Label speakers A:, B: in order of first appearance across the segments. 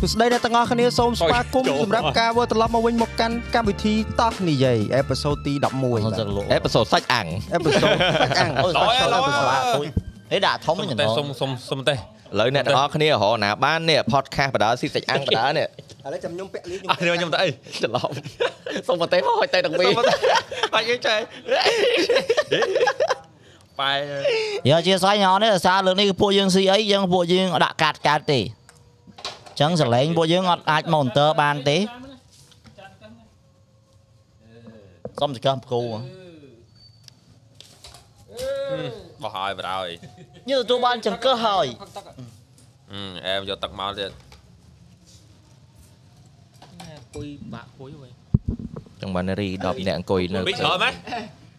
A: សួស្តីអ្នកទាំងអស់គ្នាសូមស្វាគមន៍សម្រាប់ការវិលត្រឡប់មកវិញមកកាន់កម្មវិធីតោះនិយាយអេផ isode ទី11
B: អេផ isode សាច់អាំង
A: អេផ isode សាច់អាំងអូសាច់
C: Đói
A: អាំង
C: rồi.
B: អេដាក់ធំ
C: សុំ
B: ហ្នឹ
C: តែ
B: ងឡើយ
C: សុំសុំសុំតែ
B: អ្នកទាំងអស់គ្នារហណាបាននេះ podcast បដាស៊ីសាច់អាំងប ដានេះ
A: ឥឡូវចាំខ្ញុំពាក់លៀក
C: អត់ខ្ញុំខ្ញុំតែអី
B: ច្រឡំសុំប្រទេសមកហុចតែទាំងពីរ
C: បាច់អីចែបែ
D: យកជាស្រ័យញ៉ោនេះសារលើកនេះគឺពួកយើងស៊ីអីយើងពួកយើងអត់ដាក់កាត់កាត់ទេអញ្ចឹងសលេងពួកយើងអត់អាច monitor បានទេសុំចង្កឹះគ្រូ
C: បោះហើយបាត់ហើយ
D: ញើទទួលបានចង្កឹះហើយ
C: អឺអែមយកទឹកមកទៀត
E: ពុយបាក់ពុយវិញ
B: ទាំងបានរី10អ្នកអង្គុយនៅ
C: មីកដល់ម៉េច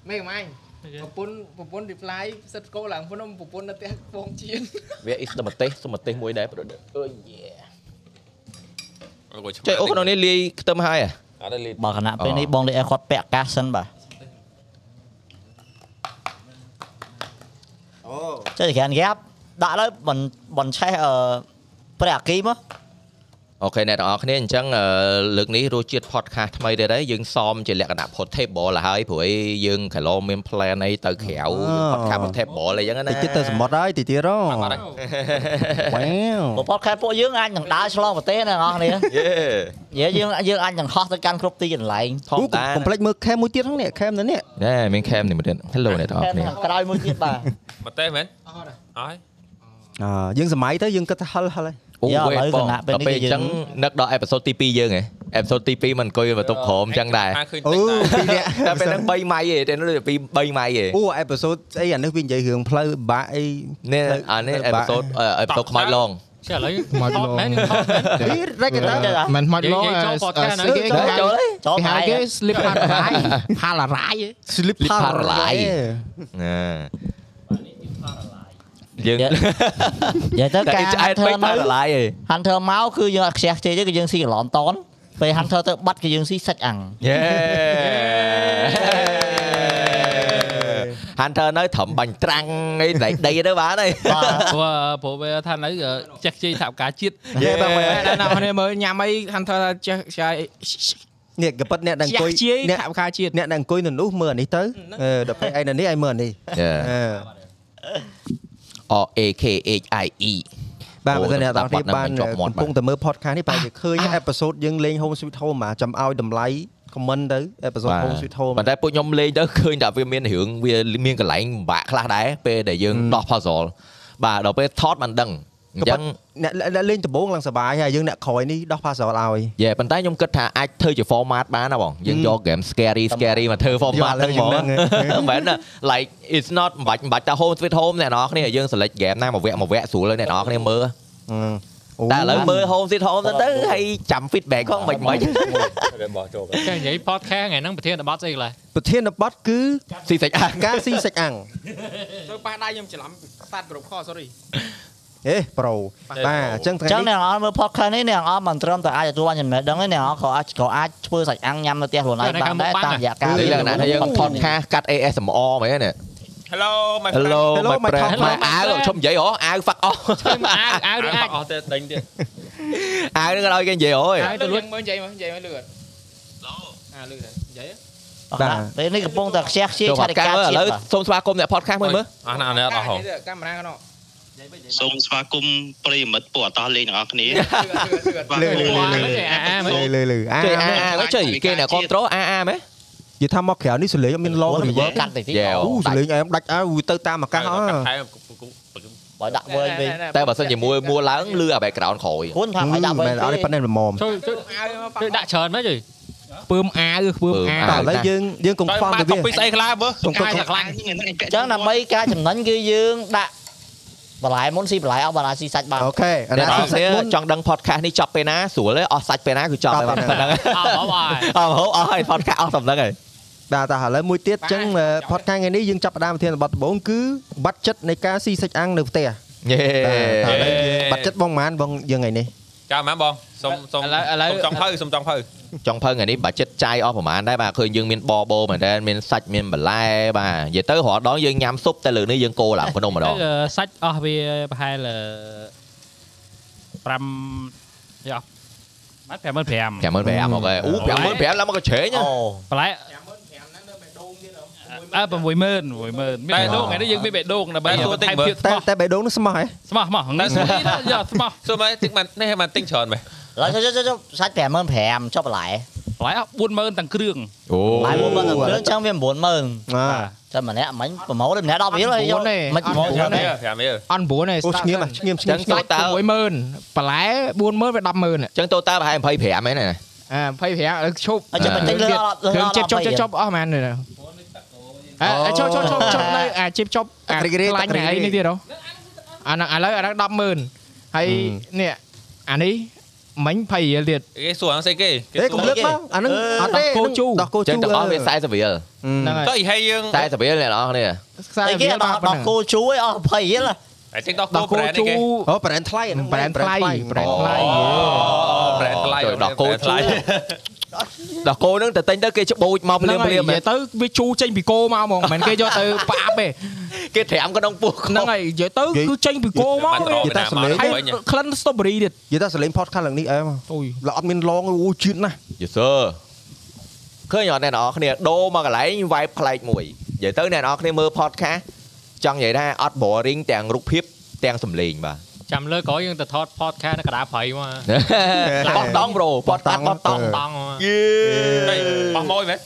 E: មេកំអាញ់ប្រពន្ធប្រពន្ធ reply សិតកោឡើងប្រពន្ធអ៊ំប្រពន្ធនៅផ្ទះពងជៀន
B: វាអ៊ីស្តប្រទេសសុំប្រទេសមួយដែរប្រទេស
C: អង្គុយឆ្មា
B: ចុយអូក្នុងនេះលាយខ្ទឹមហើយ
C: អត់ទេលី
D: បើគណៈពេលនេះបងលេអគាត់ពាក់កាសសិនបាទ
A: អូ
D: ចុះចង្កានហ្គាប់ដាក់លើបនបនឆេះអឺព្រះអគីមក
B: អូខេអ្នកទាំងអស់គ្នាអញ្ចឹងលើកនេះរសជាតិ podcast ថ្មីទៀតហើយយើងសមជាលក្ខណៈ portable ហើយព្រោះយើងកន្លងមាន plan អីទៅក្រៅ podcast portable អីហ្នឹងណា
A: តិចទៀតទៅសមុទ្រហើយតិចទៀតហ៎
C: អត់ទេ
A: វ៉ាវ
D: ប្រពន្ធខែពួកយើងអាចនឹងដើរឆ្លងប្រទេសណាបងប្អូននេះ
B: យេ
D: និយាយយើងយើងអាចនឹងហោះទៅកាន់គ្រប់ទីកន្លែង
B: ធម្មតា
A: កុំភ្លេចមើលខេមមួយទៀតហ្នឹងនេះខេមនេះ
B: ណែមានខេមនេះមកទៀត Hello អ្នកទាំងអ
D: ខែ
B: ស់គ្នា
D: ខាងក្រោយមួយទៀតបាទ
C: មកទេមែន
E: អត់ហើយ
C: អស់
A: អឺយើងសម័យទៅយើងគិតថាហិលហិលហើយ
B: អូ
D: យកឥ
B: វេ
D: ឡូវ
B: បង
D: គណៈ
B: ដ
D: ពេល
B: ល់
D: នេះ
B: ពេលអ
D: យើង
B: ញ្ចឹងនឹកដល់ episode ទី2យើងហ៎ episode ទី2មិនអង្គុយបន្ទប់ក្រោមអញ្ចឹងដែរ
C: ឃើញ
A: អូ
C: តិចដែរ
A: ពីរនាក់
B: តែពេលហ្នឹង3ម៉ៃទេតែនោះពី3ម៉ៃទេ
A: អូអេផ isode ស្អីអានេះវានិយាយរឿងផ្លូវបាក់អី
B: នេះអានេះ episode episode ខ្មោចឡង
E: ចុះឥឡូវ
F: មកឡង
E: មែនខ្ញុំថតមែន
A: នេះរេកតា
D: ចេះ
F: មិនខ្មោចឡង
B: à,
E: និយាយចូល podcast
F: ស្អីគេគេហៅ
D: ចូលទេចូល
F: គេហៅ
D: ហើយ
F: គេ slip paradise ហាឡារ៉ៃ
A: Sleep
B: Sleep Paralyze ណាយើង
D: និយាយទៅ
B: តែ
D: ការ
B: ឆ្អែតពេក
D: ទៅ
B: ដល់ឡាយហ៎
D: Hunter មកគឺយើងអត់ខ្ជះខ្ជិលទេគឺយើងស៊ីកន្លំតនពេល Hunter ទៅបាត់គឺយើងស៊ីសាច់អាំង
B: យេ Hunter នៅត្រឹមបាញ់ត្រាំងអីដៃដីទៅបានហើយ
G: Ờ,
E: ព្រោះព្រោះវាថានៅចេះជិះថាការជាតិ
B: យេបងមែ
E: មែន
B: ន
G: Ờ,
E: ដល់អ្នកនេះមើលញ៉ាំអី Hunter ថាចេះចាយ
A: នេះកប៉ិតអ្នកដែលអង្គុយ
E: ជិះ
A: អ្នក
E: ថាការជាតិ
A: អ្នកដែលអង្គុយនៅនោះមើលអានេះទៅអឺដល់ពេលឯណានេះឯងមើលអានេះ
B: យេ
A: អឺ
B: O A K H I E
A: បាទ
B: អូ
A: បើសិនអ្នក
B: តែ
A: នរ
B: បា
A: គ្នា
B: ត់នឹង
A: បាន
B: មិនជាប់មាត់
A: កំពុងតែមើល podcast នេះបែរជាឃើញអេផ isode យើងលេង Home Sweet Home មកចាំឲ្យតម្លៃ comment ទៅអេផ isode
B: បាទ
A: Home Sweet Home
B: ប៉ុន្តែពួកខ្ញុំលេងទៅឃើញថាវាមានរឿងវាមានកន្លែងពិបាកខ្លះដែរពេលដែលយើង
A: Ừ.
B: ដោះ puzzle បាទដល់ពេលថតបានដឹងអញ្ចឹង
A: អ្នកអ្នកលេងដំបូងឡើងសប្បាយហើយយើងអ្នកក្រោយនេះដោះ puzzle ឲ្យ
B: យេប៉ុន្តែខ្ញុំគិតថាអាចធ្វើជា format បានណាបងយើងយក game scary scary មកធ្វើ format
A: យក
B: ហ្នឹងហ្មង
A: ឡើងយើង ហ្នឹង
B: មែនណា like it's not មិនបាច់មិនបាច់តែ home sweet home អ្នកនរគ្នាយើង select game ណាមកវគ្គមកវគ្គស្រួលហើយអ្នកនរគ្នាមើលតែឥឡូវមើល home sweet home ទៅទៅហើយចាំ feedback ផងមិនមិន
C: គេបោះចូល
E: តែនិយាយ podcast ថ្ងៃហ្នឹងប្រធានបទស្អីខ្លះ
A: ប្រធានបទគឺ
B: ស៊ីសាច់អាំង
A: ការស៊ីសាច់អាំង
E: ទៅប៉ះដៃខ្ញុំច្រឡំសាត់គ្រប់ខ sorry
A: អេប្រូបាទអញ្ចឹង
D: អញ្ចឹង
A: ថ្ងៃ
D: អ្នក
A: នេះ
D: នរអស់មើល podcast នេះអ្នកនរអស់មិនត្រឹមតែអាចទទួលបានចំណេះដឹងទេអ្នកនរអស់ក៏អាចក៏អាចធ្វើសាច់អាំងញ៉ាំនៅផ្ទះខ្លួនឯងបានដែរតាមរយៈការ
B: លក្ខណៈថាយើង podcast កាត់ ASMR មែនណា
C: ហេឡូមក
B: Hello
A: Hello,
B: my
A: my
B: friend
A: friend.
B: my áo
E: Hello, my
B: chôm vậy hả? Áo phát off.
E: អាវអាវឬអាច
C: អស់ទេដេញទៀត
B: Áo nó đôi cái gì rồi?
E: អាវទៅលួចមើលនិយាយមើលនិយាយមើលលឿនអា
F: À,
E: លឿននិយាយ
D: បាទពេលនេះកំពុងតែខ្ជះខ្ជាយ
B: Cho
D: ឆា
B: hoạt
D: តិកា
B: cao
D: ជាតិ
B: á,
D: បាទ
B: lỡ xôn xóa cùng nè podcast mới mới.
C: អស់ណាស់នេះអត់អស់ហង
E: កាមេរ៉ាកណោ
H: សូមស្វាគមន៍ប្រិយមិត្តពួកអតោះលេងទាំងអស់គ្នា
E: លឿន
H: បាទ
A: លើលើលើ
F: À,
E: មើល
A: លើលើលើអា
B: Chơi a a có chơi kia nè control a a mấy.
A: និយាយថាមកក្រៅនេះសលេងអត់មាន long
D: និយាយ
A: reverb
D: កាត់តិចតិច
B: Yeah.
A: អូសលេងឯងដាច់អើយទៅតាមអាកាសអើ
C: តែ
D: បើដាក់វិញវិញ
B: Tại bà xin chỉ mua mua lớn lưa à background khỏi.
D: ខ្លួនថាឲ្យដាក់វិញ
A: មែនអត់ទេ
D: ទេ
A: ប៉ុណ្ណេះល្មម
E: ជួយជួយជួយដាក់ច្រើនមកជួយ
F: ពើមអាវពើម
A: តែ
F: អា
A: ឥឡូវយើងយើងកុំ
C: តែ
A: ខ្វល់
C: បា
A: ទៅ
C: ត់
A: វា
C: ទៅពីស្អីខ្លះមើល
A: កុំខ្វល់
H: តែខ្លាំងហ្នឹងឯងពា
D: អ
H: ក់
D: ញ្ចឹងដើម្បីការចំណេញគឺយើងដាក់បន្លែមុនស៊ីបន្លែអស់បន្លែស៊ីសាច់បាន
A: អូខេអា
B: Nè
A: ណា
B: đó
A: សាច់
B: sẽ
A: មុន
B: chọn đăng podcast đi chọc bên á, sủa lấy off sạch bên á cứ chọc
A: Chọc
B: lại
A: bên
B: bằng đăng.
E: អស់ បងអើយ
B: Ờ hổ off hay podcast off tầm đăng rồi.
A: បាទតែឥឡូវមួយទៀតអញ្ចឹង
E: បាទ
A: ផតខាងថ្ងៃនេះយើងចាប់ផ្ដើមប្រធានបទដំបូងគឺបាត់ចិត្តនៃការស៊ីសាច់អាំងនៅផ្ទះ
B: Yeah.
A: បាទបាត់ចិត្តបងម៉ានបងយើងថ្ងៃនេះ
C: ចាំហ្មងបងសុំសុំសុំចង់ភៅសុំចង់ភៅ
B: Trong phân ngày đi bà chết chai off mà anh đấy bà khơi dương miên bo bo mà đây miên sạch miên bà lai bà. Vậy tới họ đó dương nhám súp tay lửa nữa dương cô làm con ông mà đó.
E: សាច់អស់វាប្រហែល5យក
G: ម៉ាត់55,000
B: 55,000អូខេអូ55,000ឡើងមកកញ្ឆេងណា
G: ប្រឡាយអើ60000 60000មានបេះដូងថ្ងៃនេះយើងមានបេះដូងដើម្បី
C: តែ
G: បន្ថែម
C: ទួតតិចមើល
G: ភាព
A: តែ
G: ស្មោះ
A: តែបេះដូងនឹងស្មោះហ៎
G: ស្មោះស្មោះហ្នឹងស្មោះណាយកស្មោះ
C: សួរមកទិញបាននេះបានទិញច្រើនមែន
D: ឡើយចុះចុះចុះសាច់55000ចុះបន្លែ
G: ប្រឡាយអស់40000ទាំងគ្រឿង
D: បន្លែ40000គ្រឿងចឹងវា90000
A: អា
D: តែម្នាក់មិញប្រមូលម្នាក់10រៀលហើយយក
F: 9ទេ
D: មិនប្រមូលច្រើនទេ
C: 5រៀល
F: អន់9ឯង
A: អូឆ្ងៀមអាឆ្ងៀមឆ្ងៀម
B: ចឹង
A: ស្ងៀម
F: តើ60000បន្លែ40000វា100000
B: ចឹងតូតាលប្រហែល25ហ្នឹងណា
F: អា25ឲ្យឈប់
D: អត់ចាំបន្តិចលើអត់លើ
F: គ្រឿង
D: អត់
F: ជិប
D: 20
F: ចុបចុបចុបអស់ហ្មងនេះអើចុបចុបចុបចុបនៅអាជិបចុបអា
A: ទឹករីករាយ
F: ខ្លាញ់
A: ទឹករីករាយ
F: អាអីនេះទៀតហ៎អាហ្នឹងឥឡូវអាហ្នឹង100000ហើយនេះអានេះមិញ20រៀលទៀត
C: គេសួរហ្នឹងស្អីគេគេ
A: ទេ
C: សួ
A: កុំ
C: រ
A: លើកមកអាហ្នឹងអត់ទេ
F: ដោះគោជូ
A: ដោះគោជូ
B: ចឹងទាំងអស់វា40រៀល
A: ហ្នឹ
F: ហ្នឹង ង
C: ទៅ
F: ហើយ
C: អីហើយយើងតែ
B: 40រៀលអ្នកនរគ្នា
F: ខ្សែ
D: អីគេ
F: វាបា
D: ដល់
F: ក់ប៉ុ
D: ដល់
F: ណ្ណឹង
D: គោជូរឯងអស់20រៀល
C: ទិញដល់
F: ដោះ
C: គោ
F: គោ
C: ប្រែនេះ
F: ជូ
C: គេ
F: រ
A: អូប្រែនថ្លៃអាហ្នឹង
F: ប្រែនថ្លៃប្រែនថ្លៃយេ
C: ប្រែថ្លៃ
B: ដល់គោ
C: ថ្លៃ
B: ដល់គោហ្នឹងតែតែងទៅគេច្បូចមកព្រាម
F: ហ្នឹងហើយ
B: ព្រាម
F: និយាយទៅវាជូរចេញពីគោមកហ្មងមិនមែនគេយកទៅផ្អាប់ទេ
B: គេត្រាំក្នុងពោះ
F: ហ្នឹងហើយនិយាយទៅគឺចេញពីគោមក
C: បាត់ត្រ
F: វា
C: ង់
A: យីតាសលេង
F: ហើយក្លិន strawberry ទៀត
A: យីតាសលេងផតខាត់ឡើងនេះអែម
F: អូយ
A: ឡើអត់មានឡងអូយជឿនណាស់
B: យេសឺឃើញអត់អ្នកនរគ្នាដូរមកកន្លែង vibe ប្លែកមួយនិយាយទៅអ្នកនរគ្នាមើល podcast ចង់និយាយថាអត់ boring ទាំងរូបភាពទាំងសំឡេង បាទ
G: ចាំលើក្រោយយើងទៅថត podcast នៅកណ្ដាលព្រៃមក
B: បោះតង់ប្រូ podcast បោះតង់
F: Ừ.
G: តង់មក
C: យេបោះម៉ួយមែន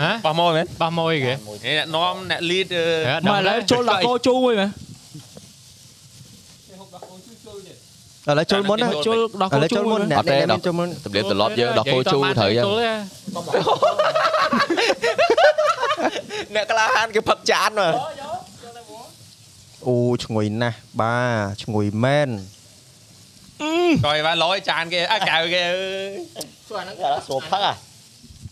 G: ហ៎
C: បោះម៉ួយមែន
G: បោះមួយគេ
C: នេះអ្នកនាំអ្នក lead ờ, អឺ
F: មកឥឡូវចូលដល់គោជូរមួយមើល
A: ឥឡូវចូលមុនណា
C: ចូល
F: ចូលដល់
A: ឥ
F: គោ
A: ឡូវ
F: ជូ
A: ចូល
F: រ
A: មុ
F: មួយ
A: ន
F: មើល
A: អ្នកអ្នកមានចូលមុន
B: ទំលៀមទម្លាប់យើងដល់គោជូរត្រូវចឹង អ្នកក្លាហានគេផឹកចានមក
A: អូឈ្ងុយណាស់បាទឈ្ងុយមែន
C: ចយបានលយចានគេអើកៅគេអើយ
I: ព្រោះអាហ្នឹង
D: ឥឡូវស្រួលផឹកអា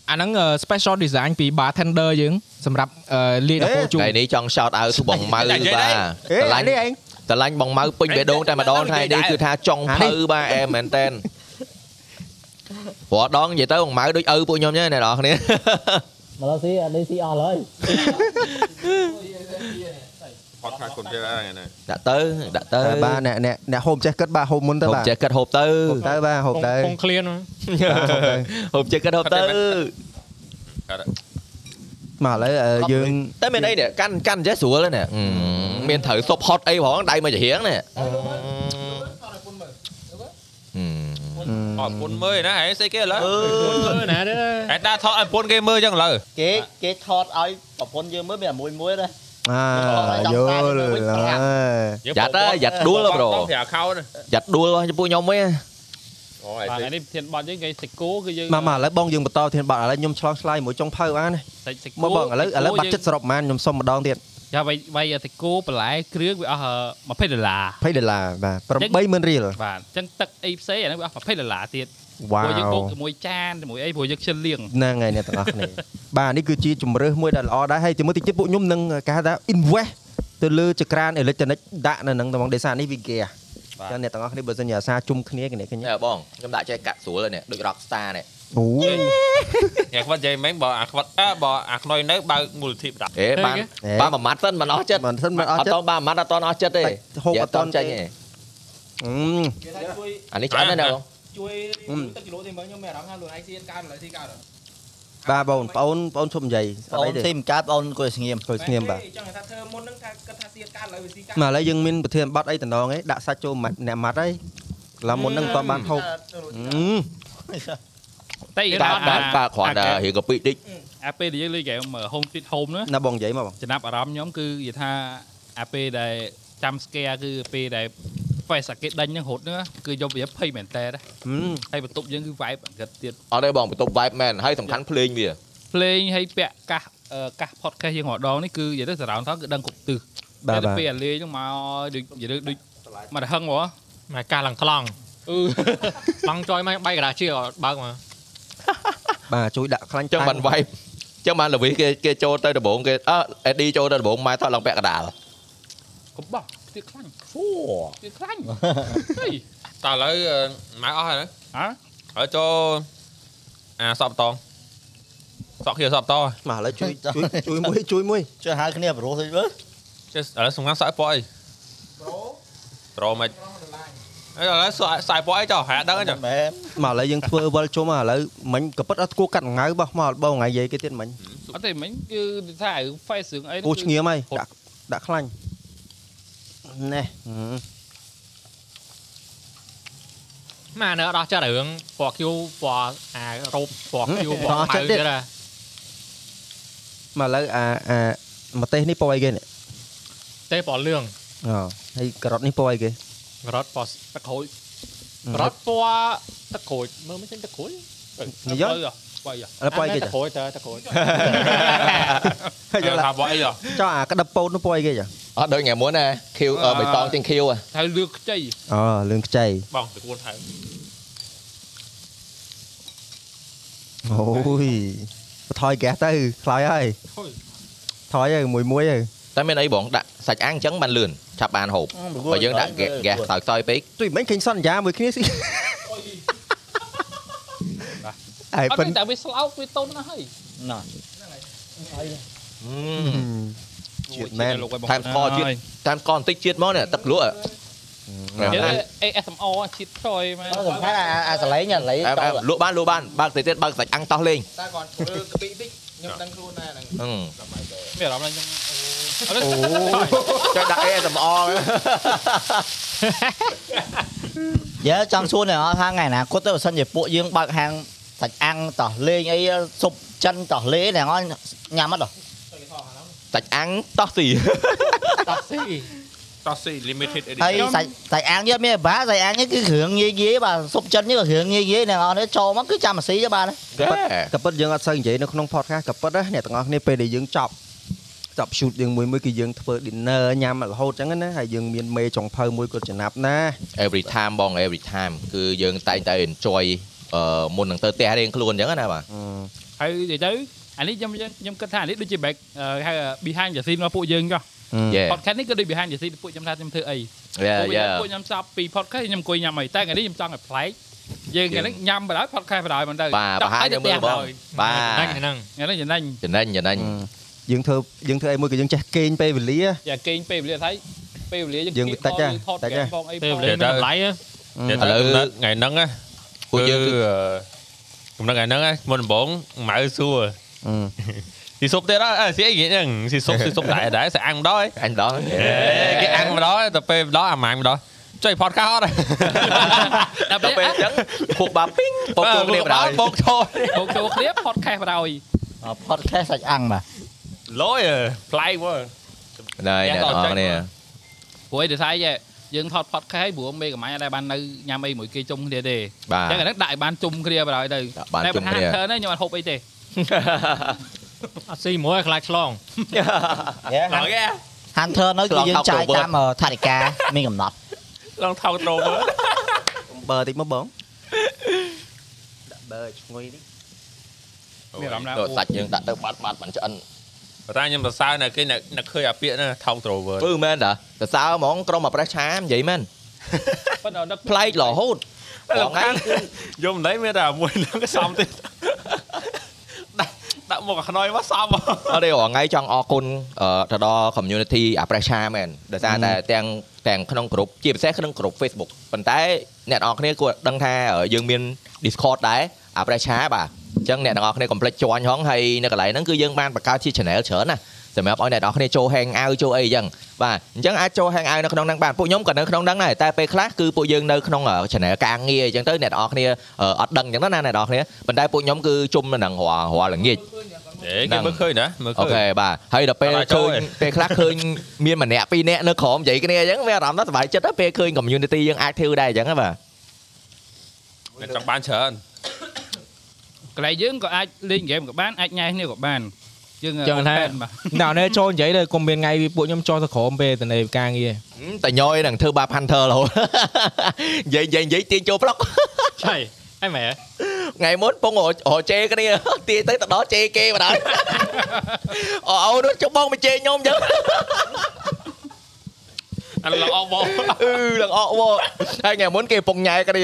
F: អាហ្នឹងអឺ ờ, special design ពី bartender យើងសម្រាប់អឺលាយដល់គោជូរ
B: ថ្ងៃនេះចង់ shout out ទៅបង ម៉ៅបាទ
A: អេ
B: តឡា
A: អា
B: ញ់
A: នេះឯង
B: តឡាញ់បងម៉ៅពេញបេះដូងតែម្ដងថ្ងៃនេះគឺថាចង់
A: អានេះ
B: ភៅបាទអែមែនតែនព្រោះដងនិយាយទៅបងម៉ៅដូចឪពួកខ្ញុំទេអ្នកនរគ្នា
D: មកឡូវស៊ីអានេះស៊ីអស់ហើយ
C: ផតខាគុំជើអីណា
B: ដាក់ទៅដាក់ទៅ
A: តែបាទអ្នកអ្នកអ្នកហូបចេះគិតបាទហូបមុនទៅ
B: ហូប
A: បាទ
B: ចេះគិតហូបទៅ
A: ហូបទៅបាទហូបទៅ
G: ពងឃ្លៀន
B: ហូបចេះគិតហូបទៅ
A: មកឥឡូវអឺយើង
B: តែមានអីនេះកាន់កាន់ចេះស្រួលហ្នឹងណាមានត្រូវសុបហត់អីផងដៃមកច្រៀងនេះ Ừ.
C: អត់ពុនមើលណាហែស្អីគេឥឡូវ
G: ធ្វើណាទេ
C: ហែដាក់ថតឲ្យពុនគេមើលចឹងឥឡូវ
D: គេគេថតឲ្យប្រពន្ធយើងមើលមានតែមួយមួយណា
A: អាយល់ហើយ
B: យ៉ាត់ទៅយ៉ាត់ដួលប្រូ
C: ប្រាខោណា
B: យ៉ាត់ដួលរបស់ចំពោះខ្ញុំវិញ
C: អូ
G: បាទ
C: ហែ
G: ថ្ងៃនេះធានបត់យើងគេសាច់គោគឺយើង
A: មកមកឥឡូវបងយើងបន្តធានបាត់ឥឡូវខ្ញុំឆ្លងឆ្លើយមួយចុងភៅអាណា
G: សាច់សាច់គោ
A: មកបងឥឡូវឥឡូវបាត់ចិត្តសរុបប៉ុន្មានខ្ញុំសុំម្ដងទៀត
G: ចាវាយវាយសាច់គោបន្លែគ្រឿងវាអស់20ដុល្លារ
A: 20ដុល្លារបាទ80000រៀល
G: បាទអញ្ចឹងទឹកអីផ្សេងអាហ្នឹងវាអស់20ដុល្លារទៀត
A: វ៉ា
G: ព្រោះយើងបូ
A: វ
G: កជាមួយចានជាមួយអីព្រោះយើងខ្ជិលលៀង
A: ហ្នឹងហើយអ្នកទាំងអស់គ្នា បាទនេះគឺជាជំរើសមួយដែលល្អដែរហើយជាមួយតិចទៀតពួកខ្ញុំនឹងគេហៅថា invest ទៅលើចក្រានអេលិចត្រូនិកដាក់នៅនឹងតាមងដេសានេះវាគេអ
G: បាទ
A: ញ្ចឹងអ្នកទាំងអស់គ្នាបើសិនជាអាសាជុំគ្នាគ្នាគ្នា
B: អើបងខ្ញុំដាក់ចេះកាត់ស្រួលហើយនេះដូច Rockstar នេះ
A: អូ
C: ញ៉ាខ្វាត់យាយម៉េងបើអាខ្វាត់អើបើអាខ្នុយនៅបើកមូលធិបដាក់
B: អេបានបានមួយម៉ាត់សិនមិនអស់ចិត្ត
A: មិនសិនមិនអស់ចិត្ត
B: អត់តបានមួយម៉ាត់អត់តអស់ចិត្តទេចាញ់ទេ
A: អឺម
B: អានេះច្រើនណាស់ណាបង
I: ជួយ
A: អឺម
I: ទឹកគីឡូទេមើលខ្ញុំមានអារម្មណ៍ថាខ្លួនឯងស៊ីកើតឥឡូវស៊ីកើតអត់
A: បាទបងប្អូនបងប្អូនឈប់និយាយស្អី
D: អូន
A: ទេ
D: ស៊ីមិនកើតអូនគួរស្ងៀម
A: គួយស្ងៀមបាទ
I: ចង់ថាធ្វើមុនហ្នឹងថាគិតថាស៊ីកើតឥឡូវវាស៊ីកើត
A: មកឥឡូវយើងមានប្រធានបတ်អីតំណងឯងដាក់សាច់ចូលម៉ាត់អ្នកម៉ាត់ហើយឡាមុនហ្នឹងមិនទាន់បានហូបអឺ
G: តែ
B: តាបានបាទគ្រាន់តែ
G: អា
B: រៀងកពីតិច
G: អាពេលដែលយើងលេងហ្គេម Home Sweet Home ណា
A: ណាបងនិយាយមកបង
G: ចំណាប់អារម្មណ៍ខ្ញុំគឺនិយាយថាអាពេលដែលចាំ scare គឺពេលដែល face អាគេដេញហ្នឹងរត់ហ្នឹងគឺយកវាភ័យមែនតើ
A: ហឹម
G: ហើយបន្ទប់យើងគឺ vibe អង្កត់ទៀត
B: អត់ទេបងបន្ទប់ vibe មែនហើយសំខាន់ភ្លេងវា
G: ភ្លេងហើយពាក់កាសអឺកាស podcast យើងរាល់ដងនេះគឺនិយាយទៅ surround ថតគឺដឹងគ្រប់ទិស
A: បាទបា
G: តែ
A: ទ
G: ពេលអាលេងហ្នឹងមកដូចនិយាយទៅដូចមកដល់ហឹងហ្មង
J: មកកាសឡើងខ្លង់
G: អឺ
J: ឡង់ចយមកបៃកណ្ដាលជាអត់បើកមក
A: បាទជួយដាក់ខ្លាញ់
B: ចឹងបាន vibe ចឹងបានល្វីគេគេចូលទៅដំបងគេអឺ AD ចូលទៅដំបងម៉ែថតឡើងពាក់កដាល
G: កុំបោះខ្ទាតខ្លាញ់ហ្វូខ្ទាតខ្លាញ់ហេ
C: តឥឡូវម៉ែអស់ហើយណា
G: ហ៎
C: ឥឡូវចូលអាសក់បតងសក់ខៀវសក់បតង
A: មកឥឡូវជួយជួយជួយមួយជួយមួយ
D: ជួយហៅគ្នាប្រុសទៅមើល
C: ចេះឥឡូវសំខាន់សក់ឲ្យពណ៌អីប្រូប្រូមិន ឥឡូវសាយសាយពណ៌អីចុះហាក់ដឹងអីចុះ
D: មែន
A: មកឥឡូវយើងធ្វើវល់ជុំឥឡូវមិញក៏ប៉ិតអត់គួរកាត់ងាយបោះមកបងថ្ងៃយាយគេទៀតមិញ
K: អត់ទេមិញគឺថារឿង face រឿងអី
A: គួរឆ្ងៀមហើយដាក់ដាក់ខ្លាញ់ណែហឹម
G: ម៉ានៅអត់អស់ចិត្តរឿងពណ៌ Q ពណ៌អារូបពណ៌ Q ពណ៌
A: អត់អស់ចិ
G: ខ្មៅ
A: ត្តទេ
G: ទៀ
A: មក
G: តហ៎
A: ឥឡូវអាអាម្ទេសនេះពណ៌អីគេនេះ
G: ទេពណ៌លឿង
A: អូហើយការ៉ុតនេះពណ៌អីគេ
G: រត់ពណ៌ទឹកក្រូចរត់ពណ៌ទឹកក្រូចមើលមិនឃើញទឹកក្រូច
A: និយាយឥ
K: ទៅបាយ
A: ឡូវពណ៌អីគេ
G: អា
A: ចា
G: ទឹកក្រូចតើ ទឹកក្រូច
A: យល់
C: ថា
A: ហើយ
C: ពណ៌អីចុះ
A: ចុះអាក្តិបពោតនោះពណ៌អីគេចា
B: អត់ដូចថ្ងៃមុនណាខៀវអឺបៃតងទាំងខៀវហ៎
K: ថៅលឿខ្ចី
A: អូលឿងខ្ចី
C: បងទៅគួនថៅ
A: អូយបន្ថយហ្គាសទៅខ្លោយហើយថយហើយមួយមួយហើយ
B: តែមានអីបងដាក់សាច់អាំងអញ្ចឹងបានលឿនចាប់បានហូបបើយើងដាក់ហ្គាហ្គាសខ្សោយខ្សោយពេក
A: ទុយមិញឃើញសន្យាមួយគ្នាស៊ី អាយ
K: អត់
A: ប៉ិន
K: ទេតែវាស្លោកវាតុនណាស់ហើយ
D: ណាស់
A: ជាតិមែន
K: លោកឯងបង
B: តាមស្ករជាតិតាមស្ករបន្តិចជាតិមកនេះទឹកលក់ហ៎
K: យើ
B: អើ
K: ង ASMR ជាតិខ្សោយមក
D: អត់សំខាន់អាអាសលេងអាសលេង
B: អើ
D: ទៅ
B: លក់បានលក់បានបើកតិចទៀតបើកសាច់អាំងតោះលេង
E: តែគាត់ធ្វើកពីតិចខ្ញុំដឹងខ្លួនដែរហ្នឹង
B: ហឹម
K: មានអារម្មណ៍ថា
B: អូចាំដាក់អេសំអង
D: យើចង់សួរអ្នកនរថាថ្ងៃណាគាត់ទៅបើសិនជាពួកយើងបើកហាងសាច់អាំងតោះលេងអីស៊ុបចិនតោះលេងអ្នកនរញ៉ាំអត់ហ៎
B: សាច់អាំងតោះស៊ី
G: តាក់ស៊ី
C: តោះស៊ី limited
D: ហើយ
C: edition
D: សាច់សាច់អាំងយើមានបាសាច់អាំងនេះគឺគ្រឿងងាយងាយបាទស៊ុបចិននេះក៏គ្រឿងងាយងាយអ្នកនរនេះចូលមកគឺចាំអាស៊ីទេបាទ
B: ប៉ិត
A: ក៏ប៉ុតយើងអត់សូវនិយាយនៅក្នុង podcast ក៏ប៉ុតណាអ្នកទាំងអស់គ្នាពេលដែលយើងចប់ចប់ shoot យើងមួយមួយគឺយើងធ្វើ dinner ញ៉ាំរហូតអញ្ចឹងណាហើយយើងមានមេចុងភៅមួយគាត់ចំណាប់ណា
B: every time បង every time គឺយើងតែងតែ enjoy អឺមុននឹងទៅផ្ទះរៀងខ្លួនអញ្ចឹងណាបាទ
K: ហើយនិយាយទៅអានេះខ្ញុំខ្ញុំគិតថាអានេះដូចជា back ហៅ behind the scene របស់ពួកយើងចុះ
B: យេ
K: podcast នេះក៏ដូច behind the scene ពួកខ្ញុំថាខ្ញុំធ្វើអី
B: យេ
K: ពួក
B: យេ
K: ខ្ញុំពួកខ្ញុំស្បពី podcast ខ្ញុំអង្គុយញ៉ាំអីតែថ្ងៃនេះខ្ញុំចង់ឲ្យប្លែកយើងថ្ងៃនេះញ៉ាំបណ្ដោយ podcast បណ្ដោយមិនទៅ
B: បាទបង្ហាញឲ្យមើលបងបា
G: ហ្នឹង
B: ទ
G: ហ្នឹង
K: ថ្ងៃនេះចំណេញ
B: ចំណេញចំណេញ
A: យើងធ្វើយើងធ្វើអីមួយគឺយើងចេះគេងពេលវេលា
K: យ៉ាគេងពេលវេលាថៃពេលវេលាយើង
A: យើងតិចហ៎
K: ថត
A: តិចហ៎
K: គេផងអី
G: ទេ
K: ផង
C: Ờ.
G: វលេងមានតម្លៃហ៎
C: ឥ
B: ឥឡូ
C: ឡូ
B: វ
C: វថ្ងៃហ្នឹងណា
B: ពួកយើងគឺ
C: គឺអឺកំណត់ថ្ងៃហ្នឹងណាមុនដំបូងម៉ៅសួរ ស៊ីសុបទៀតអើស៊ីអីគេហ្នឹងស៊ីសុបស៊ីសុបដែរដែរស្អាំងម្ដងឯង
B: anh đó
C: គេអាំងម្ដងទៅពេលម្ដងអាម៉ាំងម្ដងចុយ podcast អត់
K: ដល់
B: ទៅពេ
K: ពេល
B: លអញ្ចឹងពួកបាពីងពួកពួកគ្នាបណ្ដោយ
C: បោកឈរ
K: បងចូលគ្នា podcast បណ្ដោយ
D: Ờ, podcast សាច់អាំងបាទ
C: លយប្លែកមើល
B: ណែអ្នកនរគ្នា
K: ព្រោះឯងដូចឯងយើងថត podcast ព្រោះមេកម្លាំងអត់ដែរបាននៅញ៉ាំអីមួយគេជុំគ្នាទេ
B: បាទ
K: អញ្ចឹងអាហ្នឹងដាក់ឲ្យបានជុំគ្នាបណ្ដោយទៅ
B: ដាក់បាន
K: តែ
B: ជុំ
K: ថា
B: គ្នា
K: ធើនេះខ្ញុំអត់ហូបអីទេ
G: អ
F: À,
G: ត់ស៊ីមួយឲ្យខ្លាចឆ្លង
B: ឡងគេ
D: Hunter នៅគឺយើងចាយតាមថវិកាមានកំណត់
C: ឡងថោកត្រូលមើល
A: បើតិចមកបងដាក់បើឈ្ងុយនេះ
K: មានអារម្មណ៍ណា
B: ដល់សាច់យើងដាក់ទៅបាត់បាត់បានឆ្អិន
C: តែខ្ញុំសរសើរនៅគេនៅឃើញអាពាកហ្នឹងថោកត្រូលមើល
B: ពឺមែនតាសរសើរហ្មងក្រុមអាប្រេះឆានិយាយមែន
K: ប៉ុន្តែនឹក
B: ប្លែករហូត
C: តែ
B: បង
C: លំ
B: ថ្ងៃ
C: ខានយកមិនដៃមានតែមួយហ្នឹងក៏សំទេដាក់ដាក់មកអាខ្នយមកសំមក
B: អត់ទេរងថ្ងៃចង់អរគុណអឺទៅដល់ community អាប្រេះឆាមែនដោយសារតែទាំងទាំងក្នុងក្រុមជាពិសេសក្នុងក្រុម Facebook ប៉ុន្តែអ្នកនរគ្នាគួរដឹងថាអឺយើងមាន Discord ដែរអាប្រេះឆាបាទអញ្ចឹងអ្នកនរគ្នាកុំភ្លេច join ហងហើយនៅកន្លែងហ្នឹងគឺយើងបានបង្កើតជា channel ច្រើនណាស់សម្រាប់ឲ្យអ្នកនរគ្នាចូល hang out ចូលអីអញ្ចឹង បាទអញ្ចឹងអាចចូល hang out នៅក្នុងហ្នឹងបានពួកខ្ញុំក៏នៅក្នុងហ្នឹងដែរតែពេលខ្លះគឺពួកយើងនៅក្នុងអឺ channel ការងារអញ្ចឹងទៅអ្នកនរគ្នាអឺអត់ដឹងអញ្ចឹងទៅណាអ្នកនរគ្នាប៉ុន្តែពួកខ្ញុំគឺជុំនៅហ្នឹងរាល់រាល់ល្ងាច
C: ហេគេមើលឃើញណាមើល
B: អូ
C: ឃើញ
B: ខេបាទហើយដល់ពេល
C: អត់ឲ្យ
B: ឃើ
C: ចូលទេ
B: ញពេលខ្លះឃើញមានម្នាក់ពីរនាក់នៅក្រោមនិយាយគ្នាអញ្ចឹងវាអារម្មណ៍ថាសប្បាយចិត្តទៅពេលឃើញ community យើងអាចធ្វើដែរអញ្ចឹងណាបាទ
C: តែចង់បានច្រើន
K: កន្លែងយើងក៏អាចលេងហ្គេមក៏បានអាចញ៉ៃគ្នាក៏បានយើង
G: ờ,
F: ចឹងថា
K: open បាទ
F: ណៅនេះចូលនិយាយទៅកុំមានថ្ងៃពួកខ្ញុំចោះទៅក្រមពេលទៅនៃការងារ
B: ហ៊ឹមតែញយនឹងធ្វើបាប hunter រហូត និយាយនិយាយនិយាយទាញចូល ប្លុក
G: ឆៃអីមែន
B: ថ្ងៃមុនពងររជេរ គ្នាទាញទៅទៅដល់ជេរគេ បណ្ដោយ អូអូនោះចុះបងមកជេរខ្ញុំអញ្ចឹង
C: អាឡអ បង
B: អឺឡើងអកវហើយថ្ងៃមុនគេពងញ៉ែគ្នា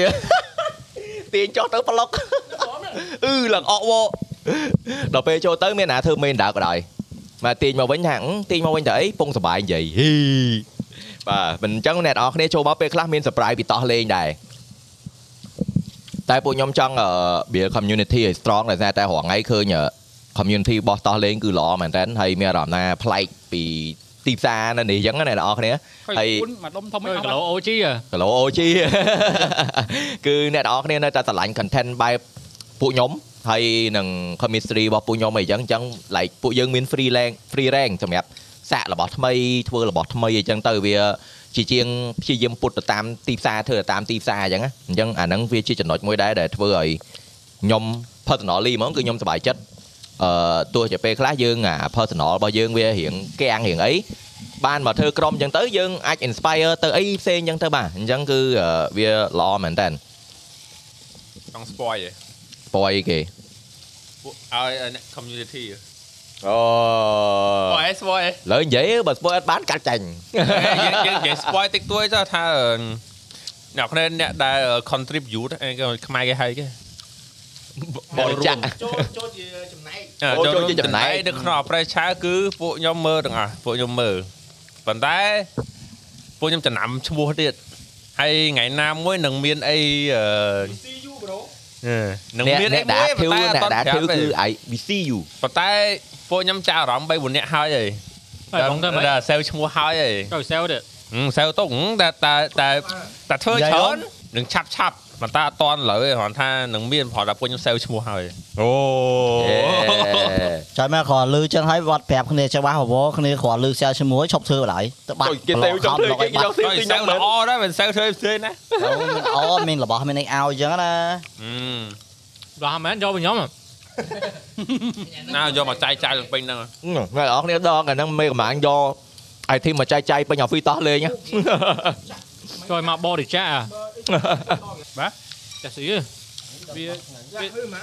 B: ទាញចុះទៅប្លុកអឺឡើងអកវដល់ពេលចូលទៅមានអ្នកធ្វើមេនដើរក៏ដោយមកទាញមកវិញថាអឺទាញមកវិញទៅអីពងសុបាយនិយាយហ៊ី បាទមិនអញ្ចឹងអ្នកនរគ្នាចូលមកពេលខ្លះមាន surprise ពីតោះលេងដែរតែពួកខ្ញុំចង់អឺ build community ឲ្យ strong ដោយសារតែរាល់ថ្ងៃឃើញអឺ community របស់តោះលេងគឺល្អមែនតើហើយមានអារម្មណ៍ថាប្លែកពីទីផ្សារនៅនេះអញ្ចឹងណាអ្នកនរគ្នា ហើ
K: ហើយ យខ្លួនមកដុំធំ
G: មើ
K: មិន
G: ល
K: អស់
G: គី
K: ឡើ
G: ឡូអូជីហ៎
B: គី
K: យ
B: ឡូអូជី គឺអ្នកនរគ្នានៅតែឆ្លាញ់ content បែបពួកខ្ញុំហើយនឹង chemistry របស់ពួកខ្ញុំអីចឹងអញ្ចឹង like ពួកយើងមាន free rank free rank សម្រាប់សាករបស់ថ្មីធ្វើរបស់ថ្មីអីចឹងទៅវាជាជាងព្យាយាមពុតទៅតាមទីផ្សារធ្វើទៅតាមទីផ្សារអញ្ចឹងណាអញ្ចឹងអាហ្នឹងវាជាចំណុចមួយដែរដែលធ្វើឲ្យខ្ញុំ personally ហ្មងគឺខ្ញុំសប្បាយចិត្តអឺទោះជាពេលខ្លះយើងអា personal របស់យើងវារៀងកាំងរៀងអី បានមកធ្វើក្រុមអញ្ចឹងទៅយើងអាច inspire ទៅអីផ្សេងអញ្ចឹងទៅបាទអញ្ចឹងគឺអឺវាល្អមែនតើ
C: ចង់ spoil ហ៎
B: បយគេ
C: ពួកឲ្យឲ្យអ្នក community ហ៎
B: អូឥ
C: spoil ហ៎ spoil ហ៎
B: ឡូវនិយាយបើ spoil អត់បានកាត់ចាញ់
C: យើងយើងនិយាយ spoil តិចតួចចុះថាអឺអ្នកគ្នាអ្នកដែល contribute ឯងគេខ្មែរគេហៅគេ
B: បរិច្ចាគ
E: ចូលចូលជាចំណែក
C: អឺ
B: ចូល
C: ចូល
B: ជា
C: ជាចំណ
B: ចំែ
C: ណែ
B: ក
C: កនៅក្នុងអប្រេឆាគឺពួកខ្ញុំមើលទាំងអស់ពួកខ្ញុំមើលប៉ុន្តែពួកខ្ញុំចំណាំឈ្មោះទៀតហើយថ្ងៃណាមួយនឹងមានអីអឺ
E: See you bro
C: អឺនឹង
B: អ្នក
C: មាន
B: អ្នក
C: អី
B: ដា
C: មួយ
B: ធឿ
C: ប៉ុន្តែអត់
B: អ្នកដា
C: តា
B: ធឿ
C: ន់ប្រាប់ទេ
B: គឺ IBCU
C: ប៉ុន្តែពួកខ្ញុំចាប់អារម្មណ៍3 4នាក់ហើយហើយ
G: ហើយបងទៅមិន
C: ដល់សើឈ្មោះហើយហើយ
G: ចូលសែលទេ
C: អឺសៅតុងតែតែតែតែធ្វើ
D: យ៉ាយ
C: ច្រើន
D: អូន
C: នឹងឆាប់ឆាប់មិនតាអត់តន់ឥឡូវឯងគ្រាន់ថានឹងមានព្រោះតែពួកខ្ញុំសៅឈ្មោះហើយអូ
D: ចាំមកគ្រាន់លឺចឹងហើយវត្តប្រាប់គ្នាច្បាស់បវរគ្នាគ្រាន់លឺខ្សែឈ្មោះឈប់ធ្វើបន្លាយទៅបាត់
B: គេចង់ធ្វើ
C: ហើយ
B: ទី
C: សៅ
B: នោះមែន
C: ល្អដែរមិនសៅធ្វើផ្សេងណា
D: អូមានរបស់មានអីឲ្យចឹងណា
G: ដល់មែនយកវិញខ្ញុំ
F: à?
G: ហ៎
C: ណាយកមកចាយចាយពេញហ្នឹង
B: អ្នកនរគ្នាដងអាហ្នឹងមេកម្លាំងយក IT មកចាយចាយពេញ office តោះលេងណា
G: ចូលមកបរិច្ចាគ
F: à?
G: ហ៎បាទចាស់ស្អីហ៎វា
E: យ៉ាធ្វើមក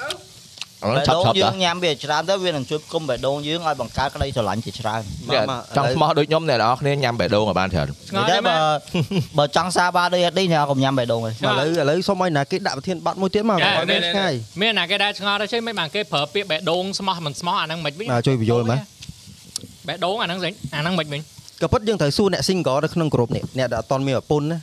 E: អើ
B: អាហ្នឹង
D: បេះ
B: ឆាប់
D: ដូងយើ
B: ឆាប់តា
D: ងញ៉ាំវាច្រើនទៅវានឹងជួយគុំបេះដូងយើងឲ្យបង្កើតក្តីស្រឡាញ់ជាច្រើន
B: អ្នកចង់ស្មោះដូចខ្ញុំអ្នកនរគ្នាញ៉ាំបេះដូងឲ្យបានច្រើន
G: ឆ្ង
D: ថ្ងៃ
G: ល់
D: តែ
G: ទេមែ
D: បើ
G: ន
D: បើចង់សារបានដូចអត់នេះណាកុំញ៉ាំបេះដូងឯង
A: ឥឡូវឥឡូវសុំឲ្យណាគេដាក់ប្រធានបတ်មួយទៀតមក
G: ចា
A: ឲ្យមានឆ្ងាយ
G: មានអាគេដែរឆ្ងល់ដែរចេះមិនបានគេប្រើពាក្យបេះដូងស្មោះមិនស្មោះអាហ្នឹងមិនវិញ
A: បាទជួយពន្យល់មើល
G: បេះដូងអាហ្នឹងស្អីអាហ្នឹងមិនវិញ
A: ក៏ប៉ុតយើងត្រូវសួរអ្នក single នៅក្នុងក្រុមនេះអ្នកដែលអត់តន់មានប្រពន្ធ ណា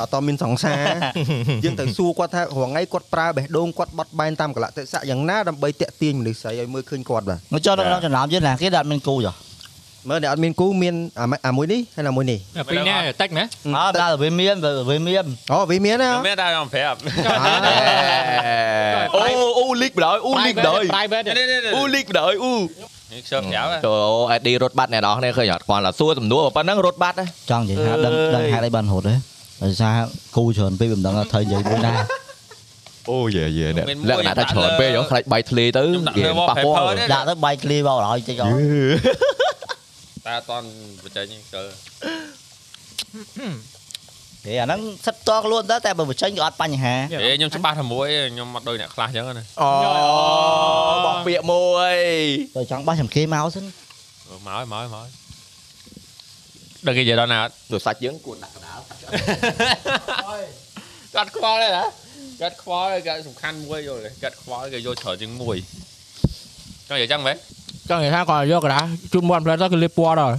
A: អត់តន់មានសង្សារ យើងត្រូវសួរគាត់ថារងថ្ងៃគាត់ប្រើបេះដូងគាត់បត់បែនតាមកលៈទេសៈយ៉ាងណាដើម្បីតាក់ទាញមនុស្សស្រីឲ្យមើលឃើញគាត់បាទ
D: មកចូលដល់ក្នុងចំណោមយើងណាគេដល់អត់មានគូចុះ
A: មើលអ្នកអត់មានគូមានអាមួយអាមួយនេះហើយអាមួយនេះ
G: ពីរនេះតិចមែន
D: អើដល់វាមានវាមាន
A: អូវាមានណា
C: មានតែខ្ញុំប្រាប់
B: អូអូលីកបណ្ដោយអូលីកបណ្ដោយ
G: private ទេ
C: នេះនេះ
B: អូលីកបណ្ដោយអូ
C: នេះខ្ញុំប្រាប់
B: ចូលអេឌីរត់បាត់អ្នកនរគ្នាឃើញអត់គាត់ឡាសួរសំណួរប៉ុណ្ណឹងរត់បាត់ណា
D: ចង់និយាយថាដឹងដឹងហេតុអីបានរត់ទេដោយសារគូច្រើនពេកមិនដឹងថាត្រូវនិយាយមួយណា
B: អូយេយេអ្នកលក្ខណៈថាច្រើនពេកយកខ្លាចបាយធ្លេទៅ
C: ខ្ញុំដាក់
B: គេ
C: លើ
B: ប៉ះពាល់
C: wallpaper នេះ
D: ដាក់ទៅបាយឃ្លីបោកឲ្យតិចអស់
C: តែអត់បច្ចេកនេះទៅ
D: គេអាហ្នឹងសិតតខ្លួនទៅតែបើបញ្ចេញក៏អត់បញ្ហា
C: ហេខ្ញុំច្បាស់តែមួយខ្ញុំអត់ដូចអ្នកខ្លះអញ្ចឹងណា
B: អូបោះពាក្យមួយ
D: ទៅចង់បោះចាំគេមកសិន
C: មកហើយមកហើយមកដល់គេនិយាយដល់ណាអត់
B: ទោះសាច់យើងគួរដាក់កណ្ដាល
C: គាត់ខ្វល់ទេណាគាត់ខ្វល់គាត់សំខាន់មួយយល់ទេគាត់ខ្វល់គេយកច្រើនជាងមួយចង់និយាយអញ្ចឹងមែន
F: ចង់និយាយថាគាត់យកកដាជូនមាត់ផ្លែទៅគឺលេបពណ៌ដល់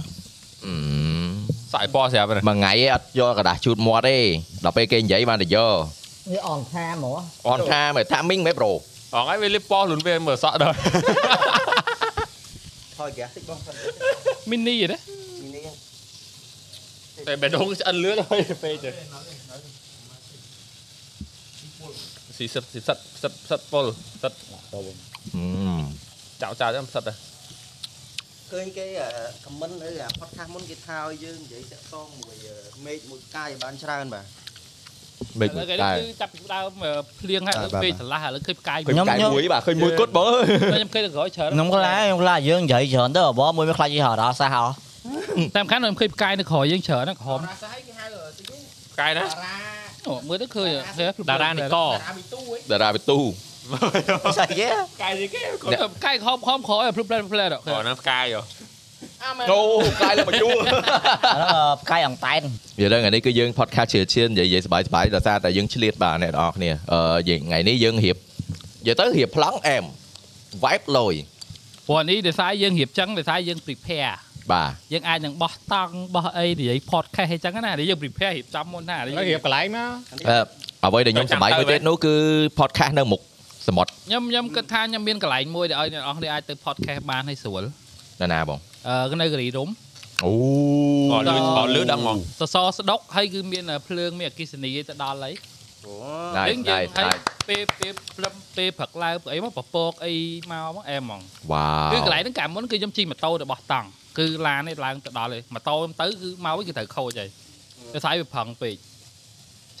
C: សាយពណ៌ស្រាប់ហ្នឹង
B: មួយថ្ងៃឯងអត់យកกระดาษជូតមាត់ទេដល់ពេលគេនិយាយបានតែយក
D: វាអនថាហ្មង
B: អនថាមើលថាមីងមែនប្រូ
C: អងហើយវាលិបពណ៌លុនវាមើលសក់ដល់
A: ថយហ្គាសតិច បងសិន
G: mini ទេ
C: តែបេះដូងស្អិនលឿន ហើយពេកទៅស៊ីសិតស៊ីសិតសិតសិតពលសិតចៅចៅចាំសិតដែរ
A: ឃើញគេខមមិនឬអា podcast មុនគេថាឲ្យយើងនិយាយតាក់ទងមួយមេឃមួយផ្កាយបានច្រើនបាទ
B: បេក
G: Ờ,
K: ឥឡូវគេ
B: តែ
K: គឺចាប់ពីដើមអឺភ្លៀងហើយ
A: តែ
K: ដល់
A: បាទ
K: ពេលឆ្លាស់ឥឡូវឃើញផ្កាយ
B: ខ្ញុំខ្ញុំមួយបាទឃើញមួយគត់បើ
K: ខ្ញុំឃើញដល់ក្រោយច្រើន
D: ខ្ញុំខ្លាចខ្ញុំខ្លាចយើងនិយាយច្រើនទៅបោះមួយវាខ្លាចយីហោដល់សះអស់
K: តែសំខាន់ខ្ញុំឃើញផ្កាយនៅក្រោយយើងច្រើនណាស់ក្រហម
E: រ៉ាសហើយគេហៅទីនេះ
C: កាយណា
E: រ៉ា
K: អូមើលទៅឃើញ
G: តារានិករ
E: ៉ាមីទូហី
B: តារាវិទូ
D: ស្អីគេ
E: កាយយីគេ
K: គាត់ទៅផ្កាយក្រហមក្រហមក្រោយភ្លឹបភ្លែត
G: Ờ.
C: អូហ្នឹងផ្កាយយោ
E: អាមែន
B: ចូលកាយលើមកជួ
D: អាហ្នឹងផ្កាយអង្តែន
B: និយាយដល់ថ្ងៃនេះគឺយើង podcast ជាឈាននិយាយសบายសบายដោយសារតែយើងឆ្លៀតបាទអ្នកនរអគ្នាអឺថ្ងៃនេះយើងរៀបនិយាយទៅរៀបប្លង់អែម vibe លយ
K: ព្រោះនេះដោយសារយើងរៀបចឹងដោយសារយើង prepare
D: ប
B: បាទ
G: យើងអាចនឹងបោះតង់បោះអីនិយាយ podcast អីចឹងណាដែលយើង prepare រៀបចំមុនណាដែល
F: ឥឡូវ
G: យ
F: រៀបកន្លែងមក
B: អឺអ្វីដែលខ្ញុំសម័យមួយទៀតនោះគឺ podcast នៅមុខសមុទ្រ
G: ខ្ញុំខ្ញុំគិតថាខ្ញុំមានកន្លែងមួយដែលឲ្យអ្នកនរអស់គ្នាអាចទៅ podcast បានឲ្យស្រួល
B: ណាណាបង
G: អឺនៅកេរីរំ
B: អូ
C: អត់លឺ
G: ដល់
C: អត់លឺដល់ហ្មង
G: សសរស្ដុកហើយគឺមានភ្លើងមានអគិសនីទៅដល់ហើយ
B: ណាយ
G: យើងយើ
B: ណាយ
G: ងហើយពេលពេលព្រឹមពេលព្រឹកឡើងព្រឹកអីមកពពកអីមកមកអែហ្មង
B: វ៉ាវ
G: គឺកន្លែងហ្នឹងកាលមុនគឺខ្ញុំជិះម៉ូតូរបស់តង់គឺឡាននេះឡើងទៅដល់ហើយម៉ូតូខ្ញុំទៅគឺមកវិញគឺត្រូវខូចហើយទៅស្អីវាប្រឹងពេកអ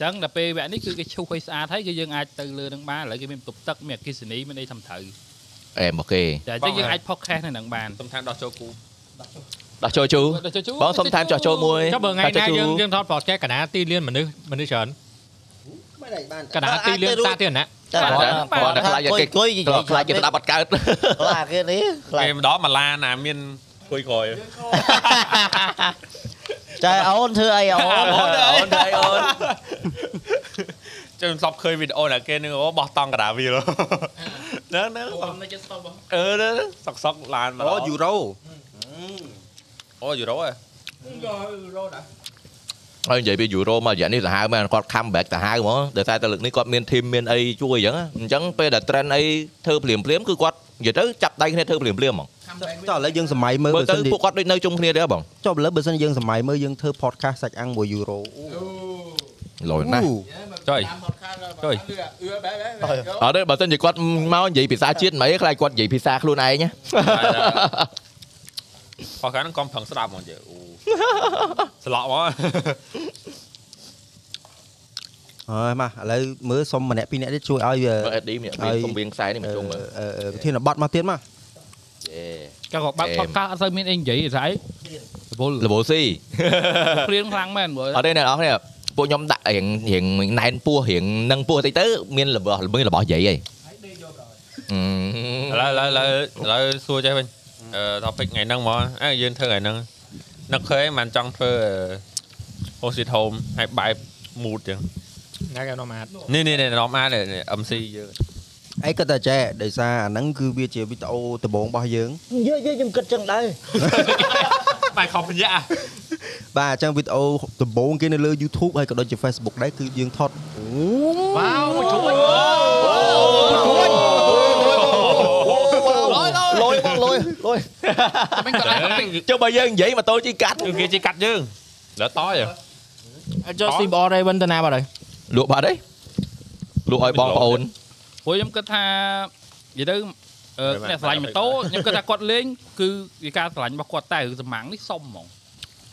G: ញ្ចឹងដល់ពេលវគ្គនេះគឺគេឈូសឲ្យស្អាតហើយគឺយើងអាចទៅលើនឹងបានឥឡូវគេមានបន្ទប់ទឹកមានអគ្គិសនីមានអីធ្វើត្រូវ
B: អេមកគេ
G: តែអញ្ចឹងយើងអាច podcast នៅនឹងបាន
C: សំខាន់ដល់ចូលគូ
B: ដោះចូលជូបងសុំតាមចោះចូលមួយ
F: ចុះបើថ្ងៃ
B: ចោះ
F: ណា
B: ជូ
F: យើងយើងថត podcast កណ្ដាលទីលានមនុស្សមនុស្សច្រើន
A: មិនដែរបានក
F: ណ្ដាលទីលានសាធារណៈ
D: តែ
B: បាទគាត់តែខ្លាចគេ
D: គួយនិយាយ
B: ខ្លាចគេស្ដាប់អត់កើត
D: ខ្លាចគេនេះខ្លាច
C: គេម្ដងមកឡានណាមានគួយក្រោយ
D: តែអូនធ្វើអីអូន
B: អូនអូនដៃអូន
C: ចាំស្បឃើញវីដេអូណាគេនឹងអូបោះតង់កណ្ដាលវាលហ្នឹងហ្នឹង
L: ខ្ញុំនៅចិត្តស្ទប់បង
C: អឺហ្នឹងសក់សក់ឡានមក
A: អូយូរ៉ូ
C: អូយូរ៉ូហ៎
L: ក៏រត់ដែរ
B: ហើយនិយាយពីយូរ៉ូមករយៈនេះសាហាវមែនគាត់ comeback សាហាវហ្មងដោយសារតែលើកនេះគាត់មាន team មានអីជួយអញ្ចឹងណាអញ្ចឹងពេលដែល trend អីធ្វើភ្លាមភ្លាមគឺគាត់និយាយទៅចាប់ដៃគ្នាធ្វើភ្លាមភ្លាមហ្មង
L: ខំបែកវិញ
A: ចុះឥឡូវយើងសម័យមើល
B: បើ
A: បើ
B: ទៅ
A: សិនជា
B: ពួកគាត់ដូចនៅជុំគ្នាទេហ៎បង
A: ចុះឥឡូវបើសិនជាយើងសម័យមើលយើងធ្វើ podcast សាច់អាំងមួយយូរ៉ូ
B: លយណាស់
C: ចុយ
L: តាមផតខាសដល់
C: ចុយ
L: អឺបែបបែបយក
B: អត់ទេបើសិនជាគាត់មកនិយាយភាសាជាតិមិនអីខ្លាចគាត់និយាយភាសាខ្លួនឯងណា
C: ផកហ្នឹងកុំប្រឹងស្ដាប់ហ្មងយើអូស្លោកហ្មង
A: ហើយមកឥឡូវមើលសុំម្នាក់ពីរអ្នកទៀតជួយឲ្យវា
B: បើអេឌីមាន
A: ហើយ
B: ពំវៀងខ្សែនេះមកជុំមើល
A: អឺអឺវិធានបတ်មកទៀតមក
B: អេ
G: ចុះក៏បាក់
B: Damn.
G: podcast អត់សូវមានអីនិយាយស្អីរវល់
B: លបស៊ី
G: ព្រៀងខ្លាំងមែនមើល
B: អត់ទេអ្នកនរគ្នាពួកខ្ញុំដាក់រៀងរៀងណែនពោះរៀងនឹងពោះតិចទៅមានរបស់មានរបស់យាយអី
C: ឥឡូវឥឡូវឥឡូវឥឡូវសួរចេះវិញអឺ topic ថ្ងៃហ្នឹងហ្មងអើយើងធ្វើថ្ងៃហ្នឹងនឹកឃើញមិនចង់ធ្វើ host at home ហើយបែប mood ចឹង
F: ណាគេនាំអាត
C: នេះនេះនេះនរមអានេះនេះ MC យើង
A: ឯងគិតតែចេះដោយសារអាហ្នឹងគឺវាជាវីដេអូដំបូងរបស់យើង
D: យើយើខ្ញុំគិតចឹង ដែរ
F: បាយខំភញអា
A: បាទអញ្ចឹងវីដេអូដំបូងគេនៅលើ YouTube ហើយក៏ដូចជា Facebook ដែរគឺយើងថត
F: វ៉ាវមួយជួយ
D: លយបងលយលយ
G: មិនក៏អាច topic
B: ចុះបើយើងនិយាយម៉ូតូជីកាត់
C: គេជិះកាត់យើងដល់តយហ៎
M: ចុះ CBR ដែរវិញទៅណាបាទហើយ
B: លក់បាត់អីលក់ឲ្យបងប្អូន
G: ព្រោះខ្ញុំគិតថានិយាយទៅអឺ
C: Right,
G: អ្នក
C: right,
G: ឆ្លាញ់ម៉ូ
C: right,
G: តូ
C: right.
G: ខ្ញុំគិតថាគាត់លេងគឺជាការឆ្លាញ់របស់គាត់តែរឿងសម្មាំងនេះសុំហ្មង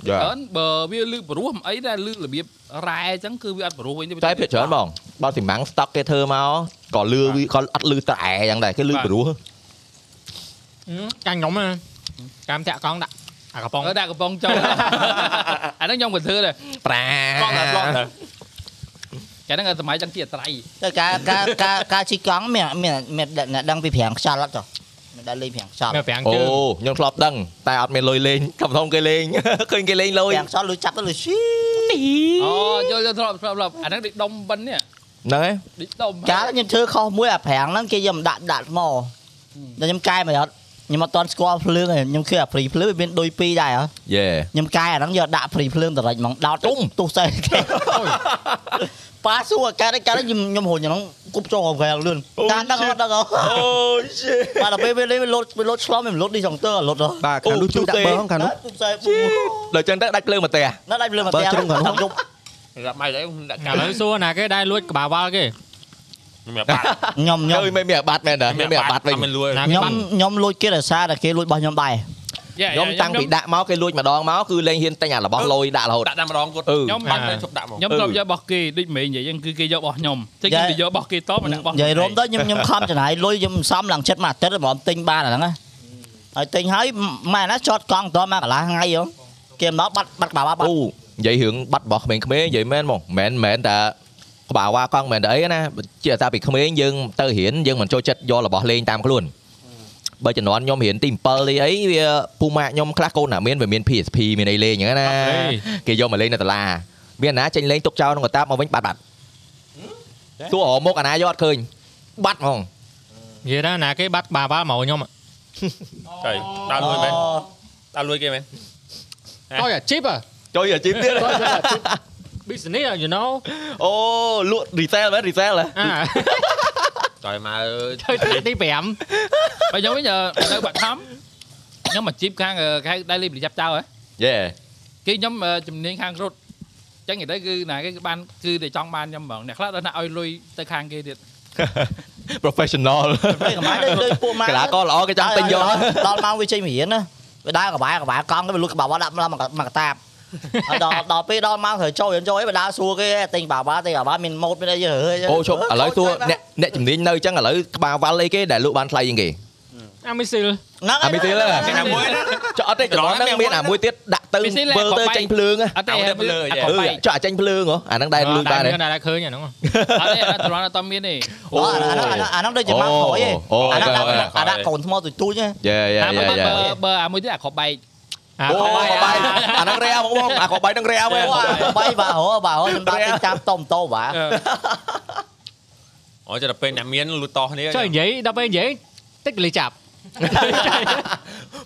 B: យ៉ា
G: ច្រើនបើវាលឺព្រោះមិនអីដែរលឺរបៀបរ៉ែអញ្ចឹងគឺវាអត់ព្រោះវិញទេ
B: តែភាគច្រើនបងបើសិមាំងស្តុកគេធ្វើមកក៏លឺវាក៏អត់លឺត្រែយ៉ាងដែរគេលឺព្រោះ
G: Ừ,
F: ចាញ់ខ្ញុំណាចាំតាក់កង់ដាក់អាកំប៉ុង
G: អឺដាក់កំប៉ុង ចូល អាហ្នឹងខ្ញុំក៏ធ្វើដែរ
B: ប្រា
C: បងដល់បងដល់
G: តែហ្នឹងសម័យចឹងជាអត្រៃ
D: តែការការការការជីកង់មានមានមានអ្នកដឹងពីប្រាំងខ្យល់អត់ចុះមានដឹងលេងប្រាំងខ្យល់
F: នៅប្រាំង
B: អូ
F: ជើ
B: ខ
F: ង
B: ្ញុំធ្លាប់ដឹងតែអត់មានលុយលេងធំធំគេលេង ឃើញគេលេងលុយ
D: ប្រាំងខ្យល់លុយចាប់ទៅលុយស៊ី
G: អូចូលចូលធ្លាប់ធ្លាប់ធ្លាប់អាហ្នឹងដូចដុំបិននេះ
B: ហ្នឹងហើយ
G: ដូចដុំ
D: កាលខ្ញុំធ្វើខុសមួយអាប្រាំងហ្នឹងគេយកមកដាក់ដាក់ថ្មតែខ្ញុំកែមកអត់ខ្ញុំអត់តន់ស្គាល់ភ្លើងឯងខ្ញុំឃើញអាព្រីភ្លើងវាមានដូចពីរដែរហ៎
B: យេ
D: ខ្ញុំកែអាហ្នឹងយកដាក់ព្រីភ្លើងតរិចហ្មងដោត
B: ជុំ
D: ទុះសេះគេ ប៉ាសួរកែនេះកែនេះខ្ញុំខ្ញុំហូចអាហ្នឹងគប់ចោលកែលឿនតាដឹងអត់ដឹងអត់
B: អូឈី
D: បាទដល់ពេលវាលេងវាលោតវាលោតឆ្លំវាមិនលោតនេះចង់ទៅអាលោតហ៎
A: បាទខាងនោះ
B: អូ
A: ជួយដាក់បើ
B: ទូទេ
A: ផងខាងនោះ
D: ទុះសេះប៊ូ
B: ដល់ចឹងទៅដាច់ភ្លើងមកផ្ទះ
D: ណាស់ដាច់ភ្លើងមក
A: បើ
D: ផ្ទះ
A: ជ្រុងខាងនោះ
D: ដល់យប់
C: រាប់មកអីដាក់កា
F: ឥ
C: ល
F: ឡូវសួរណាគេដែរលួចក្បាលវ៉ាល់គេ
C: មិនបាត់
D: ខ្ញុំខ្ញុំ
B: ទៅមិនមានអាបាត់មែនដែរមានអាបាត់វិញ
C: មិនលួយ
D: ខ្ញុំខ្ញុំលួចគេដោយសារតែគេលួចរបស់ខ្ញុំដែរ
B: ខ្ញុំតាំងពីដាក់មកគេលួចម្ដងមកគឺលេងហ៊ានតែញអារបស់លុយដាក់រហូត
C: ដាក់តែម្ដងគាត់
B: អឺ
G: ខ្ញុំ
C: បាត់ឈប់ដាក់មក
G: ខ្ញុំធ្លាប់យករបស់គេដូចមេនិយាយអញ្ចឹងគឺគេយករបស់ខ្ញុំតែខ្ញុំទៅយករបស់គេតមកដាក់របស់
D: និយាយរួមទៅខ្ញុំខ្ញុំខំចំណាយលុយខ្ញុំសំឡើងចិត្តមួយអាទិត្យហ្មងទិញបានអាហ្នឹងណាហើយទិញហើយម៉ែណាចតកង់តមកកន្លះថ្ងៃហ៎គេមកបាត់បាត់ក្បាលវ៉ាបាត់
B: អូនិយាយរឿងបាត់របស់ក្មេងៗនិយាយមែនហ្មងមែនមែនតាក្បាលវ៉ាកង់មែនតែអីណាជាតាពីក្មេងយើងទៅរៀនយើងមិនចូលចិត្តយករបស់លេងតាមខ្លួនបើជំនាន់ខ្ញុំរៀនទី7ទីអីវាពូម៉ាក់ខ្ញុំខ្លះកូនណាមានវាមាន PSP មានអីលេងអញ្ចឹងណាគេយកមកលេងនៅតាឡាមានអាណាចេញលេងទុកចោលក្នុងកន្តាបមកវិញបាត់បាត់ទោះអរមុខអាណាយកអត់ឃើញបាត់ហ្មង
F: និយាយដល់ណាគេបាត់ក្បាលវ៉ាល់មកខ្ញុំ
C: ចៃដាក់លួយមែន ដល់លួយគេមែន
G: តោះអាជីប
B: ចុយអាជីពទៀត
G: តោះអាជីប business you know
B: អូលក់ resell មែន resell ហ៎
G: អា
C: ចយមកអើយ
G: ទៅទី5
K: បើខ្ញុំវិញអឺនៅបាត់ខំខ្ញុំមកជីបខាងអឺគេហៅ daily ប្រចាំចៅហ៎
B: Yeah
K: គេខ្ញុំអឺ
G: ờ,
K: ជំនាញខាងរត់អញ្ចឹងនិយាយទៅគឺណាគេបានគឺតែចង់បានខ្ញុំហ្មងអ្នកខ្លះដល់ណាឲ្យលុយទៅខាងគេទៀត
B: professional
D: ពេលកម្លាំងដូចពួកម៉ា
B: កីឡាករល្អគេចង់ពេញយក
D: ដល់មកវាចេញមករៀនណាវាដើរក្បែរក្បែរកង់ទៅវាលុកក្បាលវត្តដាក់មកមកកតាបដល់ដល់ពេលដល់មកត្រូវចូលរៀនចូលអីវាដើរសួរគេទិញបាវ៉ាទិញអាវ៉ាមានម៉ូតមានអីយើ
B: អូជប់ឥឡូវទួអ្នកអ្នកជំនាញនៅអញ្ចឹងឥឡូវក្បាលវ៉ាល់អីគេដែលលក់បានថ្លៃជាងគេ
G: អាមីស៊ីល
D: ហ្នឹង
B: អាមីទេល
C: គេណាមួយណា
B: ចុះអត់ទេចំនួនហ្នឹងមានអាមួយទៀតដាក់ទៅ
K: Missile
B: វិលទៅ
K: កុំបែក
B: ចេញភ្លើងហ៎
K: អត់ទេ
C: អត់ទេ
K: មើល
C: មើល
G: À,
K: អត់
B: អឺ
K: ក៏បែក
B: ចុះអាចេញភ្លើងហ៎អាហ្នឹងដែរលុយបា
G: តែ
B: នដែរ
G: មានតែឃើញអាហ្នឹង
K: អ
G: À,
K: ត់ទេអត់ត្រង់អត់តមានទេ
D: អូអាហ្នឹងអាហ្នឹងដូចជាម៉ាក់ក្រោយឯងអាហ្នឹងអាហ្នឹងកូនថ្មទូចទូចឯង
B: យេយេ
G: À,
K: តាម
B: យេ
K: បើ
B: យេ
K: បើបើអាមួយទៀតអាក៏បែក
G: អា
B: អូ
G: អូ
B: អាក្បាយអាហ្នឹងរែបងបងអាក្បាយហ្នឹងរែមែន
D: បាយបាទហោបាទហោខ្ញុំដាក់ទីតាមតុំតោបាទ
G: Ờ.
C: អូចាំដល់ពេលអ្នកមានលូតតោះនេះ
G: ចុះនិយាយដល់ពេលនិយាយតិចកលិចាប់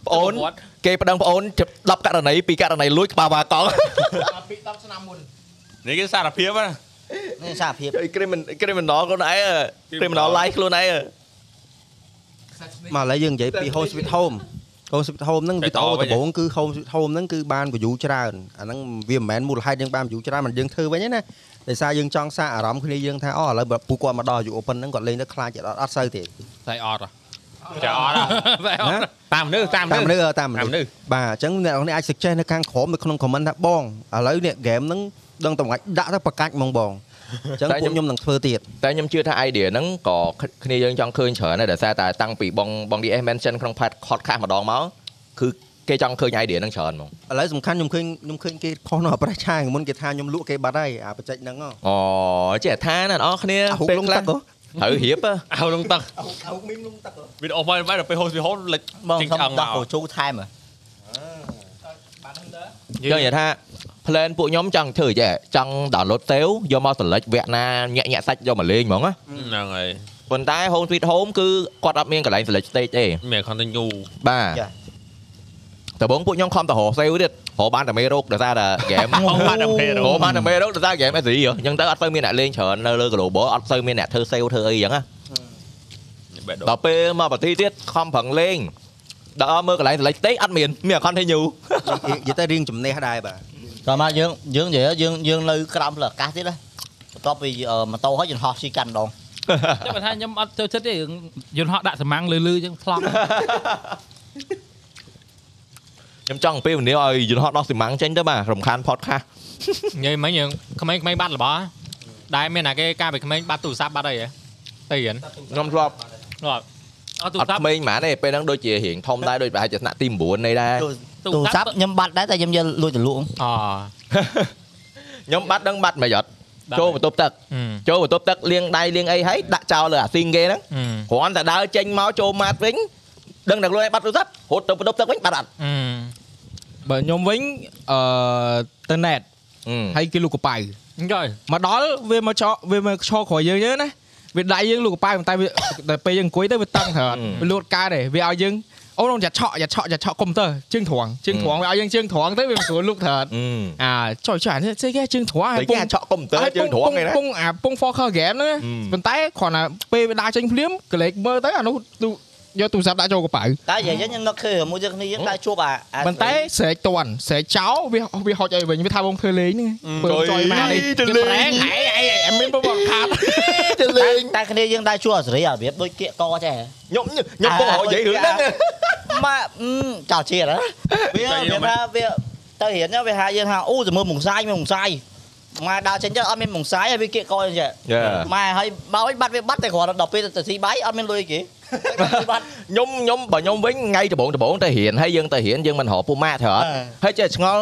B: ប្អូនគេប្តឹងប្អូនជិត10ករណីពីករណីលួចក្បាលវ៉ាកង់
E: ដល់ពី10ឆ្នាំមុន
C: នេះគេសារភាពណា
D: នេះសារភាព
B: criminal criminal ខ្លួនឯង criminal life ខ្លួនឯង
A: មកឥឡូវយើងនិយាយពី Home Sweet Home Home Sweet Home ហ្នឹង
C: តែ
A: វីដេអូ
C: តវិញ
A: ដំបូងគឺ Home Sweet Home ហ្នឹងគឺបាន view ច្រើនអាហ្នឹងវាមិនមែនមូលហេតុយើងបាន view ច្រើនមិនយើងធ្វើវិញទេណាដោយសារយើងចង់សាកអារម្មណ៍គ្នាយើងថាអូឥឡូវបើពូគាត់មកដល់អាយុ open ហ្នឹងគាត់លេងទៅខ្លាចចិត្តអត់អត់សូវទេ
K: តែអត់ហ៎
C: ចាអត់ហ៎
K: តែអត់
A: ណា
C: តាមមនុស្សតាម
A: តាម
C: ម
A: ម
C: នុ
A: នុ
C: ស្ស
A: ស្សអឺតាម
C: តាមមនុ
A: មនុ
C: ស្ស
A: ស្សបាទអញ្ចឹងអ្នកនរនេះអាច suggest នៅខាងក្រោមនៅក្នុង comment ថាបងឥឡូវនេះ game ហ្នឹងដឹងតម្ងាច់ដាក់ទៅប្រកាច់ហ្មងបងអញ្ចឹងពួកខ្ញុំនឹងធ្វើទៀត
B: តែខ្ញុំជឿថា idea ហ្នឹងក៏គ្នាយើងចង់ឃើញច្រើនដែរដោយសារតែតាំងពីបងបង DS mention ក្នុង pad podcast ម្ដងមកគឺគេចង់ឃើញ idea ហ្នឹងច្រើនហ្មង
A: ឥឡូវសំខាន់ខ្ញុំឃើញខ្ញុំឃើញគេខុសនៅអប្រេសឆាងមុនគេថាខ្ញុំលក់គេបាត់ហើយអាបច្ចេកហ្នឹងហ៎
B: អូចេះថាណាអ្នកនរគ្នា
A: អាហុកលងទឹកហ៎
B: ត្រូវរៀបហ៎
C: អោលងទឹក
A: អោកមីមលងទឹក
C: វីដេអូមកបែរដល់ពេលហូសពីហូសលេច
D: បង
C: ចេញឆ្អឹ
D: ខ្ញុំ
C: ងម
D: ដាក់
C: ក
D: កោជូថែម
B: យើងនិយាយថា plan ពួកខ្ញុំចង់ធ្វើចេះចង់ download ទៅយកមកសិលិចវគ្គណាញាក់ញាក់សាច់យកមកលេងហ្មងណា
C: ហ្នឹងហើយ
B: ប៉ុន្តែ Home Sweet Home គឺគាត់អត់មានកន្លែង select stage ទេ
C: មាន continue
B: បាទដំបងពួកខ្ញុំខំតរហោសេវទៀតហោបានតែមេរោគដោយសារតែ game
C: បងបានតែពេល
B: ហោបានតែមេរោគដោយសារ game SE ហ៎អញ្ចឹងទៅអត់ទៅមានអ្នកលេងច្រើននៅលើ global អត់ទៅមានអ្នកធ្វើ sale ធ្វើអីអញ្ចឹងណា
C: បែរដ
B: ដល់ ល់ពេលមកប្រទីទៀតខំប្រឹងលេងដល់មើលកន្លែង select stage អត់មានមាន continue
A: និយាយទៅរៀងចំណេះដែរបាទ
D: ក៏មកយើងយើងនិយាយយើងយើងនៅក្រោមផ្លូវអាកាសទៀតណាបន្ទាប់ពីម៉ូតូហើយយន្តហោះជិះកាន់ដង
K: តែបើថាខ្ញុំអត់ចូលចិត្តទេរឿងយន្តហោះដាក់សម្ាំងលឺលឺអញ្ចឹងផ្លង់
B: ខ្ញុំចង់អំពាវនាវឲ្យយន្តហោះដោះស៊ីម៉ាំងចេញទៅបាទរំខាន podcast
G: និយាយមិញយើងក្មេងៗបាត់របស់ដែរមានតែគេការពីក្មេងបាត់ទូរស័ព្ទបាត់អីហ៎ទៅរៀន
B: ខ្ញុំធ្លាប់
G: Ờ,
K: អត់ទូ
B: អ
K: រស័
B: ត់
K: ព្ទ
B: ក្មេងហ្មងទេពេលហ្នឹងដូចជារៀងធំដែរដូចប្រហែលជាថ្នាក់ទី9នៃដែរ
D: ទូរស័ព្ទខ្ញុំបាត់ដែរតែខ្ញុំយកលួចទៅលក់
G: អូ
B: ខ្ញុំបាត់ដឹងបាត់មិនយត់
G: បាត់
B: ចូលបន្ទប់ទឹក ចូលបន្ទប់ទឹកលាងដៃលាងអីហើយដាក់ចោលលើអាស៊ីងគេហ្នឹងគ្រាន់តែដើរចេញមកចូលម៉ាត់វិញដឹងតែខ្លួនឯងបាត់ទូរស័ព្ទរត់ទៅបន្ទប់ទឹកវិញបាត់អត់
F: បើខ្ញុំវិញអឺទៅណេតហើយគេលូកកប៉ៅ
G: អញ្ចឹង
F: មកដល់វាមកឆោវាមកឆោក្រោយយើងយើងណាវាដៃយើងលូកកប៉ៅប៉ុន្តែវាតែពេលយើងអង្គុយទៅវាតឹងត្រូវអត់វាលូតកើតទេវាឲ្យយើងអូនយ៉ាឆក់យ៉ាឆក់យ៉ាឆក់កុំព្យូទ័រជើងត្រង់ជើងត្រង់វាឲ្យយើងជើងត្រង់ទៅវាមិនស្រួលលូកត្រូវអត់អាចុយចុយអានេះស្អីគេជើងត្រង់ហើ
B: តែ
F: យពុ
B: គេ
F: ង
B: អាចឆក់កុំព្យូទ័រជើងទ្រងឯណា
F: ពងអាពង Fokker game ហ្នឹង
B: អឺ
F: ប៉ុន្តែគ្រាន់តែពេលវាដើរចេញភ្លាមក្លែកមើលទៅអានោះទូយកទូរស័ព្ទដាក់ចូលកប៉ៅ
D: តែនិយាយខ្ញុំនឹកឃើញមួយយើងគ្នាយើងដើរជួបអា
F: ប៉ុន្តែស្រែកតន់ស្រែកចោលវាវាហុចអីវិញវាថាបងធ្វើលេងហ្នឹងធ្វើចយមកនេះ
B: ទៅលេ
F: ប្រែ
B: ង
F: ងឯងឯងមានប្រវត្តិខាត
B: ទៅលេង
D: តែគ្នាយើងដើរជួបអាសេរីអារបៀបដូចគៀកកចេះ
B: ខ្ញុំខ្ញុំបងហៅនិយាយរឿងហ្នឹង
D: ម៉ាក់ចោលជាតិវាវាថាវាទៅរៀនវាហៅយើងថាអូទៅមើលមុងសាយមើលមុងសាយម៉ែដើរចេញទៅអត់មានមុងសាយហើយវាគៀកកចេះ ម៉ែហើយបោចបាត់វាបាត់តែគ្រាន់តែដល់ពេលទៅស៊ីបាយអត់មានលុយគេបាត់
B: ខ្ញុំខ្ញុំបើខ្ញុំវិញថ្ងៃដំបូងដំបូងទៅរៀនហើយយើងទៅរៀនយើងមិនរកពូម៉ាក់ត្រូវអត់
D: អឺ
B: ហើយចេះឆ្ងល់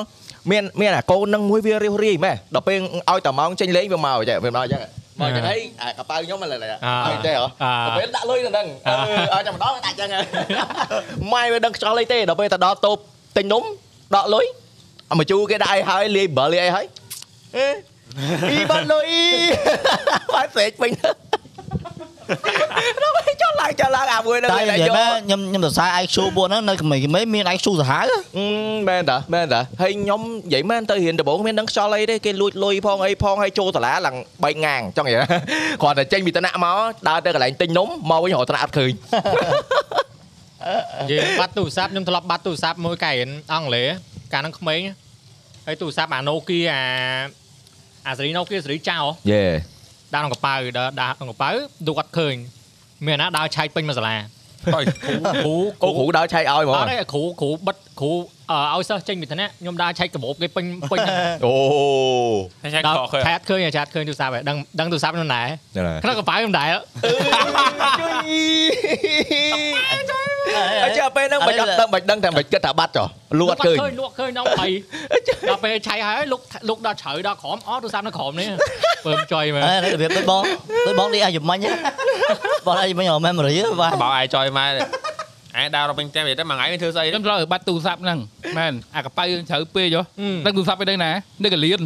B: មានមានអាកូនហ្នឹងមួយវារិះរាយម៉េះដល់ពេលឲ្យតាម៉ោងចេញលេងវាមកចេះវាមកចេះមកចេះហើយអាកប៉ៅខ្ញុំមិនឡើយឲ្យចេះហ៎
G: អ
B: ដល់
G: ឺ
B: ពេលដាក់លុយទៅហ្នឹងអឺឲ្យតែម្ដងដាក់ចឹ ងហើយម៉ែវាដឹងខ្យល់អីទេដល់ពេលទៅដល់តូបទិញនំដកលុយអាមកជូរគេដាក់ឲ្យហើយលាយបលលាយអីហើយអេអ៊ីបាត់លុយបាត់ស្រេចវិញ ដល់ពេលចុះឡើងចុះឡើងអាមួយហ្នឹង
D: តែ
B: វា
D: និ
B: តែ
D: យាយ
B: យក
D: មែនខ្ញុំខ្ញុំសរសើរ IQ ពួកហ្នឹងនៅក្មេងៗមាន IQ សាហាវហ៎
B: អឺមែនតាមែនតាហើយខ្ញុំនិយាយមែនទៅរៀនដំបូងគ្មានដឹងខ្យល់អីទេគេលួចលុយផងអីផងហើយចូលសាលាឡើងបែកងាងចង់និយាយណាគ្រាន់តែចេញពីឋានៈមកដើរទៅកន្លែងទិញនំមកវិញរកឋានៈអត់ឃើញ
G: និយាយបាត់ទូរស័ព្ទខ្ញុំធ្លាប់បាត់ទូរស័ព្ទមួយកែរៀនអង់គ្លេសកាលហ្នឹងក្មេងហើយទូរស័ព្ទអា Nokia អាអាសេរី Nokia សេរីចៅ
B: យេ
G: ដើរក្នុងកប៉ៅដើរដើរក្នុងកប៉ៅឌូគាត់ឃើញមានអ្នកណាដើរឆែកពេញមកសាលា
C: ហើយ
G: គ្រូ
B: អូគ្រូដើរឆែកឲ្យហ្ម
G: អ
B: ង
G: ត់ទេគ្រូគ្រូបិទគ្រូអឺឲ្យសិស្សចេញពីឋានៈខ្ញុំដើរឆែកកាបូបគេពេញពេញ
B: អូ
C: ឆែក
G: ដល់
C: ខកឃើញ
G: ឆែតឃើញអាឆែតឃើញទូរស័ព្ទហើយដឹងដឹងទូរស័ព្ទខ្ញុំដែរ
B: ហ្នឹងហើយ
G: ក្នុងកប៉ៅខ្ញុំដែរ
B: អញ្ចឹងពេលហ្នឹងមិនអត់ដឹងមិនដឹងតែមិនគិតថាបាត់ចុះលួត
G: គាត់
B: ឃើញ
G: ឃើញលក់ឃើញដល់បីដល់ពេលឆែកហើយលុកលុកដល់ជ្រៅដល់ក្រោមអត់ទូរស័ព្ទនៅក្រោមនេះពើមចុយមើល
D: អេរបៀបដូចបងដូចបងនេះអាយុមិញ ហ៎បងអាយុមិញអត់ memory ហ៎បាទ
C: បោអាយចយម៉ែ អាយដើររកពេញផ្ទះវាទៅមួយថ្ងៃវាធ្វើស្អីទៅ
K: ខ្ញុំឆ្លើយបាត់ទូរស័ព្ទហ្នឹងមែន
G: à,
K: អាកប៉ៅយើងជ្រៅពេកយោ
G: អឺ
K: ដឹងទូរស័ព្ទឯដឹងណានៅកលៀន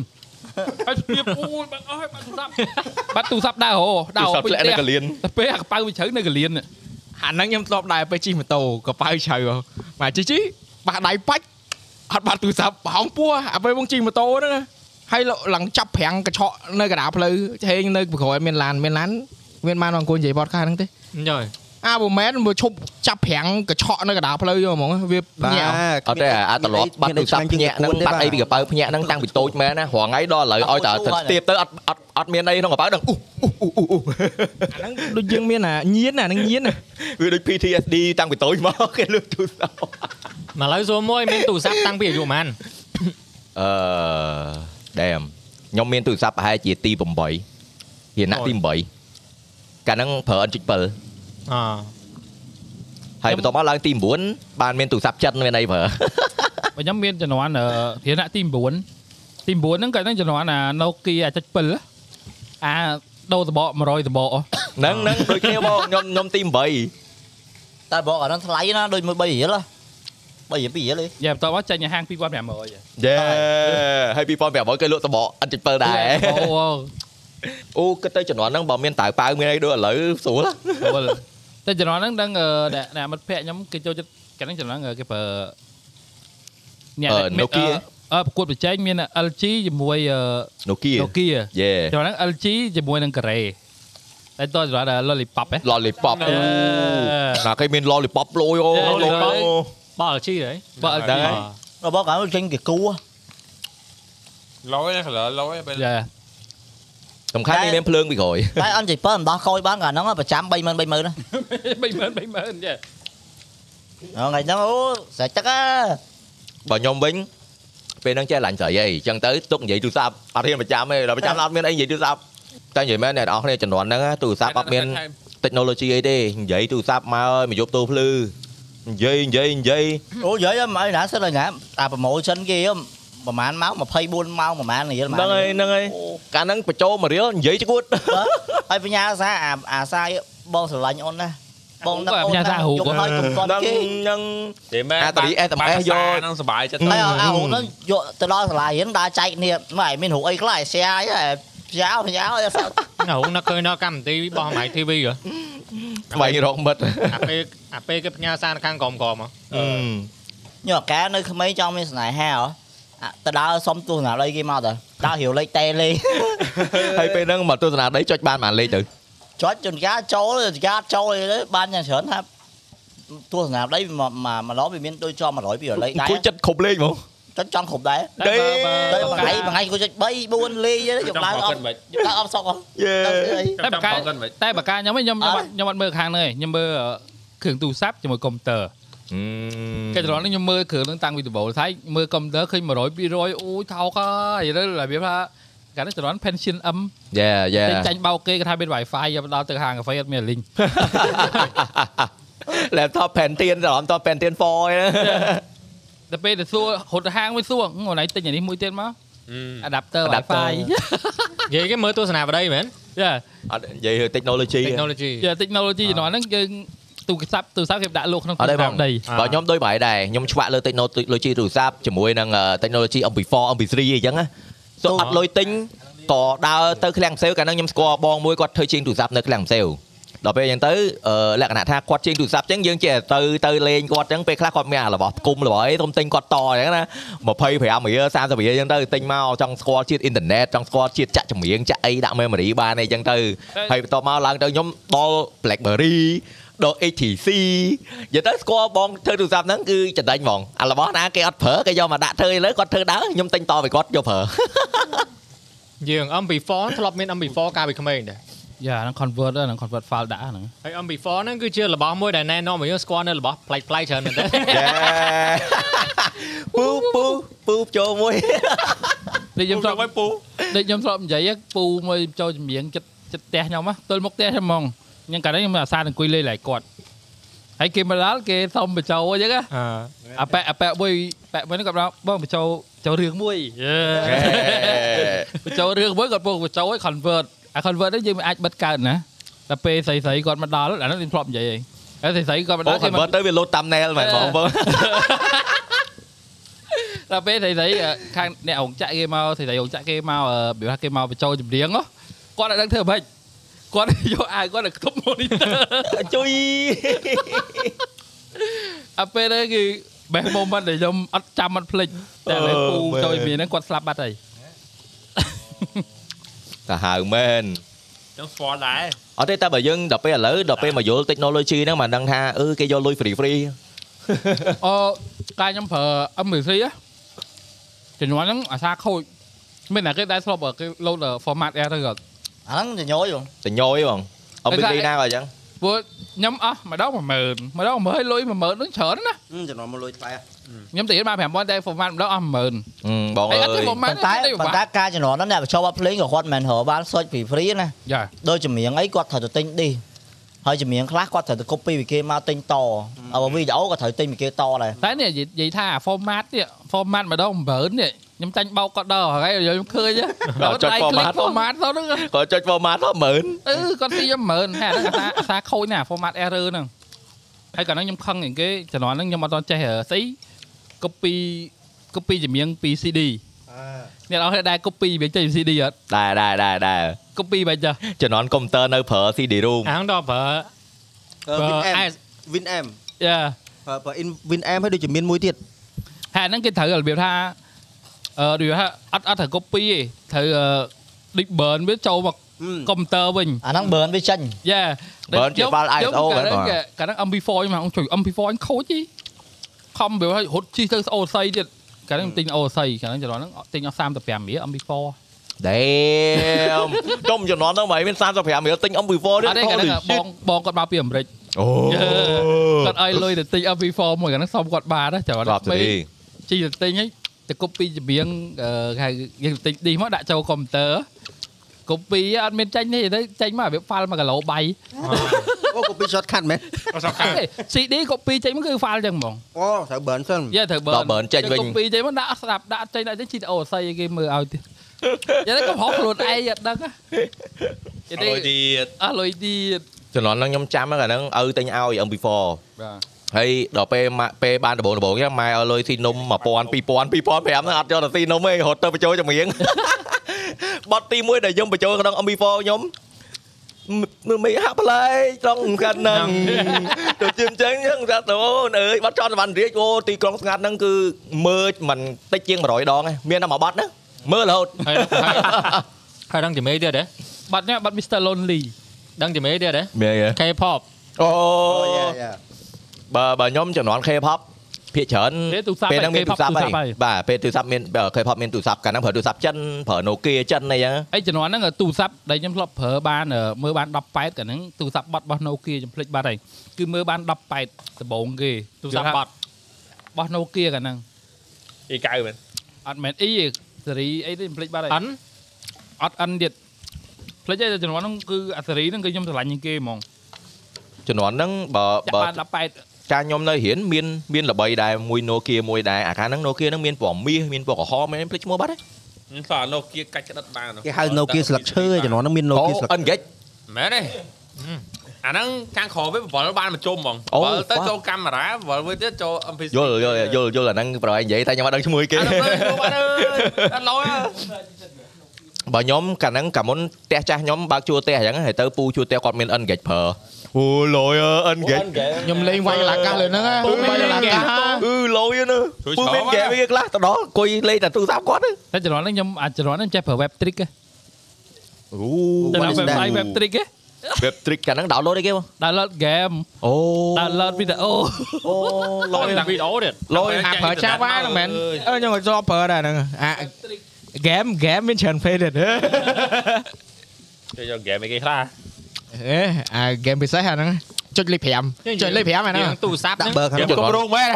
C: ហើយស្លៀបអូយបាត់អស់ហើយបាត់ទូរស័ព្ទ
K: បាត់ទូរស័ព្ទដើរហោដើរ
B: ស
K: ហោ
B: ត់ធ្លាក់នៅកលៀន
K: ទៅពេលអាកប៉ៅវាជ្រៅនៅកលៀន
F: អាហ្នឹងខ្ញុំធ្លាប់ដែរពេលជិះម៉ូតូកប៉ៅជ្រៅហ៎មកជិះជិះបាក់ដៃបាច់អត់បាត់ទូរស័ព្ទបោងពោះអាពេលបងជិះម៉ូតូហ្នឹងណាហើយឡើងចាប់ប្រាំងកញ្ឆក់នៅកណ្ដាលផ្លូវហេងនៅក្រោយមានឡានមានឡានមានបានអង្គុយនិយាយបតខាសហ្នឹងទេ
G: ញ៉យ
F: អាបើមែនមកឈប់ចាប់ប្រាំងកញ្ឆក់នៅកណ្ដាលផ្លូវយកហ្មងវា
A: បាទ
F: ញាក់
B: អត់ទេអាត្រឡប់បាត់ទូរស័ព្ទភ្ញាក់ហ្នឹងបាត់អីពីកប៉ៅភ្ញាក់ហ្នឹងតាំងពីតូចមែនណារងថ្ងៃដល់ឥឡូវឲ្យតែស្ទាបទៅអត់អត់អត់មានអីក្នុងកប៉ៅដឹងអ៊ូអ៊ូអ៊ូអ៊ូ
F: អាហ្នឹងដូចយើងមានអាញៀនអាហ្នឹងញៀនណា
B: វាដូច PTSD តាំងពីតូចមក គេលឺទូរស័ព្ទ
G: មកឥឡូវសួរមួយមានទូរស័ព្ទតាំងពីអាយុប៉ុន្មាន
B: អឺដែមខ្ញុំមានទូរស័ព្ទប្រហែលជាទី8ហ៊ានៈទី8កាលហ្នឹងប្រើ N7
G: អ
B: ហើយបន្ទាប់មកឡើងទី9បានមានទូរស័ព្ទចិនមានអីប្រើ
K: បើខ្ញុំមានចំនួនធានៈទី9ទី9ហ្នឹងក៏ហ្នឹងចំនួនអា Nokia អាចិច7អា
G: À,
K: ដូរសបក100សបកអស់
B: ហ្នឹងហ្នឹងដូចគ្នាបងខ្ញុំខ្ញុំទី8
D: តែបងអាហ្នឹងថ្លៃណាដូចមួយ3រៀលហ៎3រៀល2រៀលហ៎
K: យ៉ាបន្តមកចេញឲ្យហាង2500
B: យេហើយ2500គេលក់តបអត់ចិត7ដែរ
K: អូ
B: អូគិតទៅជំនាន់ហ្នឹងបើមានតៅប៉ៅមានអីដូចឥឡូវស្រួល
K: អូលតែជំនាន់ហ្នឹងដឹងអឺអ្នកអ្នកមិត្តភក្តិខ្ញុំគេចូលចិត្តកាលហ្នឹងជំនាន់អឺគេប្រើអ្នក
B: អឺ
K: មិត្ត
B: Nokia
K: អឺប្រកួតប្រជែងមាន LG ជាមួយអឺ
B: Nokia
K: Nokia
B: យេ
K: ជំនាន់ហ្នឹង LG ជាមួយនឹង Korea តែតោះជំនាន់ដល់ Lollipop ហ៎
B: Lollipop អូណាគេមាន Lollipop លយអូ
G: Lollipop បាល់ជីហើយ
K: បើ LG
B: ដែរ
D: របស់កាលនោះចេញគេគូហ៎
C: លយខ្លើលយពេល
G: Dạ.
K: យ៉ា
B: សំខាន់
D: តែ
B: នេះមានភ្លើងពីក្រោយ
D: តែអនជ័យ7អំដោះកយបានកាលហ្នឹងប្រចាំ30000 30000ណា
K: 30000 30000យ៉ា
D: ថ្ងៃហ្នឹងអូស្រេចទឹកហ៎
B: បើខ្ញុំវិញពេលហ្នឹងចេះឡាញ់ស្រីអីអញ្ចឹងទៅទុកនិយាយទូរស័ព្ទអត់ហ៊ានប្រចាំទេដល់ប្រចាំអត់មានអីនិយាយទូរស័ព្ទតែនិយាយមែនអ្នកនរអស់គ្នាជំនាន់ហ្នឹងណាទូរស័ព្ទអត់មាន technology អីទេនិយាយទូរស័ព្ទមកឲ្យមកយប់ទូភ្លឺនិយាយនិយាយនិយាយ
D: អូនិយាយមកណាសិនហើយណាអាប្រម៉ូសិនគេហ៎ប្រហែលម៉ោង24ម៉ោងប្រហែលរៀល
B: ហ្នឹងហើយហ្នឹងហើយកាលហ្នឹងបញ្ចូលមករៀលនិយាយឈួត
D: ហើយបញ្ញាសាអាអាសាបងស្រឡាញ់អូនណាបងនឹកអូនយកឲ្យកុំគាត់
B: ហ្នឹង
D: គេ
B: ហ្នឹង
C: ទេមែន
B: អាតារី SMS យក
C: ហ្នឹងសុបាយចិត្ត
D: ហើយអាអូនហ្នឹងយកទៅដល់សាលារៀនដើរចែកគ្នាមិនឯងមានរូបអីខ្លះឯងស្អាយឯងផ្សាយផ្សាយអត់
G: ហ្នឹងនឹកឃើញដល់កម្មវិធីរបស់ហ្មៃ TV ហ៎
B: ស្វែងរកមិត្ត
G: អាពេលអាពេលគេផ្ញើសារនៅខាងក្រុមក្រុមហ៎
D: ខ្ញុំអាកែនៅក្មេងចង់មានស្នេហាហ៎អាទៅដើរសុំទស្សនាដីគេមកទៅដើររាវលេខតេលេ
B: ហើយពេលហ្នឹងមកទស្សនាដីចុចបានបានលេខទៅ
D: ចុចជនការចូលជនការចូលអីទៅបានយ៉ាងច្រើនថាទស្សនាដីមកមកមកឡោវាមានដូចជាប់100 200លេខដែរ
B: គួយចិត្តគ្រប់លេខហ្មង
D: ចុចចង់គ្រប់ដែរ
B: ដេ
D: ទៅមួយថ្ងៃមួយថ្ងៃគាត់ចុច3 4លេខទេយកឡើងអត់យកឡើងអត់សក់ហ៎
B: យេ
D: ដល់អី
C: តែប្រកែកមិន
K: តែបើការខ្ញុំវិញខ្ញុំខ្ញុំ
D: អើ
K: អត់ខ្ញុំអត់មើលខាងហ្នឹងឯងខ្ញុំមើលអឺគ្រឿងទូរស័ព្ទជាមួយកុំព្យូទ័រ គេត្រង់នេះខ្ញុំមើលគ្រឿងហ្នឹងតាំងពីដំបូងថៃមើលកុំព្យូទ័រឃើញ100 200អូយថោកហើយឥឡូវរបៀបថាកាលនេះត្រង់ pension M
B: យេយេ
K: តែចាញ់បោកគេគេថាមាន Wi-Fi យកដល់ទៅហាងកាហ្វេអត់មាន link
B: laptop Pentium ច្រឡំត Pentium 4ឯ
K: តែពេលទៅសួររត់ទៅហាងវិញសួរហ្នឹងអូនឯងទិញអានេះមួយទៀតមក adapter
B: Adapter
K: Wi-Fi
G: និយាយគេមើលទស្សនាប្តីមែន
K: យ៉ា
B: អត់និយាយរឿង technology
G: technology
K: យ៉ា technology ជំនាន់ហ្នឹងយើងទូរស័ព្ទទូរស័ព្ទគេដាក់លក់ក្នុង
B: អត់ទេបង
K: ដី
B: បើខ្ញុំដូចបាយដែរខ្ញុំឆ្វាក់លើ technology ទូរស័ព្ទជាមួយនឹង technology MP4 MP3 អីចឹងណាសូមអត់លុយទិញក៏ដើរទៅឃ្លាំងផ្សេងកាលហ្នឹងខ្ញុំស្គាល់បងមួយគាត់ធ្វើជាងទូរស័ព្ទនៅឃ្លាំងផ្សេង ដល់ពេលអញ្ចឹងទៅអឺលក្ខណៈថាគាត់ជិញទូរស័ព្ទអញ្ចឹងយើងចេះទៅទៅលេងគាត់អញ្ចឹងពេលខ្លះគាត់មានអារបស់គុំរបស់អីទុំទិញគាត់តអញ្ចឹងណា25រៀល30រៀលអញ្ចឹងទៅទិញមកចង់ស្គាល់ជាតិអ៊ីនធឺណិតចង់ស្គាល់ជាតិចាក់ចម្រៀងចាក់អីដាក់ memory បានអីអញ្ចឹងទៅហើយបន្ទាប់មកឡើងទៅខ្ញុំដល់ BlackBerry ដល់ HTC និយាយទៅស្គាល់បងធ្វើទូរស័ព្ទហ្នឹងគឺចំដាញ់ហ្មងអារបស់ណាគេអត់ប្រើគេយកមកដាក់ធ្វើឥឡូវគាត់ធ្វើដើរខ្ញុំទិញតពីគាត់យកប្រើ
G: យើង MP4 ធ្លាប់មាន MP4 កាលពីក្មេងដែរ
K: យ៉ាហ្នឹង convert ដែរហ្នឹង convert file ដាក់ហ្នឹង
G: ហើយ MP4 ហ្នឹងគឺជារបស់មួយដែលណែនាំឲ្យយើងស្គាល់នៅរបស់ប្លែកៗច្រើនមែនទេ
B: ពូពូពូចូលមួយ
K: ដូចខ្ញុំធ្លាប់
C: ឲ្យពូ
K: ដូចខ្ញុំធ្លាប់និយាយហ្នឹងពូមួយចូលចម្រៀងចិត្តចិត្តផ្ទះខ្ញុំហ្នឹងទល់មុខផ្ទះហ្នឹងហ្មងខ្ញុំកាលហ្នឹងខ្ញុំអាសានឹងអង្គុយលេងឡៃគាត់ហើយគេមកដល់គេសុំបញ្ចូលអញ្ចឹងណាអាប៉ែអាប៉ែមួយប៉ែមួយហ្នឹងគាត់ថាបងបញ្ចូលបញ្ចូលរឿងមួយ បញ្ចូលរឿងមួយគាត់ពូបញ្ចូលឲ្យ convert អា convert ហ្នឹងយើងមិនអាចបិទកើតណាដល់ពេលស្រីស្រីៗគាត់មកដល់អាហ្នឹងខ្ញុំធ្លាប់និយាយឯងហើយស្រីស្រីៗគាត់មក
B: អូ
K: ដល់
B: ខ
K: គេមក
B: វត្តទៅវាលោត thumbnail មែនបងបង
K: ដល់ពេលស្រីស្រីអឺខាងអ្នករងចាក់គេមកស្រីស្រីរងចាក់គេមកអឺបើថាគេមកបញ្ចូលចម្រៀងហ៎គាត់អត់ដឹងធ្វើម៉េចគាត់ យកអាវគាត់ទៅខ្ទប់ monitor
B: ជួយ
K: អាពេលហ្នឹងគឺ best moment ដែលខ្ញុំអត់ចាំអត់ភ្លេចតែឥឡូវពូចូលចម្រៀងហ្នឹងគាត់ស្លាប់បាត់ហើយ
B: សាហាវមែន
C: ចង់ស្គាល់ដែរ
B: អត់ទេតែបើយើងដល់ពេលឥឡូវដល់ពេលមកយល់ technology ហ្នឹងមកដឹងថាអឺគេយកលុយ free free
K: អូកាលខ្ញុំប្រើ M3 ហ៎ជំនាន់ហ្នឹងអាសាខូចមានតែគេដែរស្លប់គេ load ដល់ format air ទៅគាត់
D: អាហ្នឹងញញយហ៎
B: ចញយបងអត់
K: Exact.
B: free ណាក៏អញ្ចឹង
K: ពួកខ្ញុំអស់ម្ដង10000ម្ដង10000ហើយលុយ10000ហ្នឹងច្រើនណាស់
A: ចំនួនមកលុយថ្លៃ
K: ខ្ញុំទៅរៀនបាន5000តែ format ម្ដងអ
B: ហឹ
K: ស់10000
B: មបងអើ
K: អី
B: យ
K: អត់ទេបងម៉ែ
D: ប៉ុន្តែប៉ុន្តែការជំនាន់ហ្នឹងអ្នកបញ្ចូលបទភ្លេងក៏គាត់មិនមែនរកបានសុចពី free ណា
K: យ៉ា
D: ដូចចម្រៀងអីគាត់ត្រូវទៅទិញឌីសហើយចម្រៀងខ្លះគាត់ត្រូវទៅ copy ពីគេមកទិញតអើវីដេអូក៏ត្រូវទិញពីគេតដែរ
K: តែនេះនិយាយថាអា à, format នេះ format ម្ដង9នេះខ្ញុំចាញ់បោកគាត់ដល់ហើយខ្ញុំឃើញហ៎ដល់ដៃ click format Ừ, ទៅហ្នឹង
B: គាត់ចុច format មក10000
K: អឺគាត់ទីខ្ញុំ10000ហ่าហ្នឹងអាសាអាសាខូចណាស់ format error ហ្នឹងហើយកាលហ្នឹងខ្ញុំខឹងជាងគេជំនាន់ហ្នឹងខ្ញុំអត់ទាន់ចេះស្អី copy copy ចម្រៀងពី CD អ្នកអរគេដែរ copy វាចេញពី CD អត់
B: ដែរដែរដែរដែរ
K: copy បែបចា
B: ជំនាន់ computer នៅប្រើ CD room
G: អាហ្នឹងដល់ប្រើ
A: Win M
G: S
A: Win M
K: យ៉ា
A: បើបើ in Win M ហើយដូចជាមានមួយទៀត
K: ហ่าហ្នឹងគេត្រូវរបៀបថាអឺដូចថាអត់អត់ត្រូវ copy ទេត្រូវអឺដូច burn វាចូលមក កុំព្យូទ័រវិញ
D: អាហ្នឹង burn វាចេញ
K: យ៉ា
B: Burn ជា file ISO
K: កាល
B: ហ្នឹងបាទ
K: ហ្នឹងកាលហ្នឹង MP4 ខ្ញុំអង្គជួយ MP4 អញខូចទេខំវាឲ្យរត់ជីទៅស្អូស័យទៀតកាលហ្នឹងទិញអូស័យកាលហ្នឹងចំនួនហ្នឹងទិញអស់35រៀល MP4
B: damn ចំចំនួនហ្នឹងមិនមែន35រៀលទិញ MP4 ទេ
K: អត់ទេកាលហ្នឹងបងបងគាត់មកពីអាមេរិក
B: អូ
K: គាត់ឲ្យលុយទៅទិញ MP4 មួយកាលហ្នឹងសុំគាត់បានណាចំនួន
B: គាត់ទេ
K: ជីទៅទិញឲ្យទៅកុបពីចម្រៀងអឺគេហៅយើងទិញឌីសមកដាក់ចូលកុំព្យូទ័រកុបពីអត់មានចាញ់ទេទៅចាញ់មកវាហ្វាល់1គីឡូ3
A: អូ copy shortcut មែន
K: អត់ទេ CD កុបពីចាញ់មកគឺហ្វាល់ចឹងហ្មង
A: អូត្រូវ burn សិន
K: យ៉ាត្រូវបើ
B: ដល់ burn ចេញវិញ
K: កុំពីចេញមកដាក់ស្ដាប់ដាក់ចេញដាក់ចេញជីតអូស័យឲ្យគេមើលឲ្យទៀតយ៉ាទៅកំហុសខ្លួនឯងអត់ដឹងហ៎យ៉ាទៅ
C: លុយទៀត
K: អស់លុយទៀត
B: ចំនួនហ្នឹងខ្ញុំចាំហ្នឹងអាហ្នឹងឪទិញឲ្យ MP4
K: បាទ
B: ហើយដល់ពេលម៉ាក់ពេលបានដំបងដំបងចឹងម៉ែឲ្យលុយស៊ីនំ1000 2000 2500ហ្នឹងអត់យកទៅស៊ីនំទេរត់ទៅបញ្ចូលចម្រៀង បត់ទី1ដែលខ្ញុំបញ្ចូលក្នុង MP4 ខ្ញុំមើលមិនហាក់ប្លែកត្រង់កាត់ហ្នឹង ទៅជិមចឹងចឹងថាទៅអូនអើយបត់ចន់សវណ្ណរាជអូទីក្រុងស្ងាត់ហ្នឹងគឺមើលមិនតិចជាង100ដងឯងមានតែមួយបត់ណាមើលរហូត
G: ហើយហើយដឹងជំនាញទៀតទេ
K: បាត់នេះបាត់ Mr Lonely
G: ដឹងជំនាញទៀតទេ
B: មែន
G: K-pop
B: អូ
A: Oh, yeah, yeah.
B: បើបើខ្ញុំចំនួន K-pop ភាគច្រើន
K: គេទូរស័ព្ទ
B: ពេលហ្នឹងមានទូរស័ព្ទ
K: ទូរស័ព្ទហើ
B: ហើយ
K: យ
B: បាទពេលទូរស័ព្ទមានបើ K-pop មានទូរស័ព្ទកាលហ្នឹងប្រើទូរស័ព្ទចិនប្រើ Nokia ចិនអីចឹង
K: អីជំនាន់ហ្នឹងទូរស័ព្ទដែលខ្ញុំធ្លាប់ប្រើបានអឺមើលបាន18កាលហ្នឹងទូរស័ព្ទបាត់របស់ Nokia ខ្ញុំភ្លេចបាត់ហើយគឺមើលបាន18ដំបងគេ
G: ទូរស័ព្ទបាត់
K: របស់ Nokia កាលហ្នឹង
C: អីកៅមែន
K: អត់មែនអីទេសេរីអីទេខ្ញុំភ្លេចបាត់ហើយ
G: អិន
K: អត់អិនទៀតផ្លេចតែជំនាន់ហ្នឹងគឺអាសេរីហ្នឹងគឺខ្ញុំស្រឡាញ់ជាងគេហ្មង
B: ចំនួនហ្នឹងបើ
K: ចាក់
B: បើ
K: បាន18
B: ចាខ្ញុំនៅរៀនមានមានល្បីដែរមួយ Nokia មួយដែរអាខាងហ្នឹង Nokia ហ្នឹងមានពណ៌មាសមានពណ៌ក្រហមមែនភ្លេចឈ្មោះបាត់ទេ
C: ខ្ញុំស្អាណូគៀកាច់ក្តិតបាន
A: គេហៅ Nokia ស្លឹកឈើចំនួនហ្នឹងមាន
B: អូ
A: Nokia ស្លឹក
B: Engage
C: មែនទេ Ừ. អាហ្នឹងខាងក្រោមវាបវលបានមកជុំហ្មង
B: អូ
C: បវលទៅ
B: fuck
C: ចូលកាមេរ៉ាបវលមួយទៀតចូល MP
B: យល់យល់យល់
C: À,
B: យល់អាហ្នឹងប្រហែលនិយាយតែខ្ញុំអត់ដឹងឈ្មោះគេ
C: អាហ្នឹងមើលចូលបានអើយអត់ឡយ
B: បើខ្ញុំកាលហ្នឹងកាលមុនផ្ទះចាស់ខ្ញុំបើកជួលផ្ទះអញ្ចឹងហើយទៅពូជួលផ្ទះគាត់មាន engage ប្រើអូលយអើ engage
F: ខ្ញុំលេងវាយឡាកាសលើហ្នឹងណា
B: ពូ
F: វា
B: មាន
F: យឡាកាស
B: អឺលយណាពូមានហ្គេមវាខ្លះទៅដល់អង្គុយលេងតែទូរស័ព្ទគាត់ហ្នឹង
K: តែជំនាន់ហ្នឹងខ្ញុំអាចជំនាន់ហ្នឹងចេះប្រើ web trick ទេ
B: អូ
K: តែ
B: វ
K: ដល់ website web trick
B: េ
K: ទេ
B: ប trick កាលហ្នឹង download អីគេបង
K: download game
B: អូ
K: download video
B: អូលយ
G: វីដេអូទៀត
B: ល
F: ល
B: យ
F: យអាប្រើចាវ៉ាហ្នឹងមែនអឺខ្ញុំក៏ចូលប្រើដែរហ្នឹងអាហ្គេមហ្គេមមានច្រើនពេកទៀតហ៎
C: គេយកហ្គេមអីគេខ្លះ
F: អេអាហ្គេមពិសេសអាហ្នឹងចុចលេខ5ចុចលេខ5អាហ្នឹង
G: យើងទូរស័ព្ទ
A: ដាក់
G: ហ្នឹង
A: បើខាង
B: ខ្ញុំក៏រងមែន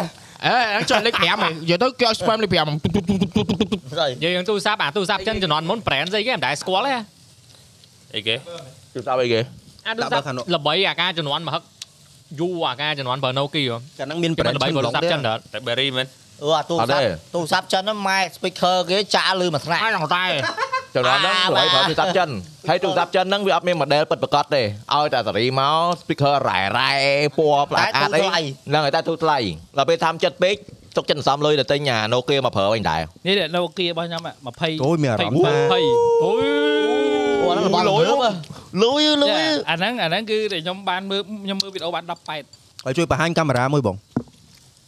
F: អេអាហ្នឹងចុចលេខ5ហ៎យកទៅគេឲ្យ spam លេខ5ទុបទុបទុបទុបទុបទុប
G: យើងយើងទូរស័ព្ទអាទូរស័ព្ទចិនជំនាន់មុន brand ស្អីគេមិនដែរស្គាល់ទេ
C: អីគេ
B: ទូរស័ព្ទអីគេ
G: អាទូរស័ព្ទល្បីអាការជំនាន់មហឹកយូរអាការជំនាន់ Bernoulli ហ៎
A: កាលហ្នឹងមាន
G: ជំ
A: ប្រេ
G: នា
A: ន
G: ន់ល្បី
A: ឈ្មោះ
G: ទូរ
A: ឡង
G: ស័ព្ទ
A: ទេ
G: ចិនដែរ
C: តែ Berry មែន
D: អូអាទូរស័ព្ទទូរស័ព្ទចិនហ្នឹងម៉ែ speaker គេចាក់លឺមួយថ្នាក់
G: អាយដល់តែ
B: ចំនួនហ្នឹងល្បីប្រើទូរស័ព្ទចិនហើយទូរស័ព្ទចិនហ្នឹងវាអត់មាន model ពិតប្រាកដទេឲ្យតែសេរីមក speaker រ៉ែរ៉ែពណ៌ផ្លា
D: តែ
B: កាត
D: ទូ
B: អី
D: ថ្លៃ
B: ហ្នឹងហើយតែទូថ្លៃដល់ពេលតាមចិត្តពេកទុកចិត្តសំលុយទៅទិញអា Nokia មកប្រើវិញដែរ
K: នេះតែ Nokia របស់ខ្ញុំ20 20
A: អូយមានអារម្មណ៍ថា
G: អូយ
D: អូអាហ្នឹងរបស់លើប
B: លុយលុយ
D: Dạ.
K: អាហ្នឹងអាហ្នឹងគឺតែខ្ញុំបានមើលខ្ញុំមើលវីដេអូបាន18
A: ឲ្យជួយបង្ហាញកាមេរ៉ាមួយបង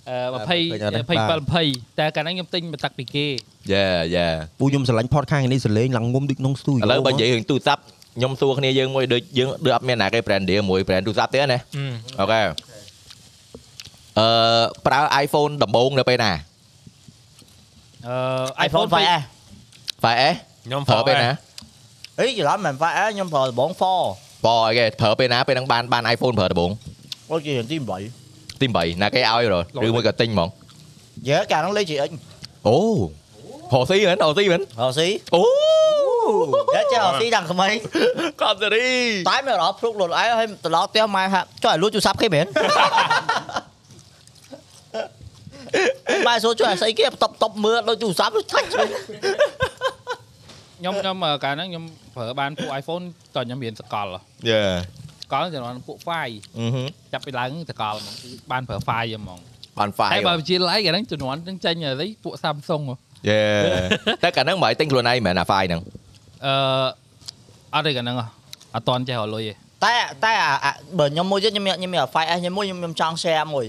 K: អឺ
A: បាទ
K: 20
A: បាទ
K: 27 20តែកាលហ្នឹងខ្ញុំទិញមកតាក់ពីគេ
B: យេយេ
A: ពូខ្ញុំស្រឡាញ់ podcast នេះសលេងឡើងងុំដូចក្នុងស្ទូឌី
B: ឥ
A: យោ
B: ឡូវបើនិយាយរឿងទូរស័ព្ទខ្ញុំសួរគ្នាយើងមួយដូចយើងដូចអត់មានណាគេ brand មួយ brand ទូរស័ព្ទទេណា
G: Ừ.
B: អូខេអឺប្រើ iPhone ដំបូងនៅពេលណា
K: អឺ
D: iPhone 5S
B: 5S
C: ខ្ញុំ
B: ប្រើពេល
C: ហ្វ
B: ណា
D: អីច្រឡំមិន 5S ខ្ញុំប្រើដបង 4
B: បើអីគេប្រើពេលណាពេលហ្នឹងបានបាន iPhone ប្រើដំបូង
D: ដូចជាទី8
B: ទី8ណាគេឲ្យរហ៎ឬមួយក៏ទិញហ្មង
D: យើកាលហ្នឹងលេខ GX
B: អូហោស៊ីមែនហោស៊ីមែន
D: រ៉ូស៊ី
B: អូ
D: យើ ចេះរ៉ូស៊ីដល់ក្មេង
B: កបសេរី
D: តែមិនរ៉ោភ្លុកលុនអីហើយត្រឡប់ផ្ទះម៉ែហាក់ចុះឲ្យលួចទូរស័ព្ទគេមែនម៉ែសួរជួយឲ្យស្អីគេតបតបមើលដូចទូរស័ព្ទដូចឆាច់ឆ្វេង
K: ខ្ញុំខ្ញុំអឺកាលហ្នឹងខ្ញុំប្រើបានពួក iPhone តោះខ្ញុំរៀនសកល
B: យេ
K: សកលជំនាន់ពួក File
B: អឺហឹម
K: ចាប់ពីឡើងសកលហ្មងគឺបានប្រើ File ហ្មង
B: បាន5
K: តែបើវិជាឡៃកាលហ្នឹងជំនាន់ហ្នឹងចេញឥឡូវពួក Samsung ហ៎
B: យេតែកាលហ្នឹងមិនឲ្យទិញខ្លួនឯងមែនអា file ហ្នឹង
K: អឺអត់ទេកាលហ្នឹងហ៎អត់តន់ចេះរកលុយទេ
D: តែតែអាអាបើខ្ញុំមួយទៀតខ្ញុំមានខ្ញុំមាន file S ខ្ញុំមួយខ្ញុំខ្ញុំចង់ share មួយ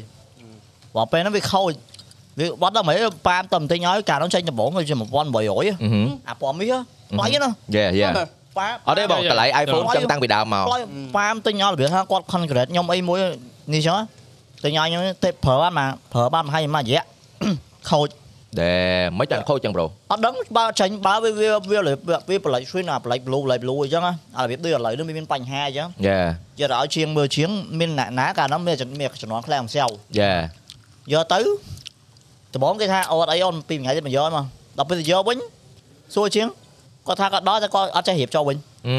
D: បងពេលហ្នឹងវាខូចវាបាត់ដល់មិនប៉ាមតំទិញឲ្យកាលហ្នឹងចេញដំបងវាជា1800ហ៎
B: អឺហឹម
D: អាពណ៌មាសបាច់ទេណា
B: យេយេ
D: ប៉ាម
B: អត់ទេបងតម្លៃ iPhone ចឹងតាំងពីដើមមក
D: ផ្លយប៉ាមទិញឲ្យរបៀបថាគាត់ concrete ខ្ញុំអីមួយនេះចឹងទិញឲ្យខ្ញុំទេប្រើបានមកប្រើបានមកឲ្យមួយ រយៈខូច
B: ដែរមិនចាំខូចចឹងប្រូ
D: អត់ដឹងបើចាញ់បើវាវាវាវាប្លែក screen អាប្លែក blue ប្លែក blue អញ្ចឹងអារបៀបដូចឥឡូវនេះវាមានបញ្ហាអញ្ចឹង
B: យេ
D: យកទៅឲ្យជាងមើលជាងមានអ្នកណាកាលនោះមានចំមានជំនាន់ខ្លាំងម្សិល
B: យេ
D: យកទៅដំបងគេថាអត់អីអូនពីរថ្ងៃទៀតមិនយកមកដល់ពេលទៅយកវិញសួរជាងគាត់ថាគាត់ដល់តែគាត់អត់ចេះរៀបចូលវិញ
B: Ừ.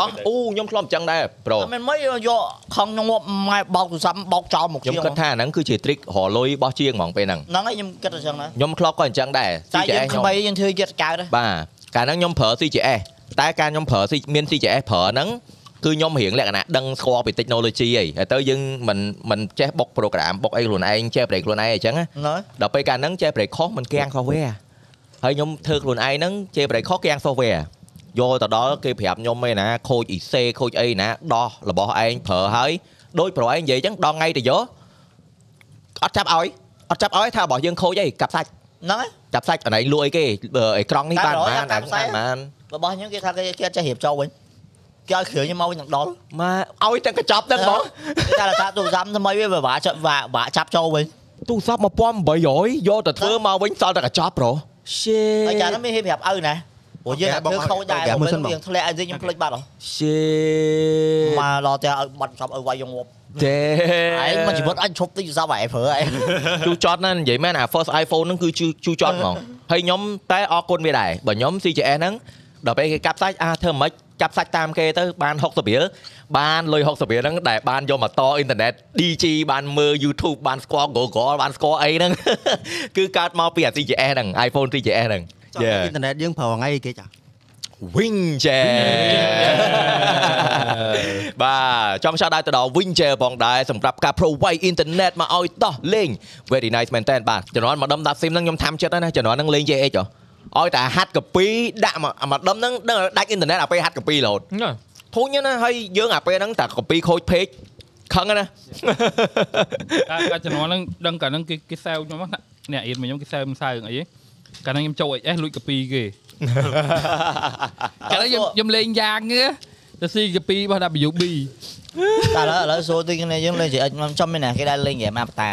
B: ដោះអូខ្ញុំធ្លាប់ចឹងដែរប្រូ
D: អត់មែនមិនយកខំងប់ម៉ែបោកទូរស័ព្ទបោកចោលមកជា
B: ខ្ញុំ
D: ង
B: គិតថាអាហ្នឹងគឺជា trick រលុយរបស់ជាងហ្មងពេលហ្នឹង
D: ហ្នឹងហើយខ្ញុំគិតតែចឹងដែរ
B: ខ្ញុំធ្លាប់ក៏អញ្ចឹងដែរ
D: តែយើ
B: CJS
D: ង
B: ខ្ញុំ
D: ក្មេងយើងធ្វើយត់កៅដែរ
B: បាទកាលហ្នឹងខ្ញុំប្រើ CJS តែការខ្ញុំប្រើ C មាន CJS ប្រើហ្នឹងគឺខ្ញុំរៀងលក្ខណៈដឹងស្គាល់ពី technology ហីហើយទៅយើងមិនមិនចេះបុក program បុកអីខ្លួនឯងចេះ break ខ្លួនឯងអញ្ចឹងណា
D: ហ្នឹងហើយ
B: ដល់ពេលកាលហ្នឹងចេះ break ខុសមិនគាំង software ហើយខ្ញុំធ្វើខ្លួនឯងហ្នឹងចេះ break ខុសគាំង software យកទៅដល់គេប្រាប់ខ្ញុំឯណាខូច IC ខូចអីណាដោះរបស់ឯងប្រើហើយដោយប្រឯងនិយាយអញ្ចឹងដល់ថ្ងៃទៅយកអត់ចាប់ឲ្យអត់ចាប់ឲ្យថារបស់យើងខូចអីកាប់សាច់
D: ហ្នឹងហើយ
B: ចាប់សាច់អណៃលួយគេបើអេក្រង់នេះ
D: តែ100
B: បានបាន
D: តែ
B: អា
D: ខ្សែ
B: បានបាន
D: របស់ខ្ញុំគេថាគេគេអត់ចេះរៀបចូលវិញគេឲ្យគ្រឿងខ្ញុំមកវិញដល់ដល់
B: មកឲ្យតែកញ្ចប់ហ្នឹងបង
D: គេថាថាទូរស័ព្ទថ្មីវាពិបាកចាប់ពិបាកចាប់ចូលវិញ
B: ទូរស័ព្ទ1800យកទៅធ្វើមកវិញសល់តែកញ្ចប់ប្រូ
D: អា
B: shit
D: ចារ្យនោះមានហ៊ានប្រាប់ឪណាព្រោះយើង
A: អូខេ
D: តែធ្វើខូចដែរ
A: អូខេមើលសិន
D: បើ
A: បង
D: យើងធ្លាក់ឲ្យយើងខ្ញុំភ្លេចបាត់ហ៎
B: shit
D: មកដល់តែឲ្យបាត់ចប់ឲ្យវាយយងវប់
B: ទេ
D: ឯងមកជីវិតអញឈប់ទិញសាប់ឯងព្រើឯង
B: ជូចត់ណាស់និយាយមែនអា first iPhone ហ្នឹងគឺជូជូចត់ហ្ម ងហើយខ្ញុំតែអរគុណវាដែរបើខ្ញុំ CJS ហ្នឹងដល់ពេលគេកាប់សាច់អាធ្វើមិនកាប់សាច់តាមគេទៅបាន60រៀលបានលុយ60រៀលហ្នឹងដែលបានយកមកតអ៊ីនធឺណិត DG បានមើល YouTube បានស្គាល់ Google បានស្គាល់អីហ្នឹង គឺកើតមកពីអា CJS ហ្នឹង iPhone CJS ហ្នឹង
A: ចង់
B: Yeah.
A: អ៊ីនធឺណិតយើងប្រើថ្ងៃអីគេចា
B: Wingchair បាទចង់ឆ្លៅដល់ទៅដល់ Wingchair ផងដែរសម្រាប់ការ provide internet មកឲ្យតោះលេង very nice មែនតើបាទជំនាន់មកដុំដាក់ SIM ហ្នឹងខ្ញុំថាំចិត្តហើយណាជំនាន់ហ្នឹងលេង JH ហ៎ឲ្យតែហាត់កពីដាក់មកមកដុំហ្នឹងដឹងឲ្យដាច់ internet អាពេលហាត់កពីរហូត ធុញណាស់ហើយយើងអាពេលហ្នឹងតែកពីខូចពេកខឹងណា
K: តែកាលជំនាន់ហ្នឹងដឹងកាលហ្នឹងគេគេសើខ្ញុំហ្នឹងអ្នកអៀនមកខ្ញុំគេសើមិនសើអីទេកាលហ្នឹងខ្ញុំចូល HS លួចកពីគេ កាលហ្នឹងខ្ញុំខ្ញុំលេងយ៉ាងហ៎ទៅស៊ីកពីរបស់ WB
D: តែឥឡូវឥឡូវសូទីគ្នាយើងលេងជាអិចខ្ញុំចំមានណាគេដែរលេងហ្គេមអាប់តា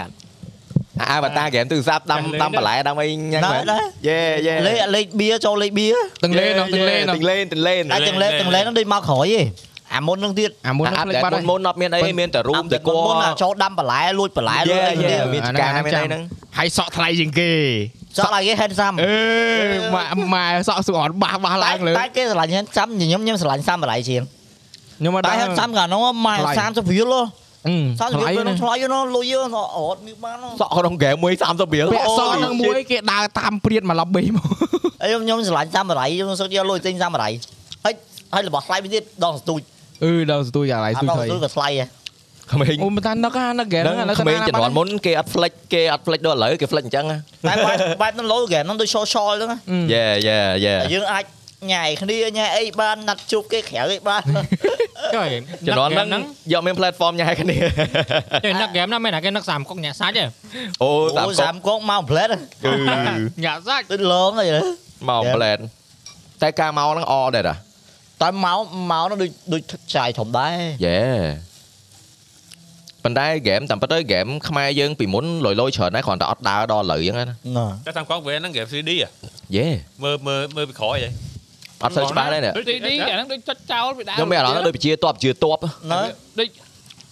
B: អាវតាហ្គេមទូរស័ព្ទដាំដាំបន្លែដាំអីញ៉ាំ
D: ណាស់ណាស់
B: យេយេ
D: លេងលេងបៀចូលលេងបៀ
F: ទាំងលេនោះទាំងលេនោះ
B: ទាំងលេនទាំងលេន
D: តែទាំងលេទាំងលេហ្នឹងដូចមកក្រោយទេអាមុនហ្នឹងទៀត
F: អាមុន
B: អា
F: នឹង
B: ប់
F: ភ្លេចបាត់
B: តែ
F: ហើយ
B: មុនៗអត់មានអីមានតែរូមតែគ
D: មុន
B: ល់
D: ណាចូលដាំបន្លែលួចបន្លែលួចអីទៀត
B: មានចការមានអីហ្នឹង
F: ហើយសក់ថ្លៃជាងគេ
D: ចោលឲ្យគេ handsome
F: អេម៉ែម៉ែសក់សួរអត់បាសបាសឡើងលើ
D: តែគេស្រឡាញ់ handsome ខ្ញុំខ្ញុំស្រឡាញ់សាមបន្លែជាង
F: ខ្ញុំមក
D: តែ
F: ដល់
D: handsome កាលនោះម៉ែ30រៀលហ៎ sao nhiều
F: ថ្លៃ
D: người
F: ណា
D: nó chơi nó lùi vô nó ọt miếng bán nó
B: សក់ក្នុងហ្គេមមួយ30រៀល
F: ពាក់សក់នឹងមួយគេដើរតាមព្រាតមកឡប់បេមក
D: ấy ông nhóm lại ra mà đẩy ông sao cho lùi tinh ra mà đẩy hết hết là bỏ lại bên tiết đòn tụi
F: អឺដល់ស្ទួយអាឡៃ
D: à
F: ស្ទួយ
D: đòn
F: ថ្លៃ
D: tụi cái slide à
B: ក្មេង
F: អូមិនតានឹកអានឹកហ្គេម
B: ដឹង
F: ហ្នឹងឥឡូវ
B: ក្មេង
F: ទៅណា
B: ជំនាន់មុនគេអត់ flex គេអត់ flex ដល់ឥឡូវគេ flex អញ្ចឹង
D: tại bài bài nó lối kìa nó tôi so so đó
B: យេយេយេ
D: á dương ai nhảy kia nhảy ấy ban nặt chụp cái khéo ấy ban
G: ជួយ
B: ជំនាន់ហ្នឹង
G: ហ្នឹង
B: យកមាន platform ញ៉ែគ្នា
G: ជួយនឹកហ្គេមហ្នឹងមិនថាគេនឹកសាមកុកញាក់សាច់ទេ
B: អូតាម
D: ôi
B: កុក
D: giảm con mau plét à
B: គឺ
G: ញាក់សាច់
D: tôi lớn rồi đấy
B: មក
D: Yeah.
B: plan តែការមកហ្នឹងអដែរតា
D: tại máu máu nó đôi đôi chạy thòng đáy
B: យេប៉ុន្តែហ្គេមតាមពិតទៅហ្គេមខ្មែរយើងពីមុនលយលយច្រើនណាស់គ្រាន់តែអត់ដើរដល់ឥឡូវអញ្ចឹងណា
D: nè
C: តែតាមគាត់វាហ្នឹង game 3D ហ៎
B: យេ
C: មើលមើលមើលពីក្រោយហ៎
B: អត់សូវច្បាស់ទេនេះ
K: ដូចទីនេះអាហ្នឹងដូចចុចចោលពីដើម
B: ខ្ញុំមានអារម្មណ៍ថាដូចជាតបជាតប
D: nó
K: ដូច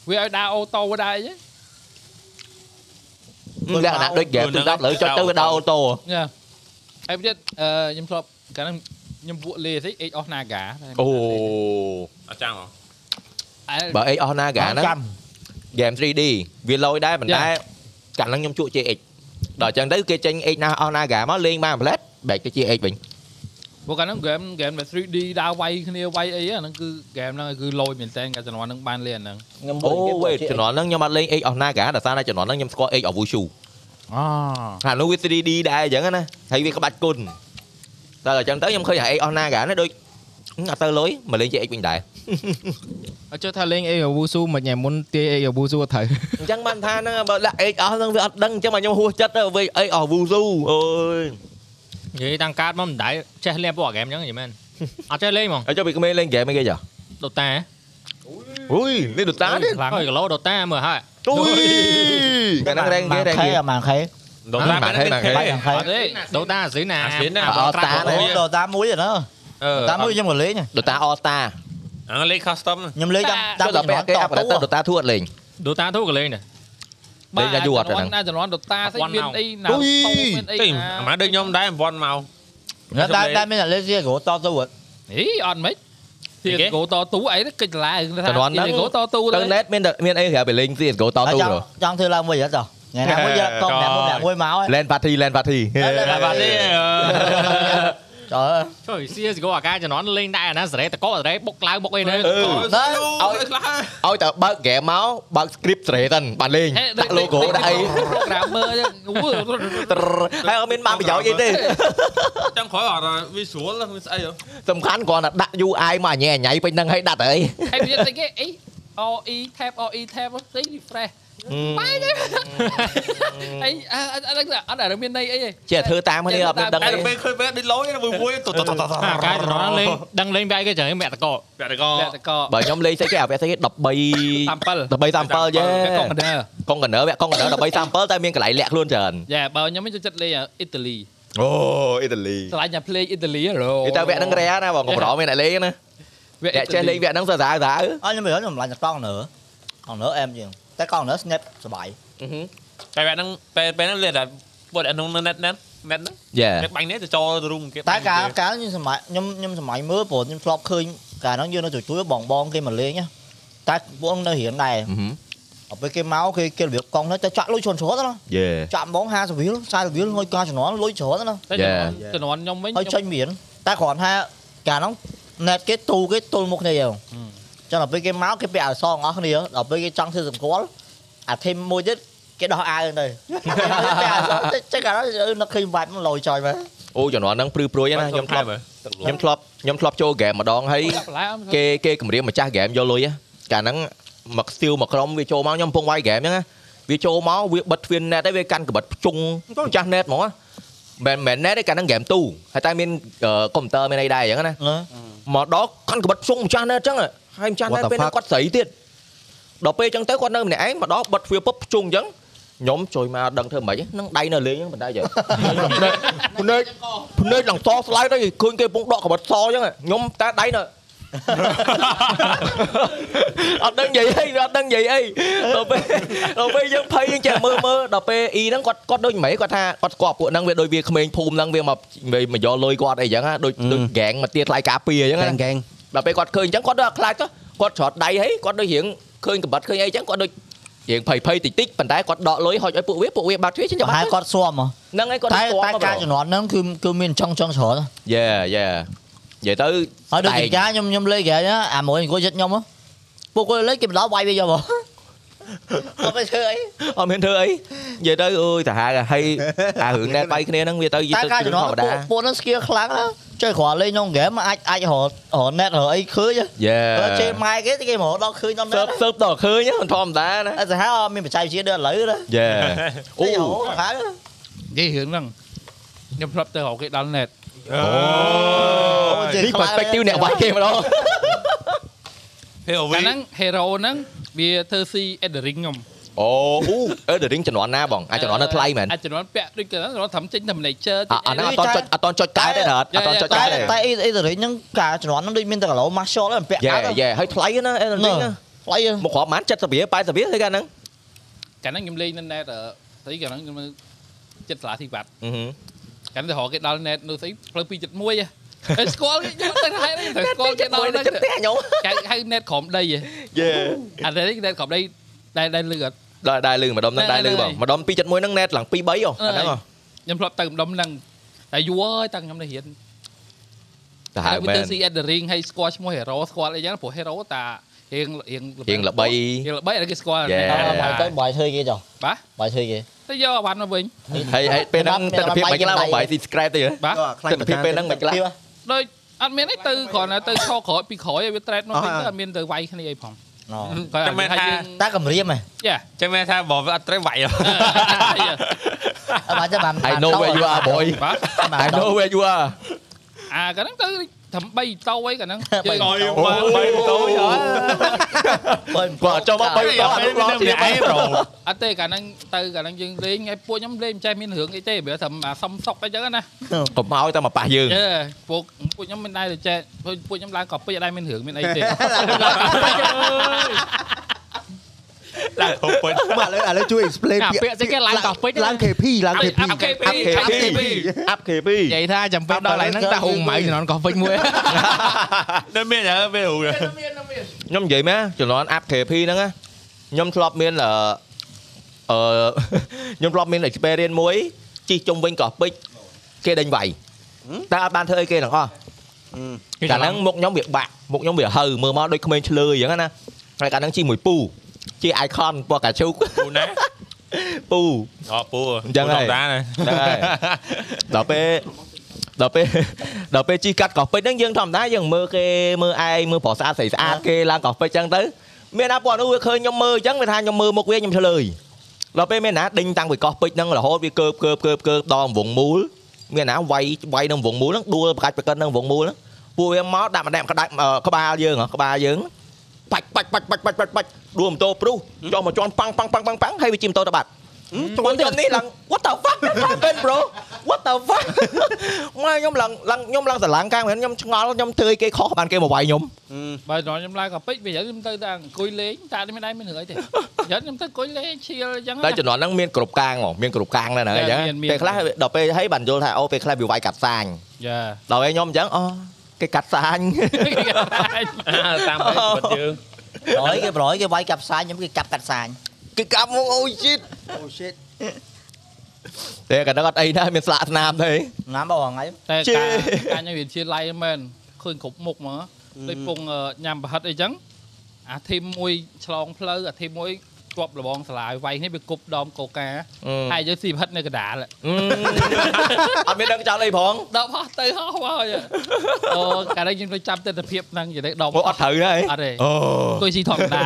K: វាឲ្យដើរអូតូដែរអី
B: លក្ខណៈដូចហ្គេមទូរស័ព្ទឥឡូវចុចទៅវាដល់អូតូ
K: ណាហើយទៀតអឺខ្ញុំធ្លាប់កាលហ្នឹងខ្ញុំពួកលេស្អី Age of Naga
B: អូ
C: អត់ចាំហ៎
K: អើ
B: បើអេអស់ណាហ្គេមហ្នឹង
D: trăm
B: ហ្គេម 3D វាលយដែរប៉ុន្តែកាលហ្នឹងខ្ញុំជក់ជា X ដល់អញ្ចឹងទៅគេចេញ X ណាអស់ណាហ្គេមមកលេងបានប្លែតបែកទៅជា X វិញ
K: ព្រោះកាលហ្នឹង game game បែប 3D ដើរវាយគ្នាវាយអីអាហ្នឹងគឺ game ហ្នឹងគឺលយមែនតើកាលជំនាន់ហ្នឹងបានលេងអាហ្នឹង
D: ngâm
B: អូ
D: bụi
B: វេ
D: cái
B: ជំនាន់ហ្នឹងខ្ញុំអត់លេង X អស់ណាហ្គេមដល់សារតែជំនាន់ហ្នឹងខ្ញុំស្គាល់ X of Wushu
F: អូ
B: អានោះវា 3D ដែរអញ្ចឹងណាហើយវាក្បាច់គុណតែអញ្ចឹងទៅខ្ញុំឃើញអាអេអស់ណាហ្គេនេះដូចអត់ទៅលុយមកលេងជាអេវិញដែរ
F: អត់ចុះថាលេងអេអាវស៊ូមិនញ៉ែមុនទាយអេអាវស៊ូត្រូវ
B: អញ្ចឹងបានថាហ្នឹងបើដាក់អេអស់ហ្នឹងវាអត់ដឹងអញ្ចឹងមកខ្ញុំហួសចិត្តទៅវិញអេអស់វូស៊ូអូយ
G: និយាយតាំងកើតមកមិនដែរចេះលេងពួកហ្គេមហ្នឹងយីមែនអត់ចេះលេងហ្មង
B: អញ្ចឹងពីក្មេងលេងហ្គេមអីគេចា
G: ដូតា
B: អូយនេះដូតានេះ
G: ខ្លាំងហើយគីឡូដូតាមើលហើយ
B: អូយកាលហ្នឹងរែងគេ
D: màn
B: រែងគេ
D: khay à màn khay
C: ដល់តាមហ្នឹង
D: màn
K: អ
D: khay
K: ត់ទេ
G: ដូតាស្រីណា
C: អាស្រីណា
B: អត់តា
D: Ôi, đồ tám muối rồi đó
C: អឺ
D: tám muối nhưng mà lấy nha
B: ដូតាអស្តា
C: អាលេខ custom ហ្នឹង
D: ខ្ញុំលេងតាម
B: ដល់ដល់ពេលគេអាប់ដេតដូតាធួតលេង
G: ដូតាធូក៏លេងដែរ
B: លេងតែយូរអត់អាហ្នឹង
K: ណាជំនាន់ដូតាស្អីមានអីណា
B: អូយ
K: តូមានអី
C: ទី
K: ណា
C: អាម៉ាដូចខ្ញុំដែរអង្វាន់មក
D: តែតែមានតែលេងជាកោតទៅ
K: ហីអត់មិនទីគោតទូអីគេចឡា
B: ជំនាន់ហ្នឹង
K: គោតទូ
B: ទៅ net មានតែមានអីក្រៅពីលេង CS:GO តទូ
D: ចង់ចង់ធ្វើឡើងមួយអត់ចោះថ្ងៃណាមួយយកតតែមួយតែមួយមក
B: LAN party LAN party
C: តែបាទទេ
D: ចោល
G: ចុយ CS:GO អាការជំនាន់លេងដែរអាណាសេរីតកោសេរីបុកឡើងបុកអីហ្នឹង
C: ដល់ឲ្យខ្លះ
B: ឲ្យតែបើកហ្គេមមកបើក script ស្រេតហ្នឹងបាទលេងដាក់ logo ដាក់អី
K: programmer
B: ហើយអត់មានបានប្រយោជន៍អីទេ
C: ចាំក្រោយអត់ visual មានស្អីហ៎
B: សំខាន់គ្រាន់តែដាក់ UI មកញ៉ែញ៉ៃពេញហ្នឹងហើយដាក់ទៅអី
K: ហើយវាតែគេអី OE tab OE tab ទៅ refresh បាយ ទេអីអត់អត់អត់មានន័យអីទេ
B: ចេះធ្វើតាមគ្នាអត់មានដឹង
C: តែ
B: អី
C: ដល់ពេលឃើញវាដូចលយមួយមួយទៅទៅទៅ
G: អាការជំនាន់លេងដឹងលេងវាយគេចឹងមាក់តកោ
C: ពាក់តក
K: តែតក
B: បើខ្ញុំលេងស្អីគេអាវគ្គស្អីគេ13 13
K: 7
B: 37យេ
K: តែកុំដែរ
B: កុងកណ្ដើវគ្គកុងកណ្ដើ13 37តែមានកន្លែងលាក់ខ្លួនច្រើន
K: យ៉ាបើខ្ញុំមិនចូលចិត្តលេងអ៊ីតាលី
B: អូអ៊ីតាលី
K: ឆ្លាញ់តែភ្លេងអ៊ីតាលីហ៎
B: គេតែវគ្គហ្នឹងរែណាបងកំប្រមានអ្នកលេងណា
K: វា
B: អ្នកចេះលេងវគ្គហ្នឹងសើសើសើ
D: អត់ខ្ញុំមិនខ្ញុំឡាញ់តែកង់nữa កង់ nữa em ជាងតែកង់ nữa snap សបាយ
C: តែវាហ្នឹងពេលពេលហ្នឹងលេតែបុតអាក្នុង net net net ហ្នឹង
B: យេ
C: គេបាញ់នេះទៅចូលរូមគេ
D: តែកាលកាលខ្ញុំសម័យខ្ញុំខ្ញុំសម័យមើលព្រោះខ្ញុំធ្លាប់ឃើញកាលនោះយើងនៅជួយជួយបងបងគេមកលេងតែពួកនៅរៀនដែរអពេលគេមកគេគេរបៀបកង់ទៅចាក់លុយច្រើនច្រើនណា
B: យេ
D: ចាក់ហ្មង50រៀល40រៀលហុយការជំនាន់លុយច្រើនណា
K: តែជំនាន់ខ្ញុំវិញ
D: ហើយចេញមានតែគ្រាន់ថា កាលហ្នឹង net គេទូគេទល់មុខគ្នាយើងចឹងដល់ពេលគេមកគេពាក់ឲ្យសងអស់គ្នាដល់ពេលគេចង់ធ្វើសម្គាល់អាធីមមួយទៀតគេដោះអាវហ្នឹងទៅ ពាក់ឲ្យសងតិចចឹងកាលហ្នឹងនៅឃើញ vibe ហ្នឹងលយចយមើល
B: អូចំនួនហ្នឹងព្រឺព្រួយណាខ្ញុំធ្លាប់ខ្ញុំធ្លាប់ខ្ញុំធ្លាប់ចូលហ្គេមម្ដងហើយ
K: បន្លែអត់
B: គេគេគម្រាមម្ចាស់ហ្គេមយកលុយហ៎កាលហ្នឹងមកស្ទៀវមកក្រុមវាចូលមកខ្ញុំកំពុងវាយហ្គេមហ្នឹងណាវាចូលមកវាបិទទ្វារ net ហើយវាកាន់កាបិតជុងម្ចាស់ net ហ្មងណាមិនមែន net ទេកាលហ្នឹងហ្គេមទូហើយតែមានកុំព្យូទ័រមានអីដែរអញ្ចឹងណា
D: ហ៎
B: មកដល់កាន់កាបិតជុងម្ចាស់ net អញ្ចឹងហ៎ហើយម្ចាស់
A: What
B: net
A: the
B: ពេលហ្នឹង
A: fuck?
B: គាត់ស្រីទៀតដល់ពេលអញ្ចឹងទៅគាត់នៅម្នាក់ឯងមកដល់បិទទ្វារពុបជុងអញ្ចឹងខ្ញុំជួយមកដឹងធ្វើម៉េចហ្នឹងដៃនៅលេងហ្នឹងមិនដែរចឹង ភ្នែកភ្នែកឡើងសស្លាយទៅឃើញគេកំពុងដកកាបិតសអញ្ចឹងហ៎ខ្ញុំតែដៃនៅ អត់ដឹងនិយាយអីអត់ដឹងនិយាយអីដល់ពេលដល់ពេលយើងភ័យយើងចេះមើលមើលដល់ពេលអ៊ីហ្នឹងគាត់គាត់ដូចមិនគាត់ថាគាត់ស្គាល់ពួកហ្នឹងវាដូចវាក្មេងភូមិហ្នឹងវាមកវាមកយកលុយគាត់អីចឹងណាដូចដូចហ្គេងមកទៀតថ្លៃការពារអញ្ចឹង
A: ហ្គេង
B: ណា
A: ហ្គេង
B: ដល់ពេលគាត់ឃើញអញ្ចឹងគាត់ដូចអាខ្លាចទៅគាត់ច្រត់ដៃហើយគាត់ដូចរៀងឃើញកំបិតឃើញអីចឹងគាត់ដូចរៀងភ័យភ័យតិចតិចប៉ុន្តែគាត់ដកលុយហុចឲ្យពួកវាពួកវាបាត់ទ្វារចឹង
D: ប្រហែលគាត់ស្មហ៎
B: ហ្នឹងហើយគាត់
D: តែ
B: ស្គាល់
D: តែ
B: មក
D: ការជំនាន់ហ្នឹងគឺគឺមានចង់ចង់ច្រើនហ៎
B: យេយេនិយាយទៅ
D: ហើយដូច
B: តែ
D: ជាខ្ញុំខ្ញុំលេងហ្គេមណាអាមួយអង្គុយចិត្តខ្ញុំហ៎ពួកគាត់លេងគេបណ្ដោះវាយវាយកមកអត់ទៅធ្វើអី
B: អត់មានធ្វើអីនិយាយទៅអើយតាហាកហើយអារឿងដែលបាយគ្នាហ្នឹងវាទៅយី
D: តែ
B: ទៅ
D: ការ
B: ជឿ
D: ជំនាន់
B: ធម្មតា
D: ពួកពួកហ្នឹង skill ខ្លាំងណាស់ចុះគ្រាន់លេងក្នុងហ្គេមអាចអាចរករក net រកអីឃើញហ៎
B: យេ
D: បើជេរម៉ែគេគេមករកដល់ឃើញដល់
B: សើ
D: net
B: បសើបដល់ឃើញហ្នឹងមិនធម្មតាណា
D: អត់សាហាវមានបច្ចេកវិទ្យាដល់ឥឡូវណា
B: យេអូ
D: អូហៅ
K: និយាយរឿងហ្នឹងខ្ញុំធ្លាប់ទៅរកគេដល់ net
D: អូជេរ
B: នេះ
D: ខ្លាំង
B: perspective អ្នកបាយគេម្ដង
C: ហេអូ
K: កា
C: វី
K: លហ្នឹង hero ហ្នឹងវាធ្វើស៊ី Eldering ខ្ញុំ
B: អូអូអឺ The Ring ចំនួនណាបងអាចចំនួននៅថ្លៃមែន
K: អាចជំនាន់ពាក់ដូចគេហ្នឹងជំនាន់ធ្វើចេញតែ manager
B: អាអាហ្នឹងអត់តន់ចុចអត់តន់ចុចកើតទេណាអត់តន់ចុច
D: តែ
B: កើតទេ
D: តែអ៊ីអ៊ីតរិញហ្នឹងការជំនាន់ហ្នឹងដូចមានតែកឡោ martial ហ្នឹងពាក់
B: យេ
D: កើត
B: យេហើយថ្លៃណាអឺ The Ring ណា
D: ផ្លៃហ៎
B: មកគ្រាប់ប្រហែល70រៀល80រៀលទេកាលហ្នឹង
K: កាលហ្នឹងខ្ញុំលេងនៅ net ស្អីកាលហ្នឹងខ្ញុំនៅចិត្តសាលាទីវត្ត
B: អឺហឹម
K: កាលហ្នឹងទៅរកគេដល់ net នោះស្អីផ្លូវ271ហ៎អេស្គាល់គេខ្ញុំអត់ទៅហើយទៅស្គាល់គេដល់ហ្នឹង
B: ចិត្តផ្ទះខ្ញុំ
K: ហៅហៅ net ក្រមដីហ៎
B: យេ
K: អានេះ net ក្រមដីដែលដែលលឺអត់
B: ដល់ដែរលឺម្ដុំហ្នឹងដែរលឺបងម្ដុំ271ហ្នឹង net ឡើង23អូអាហ្នឹងហ៎
K: ខ្ញុំធ្លាប់ទៅម្ដុំហ្នឹងតែយូរហើយតាំងខ្ញុំនៅរៀន
B: តាហា
K: វា
B: មែ
K: ទៅ
B: ន
K: ស៊ី Eldering ហើយស្គាល់ឈ្មោះ hero ស្គាល់អីចឹងព្រោះ hero តារៀងរៀង
B: រៀងល្បី
K: រៀងល្បីតែគេស្គាល់
B: Yeah.
D: ដល់
K: À.
D: ហើយទៅបាយធ្វើគេចុះ
K: បាទ
D: បាយធ្វើគេ
K: ទៅយកអាវ៉ាន់មកវិញ
B: ហើយហើយពេលហ្នឹងទិដ្ឋភាពមិនខ្លះបងបាយ subscribe ទេហ៎
K: បាទ
A: ដល់ខ្លាញ់
B: ទិដ្ឋភាពពេលហ្នឹងមិនខ្លះ
K: ដូចអត់មានអីទៅគ្រាន់តែទៅខកក្រោយពីក្រោយឲ្យវាត្រេតមកវិញទៅអត់មានទៅវាយគ្នាអីផងគាត់
C: ចាំមែនថា
D: តែកម្រាមហ៎
C: ចាំមែនថាបងវាអត់ត្រូវវាយហ៎
D: អត់បានចាំបាន
B: I know where you are boy
K: បាទ
B: I know where you are
K: អាកាលហ្នឹងទៅធ្វើ3តោអីកាលហ្នឹង
D: បី
K: យើង
C: យបានបាយតូចអត់
B: គាត់ចូលមក3ដងអនុគ្រោះទៀតឯងប្រូ
K: អត់ទេកាលហ្នឹងទៅកាលហ្នឹងយើងលេងឯពួកខ្ញុំលេងមិនចេះមានរឿងអីទេវាធ្វើអាសំសុកអីចឹងណា
B: កុំឲ្យតែមកប៉ះយើង
K: យេពួកពួកខ្ញុំមិនដែរទៅចេះពួកពួកខ្ញុំឡើងកពីអត់ដែរមានរឿងមានអីទេ
C: ឡើងហូបពេញ
A: មកឥឡូវឥឡូវជួយ explain
F: អាពាក្យស្អីគេឡើងកោះពេជ្រ
A: ឡើង KP ឡើង
K: អា
A: KP
K: គេ
B: KP
K: ពីអាគេពី
B: up KP
F: និយាយថាចាំពេចដល់ឡើងហ្នឹងតែហូបម៉ៅជំនាន់កោះពេចមួយ
C: នៅមានអើវាហូរ
B: ខ្ញុំនិយាយមែនចំនួន up KP ហ្នឹងណាខ្ញុំធ្លាប់មានអឺអឺ ខ្ញុំធ្លាប់មាន experience មួយជិះជុំវិញកោះពេជ្រគេដេញវាយតែអត់បានធ្វើអីគេទាំងអស់ កាលហ្នឹងមុខខ្ញុំវាបាក់មុខខ្ញុំវាហើមើលមកដូចក្មេងឆ្លើយអញ្ចឹងណាហើយកាលហ្នឹងជីមួយពូជា icon ពណ៌កា ឈូក
C: ពូណា
B: ពូ
C: អត់ពូ
B: អញ្ចឹងហើយ
C: ធម្មតាណា
B: ហ្នឹងហើយដល់ពេលដល់ពេលដល់ពេលជីកាត់កោះពេជ្រហ្នឹងយើងធម្មតាយើងមើលគេមើលឯងមើលប្រស្អាតស្អីស្អាតគេឡើងកោះពេជ្រអញ្ចឹងទៅមានណាពួកនោះវាឃើញខ្ញុំមើលអញ្ចឹងវាថាខ្ញុំមើលមុខវាខ្ញុំឆ្លើយដល់ពេលមានណាដេញតាំងពីកោះពេជ្រហ្នឹងរហូតវាកើបកើបកើបកើបដល់វងមូលមានណាវាយវាយនឹងវងមូលហ្នឹងដួលប្រកាច់ប្រកិននឹងវងមូលហ្នឹងពួកវាមកដាក់ម្នាក់ក្តាច់អឺក្បាលយើងហ៎ក្បាលយើងបាច់បាច់បាច់បាច់បាច់បាច់បាច់ដួលម៉ូតូព្រុសចុះមកជន់ប៉ាំងប៉ាំងប៉ាំងប៉ាំងប៉ាំងហើយវាជិះម៉ូតូទៅបាត់ tôi tên ní là what the fuck that happened bro what the fuck មកខ្ញុំឡើងឡើងខ្ញុំឡើងស្រឡាំងកាំងមែនខ្ញុំឆ្ងល់ខ្ញុំធ្វើអីគេខុសបានគេមកវាយខ្ញុំ
K: បើដល់ខ្ញុំឡើងកពេចវាយើងខ្ញុំទៅតែអង្គុយលេងតែអត់មានដែរមានរឿងអីទេយើខ្ញុំទៅអង្គុយលេងឈៀលអញ្ចឹង
B: តែ
K: ណា
B: ជំនាន់ហ្នឹងមានគ្រប់កាងហ្មងមានគ្រប់កាងដែរហ្នឹងអញ្ចឹង
K: មានមាន
B: ពេលខ្លះដល់ពេលហើយបានយល់ថាអូពេលខ្លះវាវាយកាត់សាញ
K: យេ
B: ដល់ពេលខ្ញុំអញ្ចឹងអូគេកាត់សាញ
C: អាតាមបែបពិតយើង
D: ប្រយគេប្រយគេវាយកាប់សាញខ្ញុំគេកាប់កាត់សាញ
B: គេកាប់មកអូ shit
A: Oh shit
B: តែកាលហ្នឹងអត់អីណាមានស្លាកស្នាមទេ
D: ណាមបងហើយ
K: តែ
B: ជេ
K: ការការខ្ញុំវាឈៀលឡៃមែន ឃើញគ្រប់មុខហ្មងដូចពងញ៉ាំប្រហិតអីចឹងអាធីមមួយឆ្លងផ្លូវអាធីមមួយគប់លបងសាលាវាយនេះវាគប់ដអមកូកាហើយយើងស៊ីប្រហិតនៅកណ្ដាល
B: អត់មានដឹងចោលអីផង
K: ដល់ផោះទៅហោះមក ហើយអូកាលនេះខ្ញុំទៅចាប់ទស្សនភាពហ្នឹងនិយាយដ
B: មកអត់ត្រូវទេ
K: អត់ទេអង្គុយស៊ីធម្មតា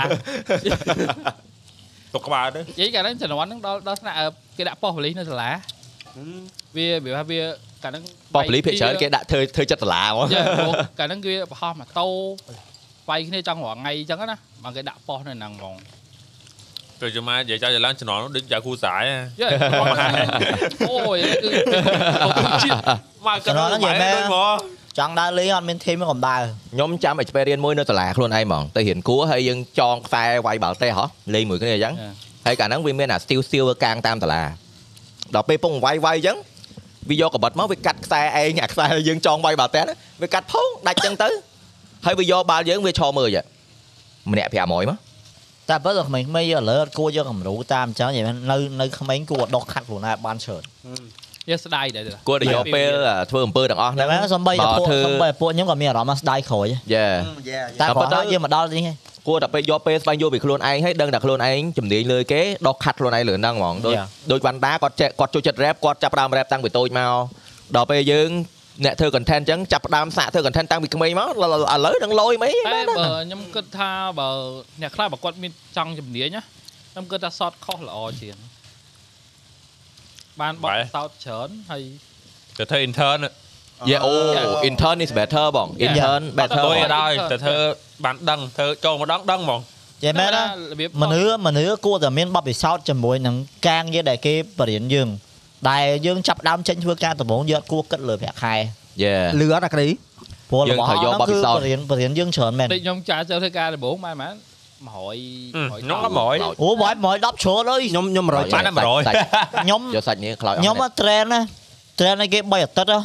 C: ទុកក្បាលទៅ
K: និយាយកាលហ្នឹងជំនាន់ហ្នឹងដល់ដល់ថ្នាក់អឺគេដាក់ប៉ុស្តិ៍ប៉ូលីសនៅសាលាវាវាថាវាកាលហ្នឹង
B: ប៉ប៉លីសភាគច្រើនគេដាក់ធ្វើធ្វើចិត្តដុល្លារហ្មង
K: ចាកាលហ្នឹងគឺប្រហោះម៉ូតូវាយគ្នាចង់រាល់ថ្ងៃអញ្ចឹងណាបើគេដាក់ប៉ុស្តិ៍នៅហ្នឹងហ្មង
C: ទៅចាំមកនិយាយចោលចឡើងជំនាន់នោះដូចចៅគ្រូសាយហ៎
K: យេអូយគឺជាតិ
C: មកកណ្ដាល
D: ជំនាន់ហ្នឹងនិយាយមែន
C: ហ្មង
D: ចង់ដើរលេងអត់មានធីមកំដៅ
B: ខ្ញុំចាំ experience មួយនៅសាលាខ្លួនឯងហ្មងទៅរៀនគួរហើយយើងចងខ្សែវាយបាល់ទេហ៎លេងមួយគ្នាអញ្ចឹងហើយកាលហ្នឹងវាមានអា steel steel កាងតាមតារាដល់ពេលពងវាយវាយអញ្ចឹងវាយកកបិតមកវាកាត់ខ្សែឯងអាខ្សែយើងចងវាយបាល់ទេហ្នឹងវាកាត់ផងដាច់អញ្ចឹងទៅហើយវាយកបាល់យើងវាឈរមើលយម្នាក់500មក
D: តែបើដល់ក្មេងៗយកលើអត់គួរយកគំរូតាមអញ្ចឹងនិយាយមែននៅនៅក្មេងគួរដកខាត់ខ្លួនឯងបានច្រើន
K: យកស្ដាយដែរ
B: គួរតែយកពេលធ្វើអំពើទាំងអស់
D: តែ
B: ហ្នឹង
D: មែនសំបីតែពួក
B: បើធ្វើ
D: សំបីតែពួកខ្ញុំក៏មានអារម្មណ៍ថាស្ដាយក្រួយ
B: យេ
D: តែ
B: តែ
D: គាត់
B: ប៉ុ
D: ថា
B: ន្តែ
D: យើងមកដល់នេះឯង
B: គួរតែពេលយកពេលស្វែងយល់ពីខ្លួនឯងហើយដឹងតែខ្លួនឯងជំនាញលើគេដកខាត់ខ្លួនឯងលើហ្នឹងហ្មងដូច
D: Yeah.
B: ដូចវ៉ាន់ដាគាត់ចេះគាត់ចូលចិត្ត rap គាត់ចាប់ផ្ដើម rap តាំងពីតូចមកដល់ពេលយើងអ្នកធ្វើ content អញ្ចឹងចាប់ផ្ដើមសាកធ្វើ content តាំងពីក្មេងមកឥឡូវឥឡូវនឹងលយមិន
K: តែបើខ្ញុំគិតថាបើអ្នកខ្លះបើគាត់មានចង់ជំនាញណាខ្ញុំគិតថាសតខុសល្អជាងបានបត់សោតច្រើនហើយ
C: ទៅធ្វើ intern ហ៎
B: យេអូ intern is better បង intern better
C: ទៅ
B: ហ្ម
C: ឲ្យ
B: ង
C: ដល់ទៅធ្វើបានដឹងធ្វើចូលមកដងដឹងហ្មង
D: និយាយមែនណា
K: របៀប
D: មនុស្សមនុស្សគួរតែមានបទពិសោធន៍ជាមួយនឹងការងារដែលគេបរៀនយើងដែលយើងចាប់ផ្ដើមចេញធ្វើការដំបូងយើងអត់គួរគិតលើប្រាក់ខែ
B: yeah
A: លឺអត់អាក្រី
D: ព្រោះ
B: យើង
D: របស់
B: ត្រូវយក
D: ហ្នឹង
B: បទពិ
D: គឺ
B: សោធន៍
D: បរៀនបរៀនយើងច្រើនមែន
K: ដូចខ្ញុំចាចូលធ្វើការដំបូងបានបាន100
C: ខ្ញុំក៏100
D: អូបងមក10ជ្រុល អើយ
A: ខ្ញុំខ្ញុំ100
C: បានតែ100
D: ខ្ញុំ
B: យកសាច់នេះខ្លោច
D: ខ្ញុំមក train ណា train ឲ្យគេ3អាទិត្យហ៎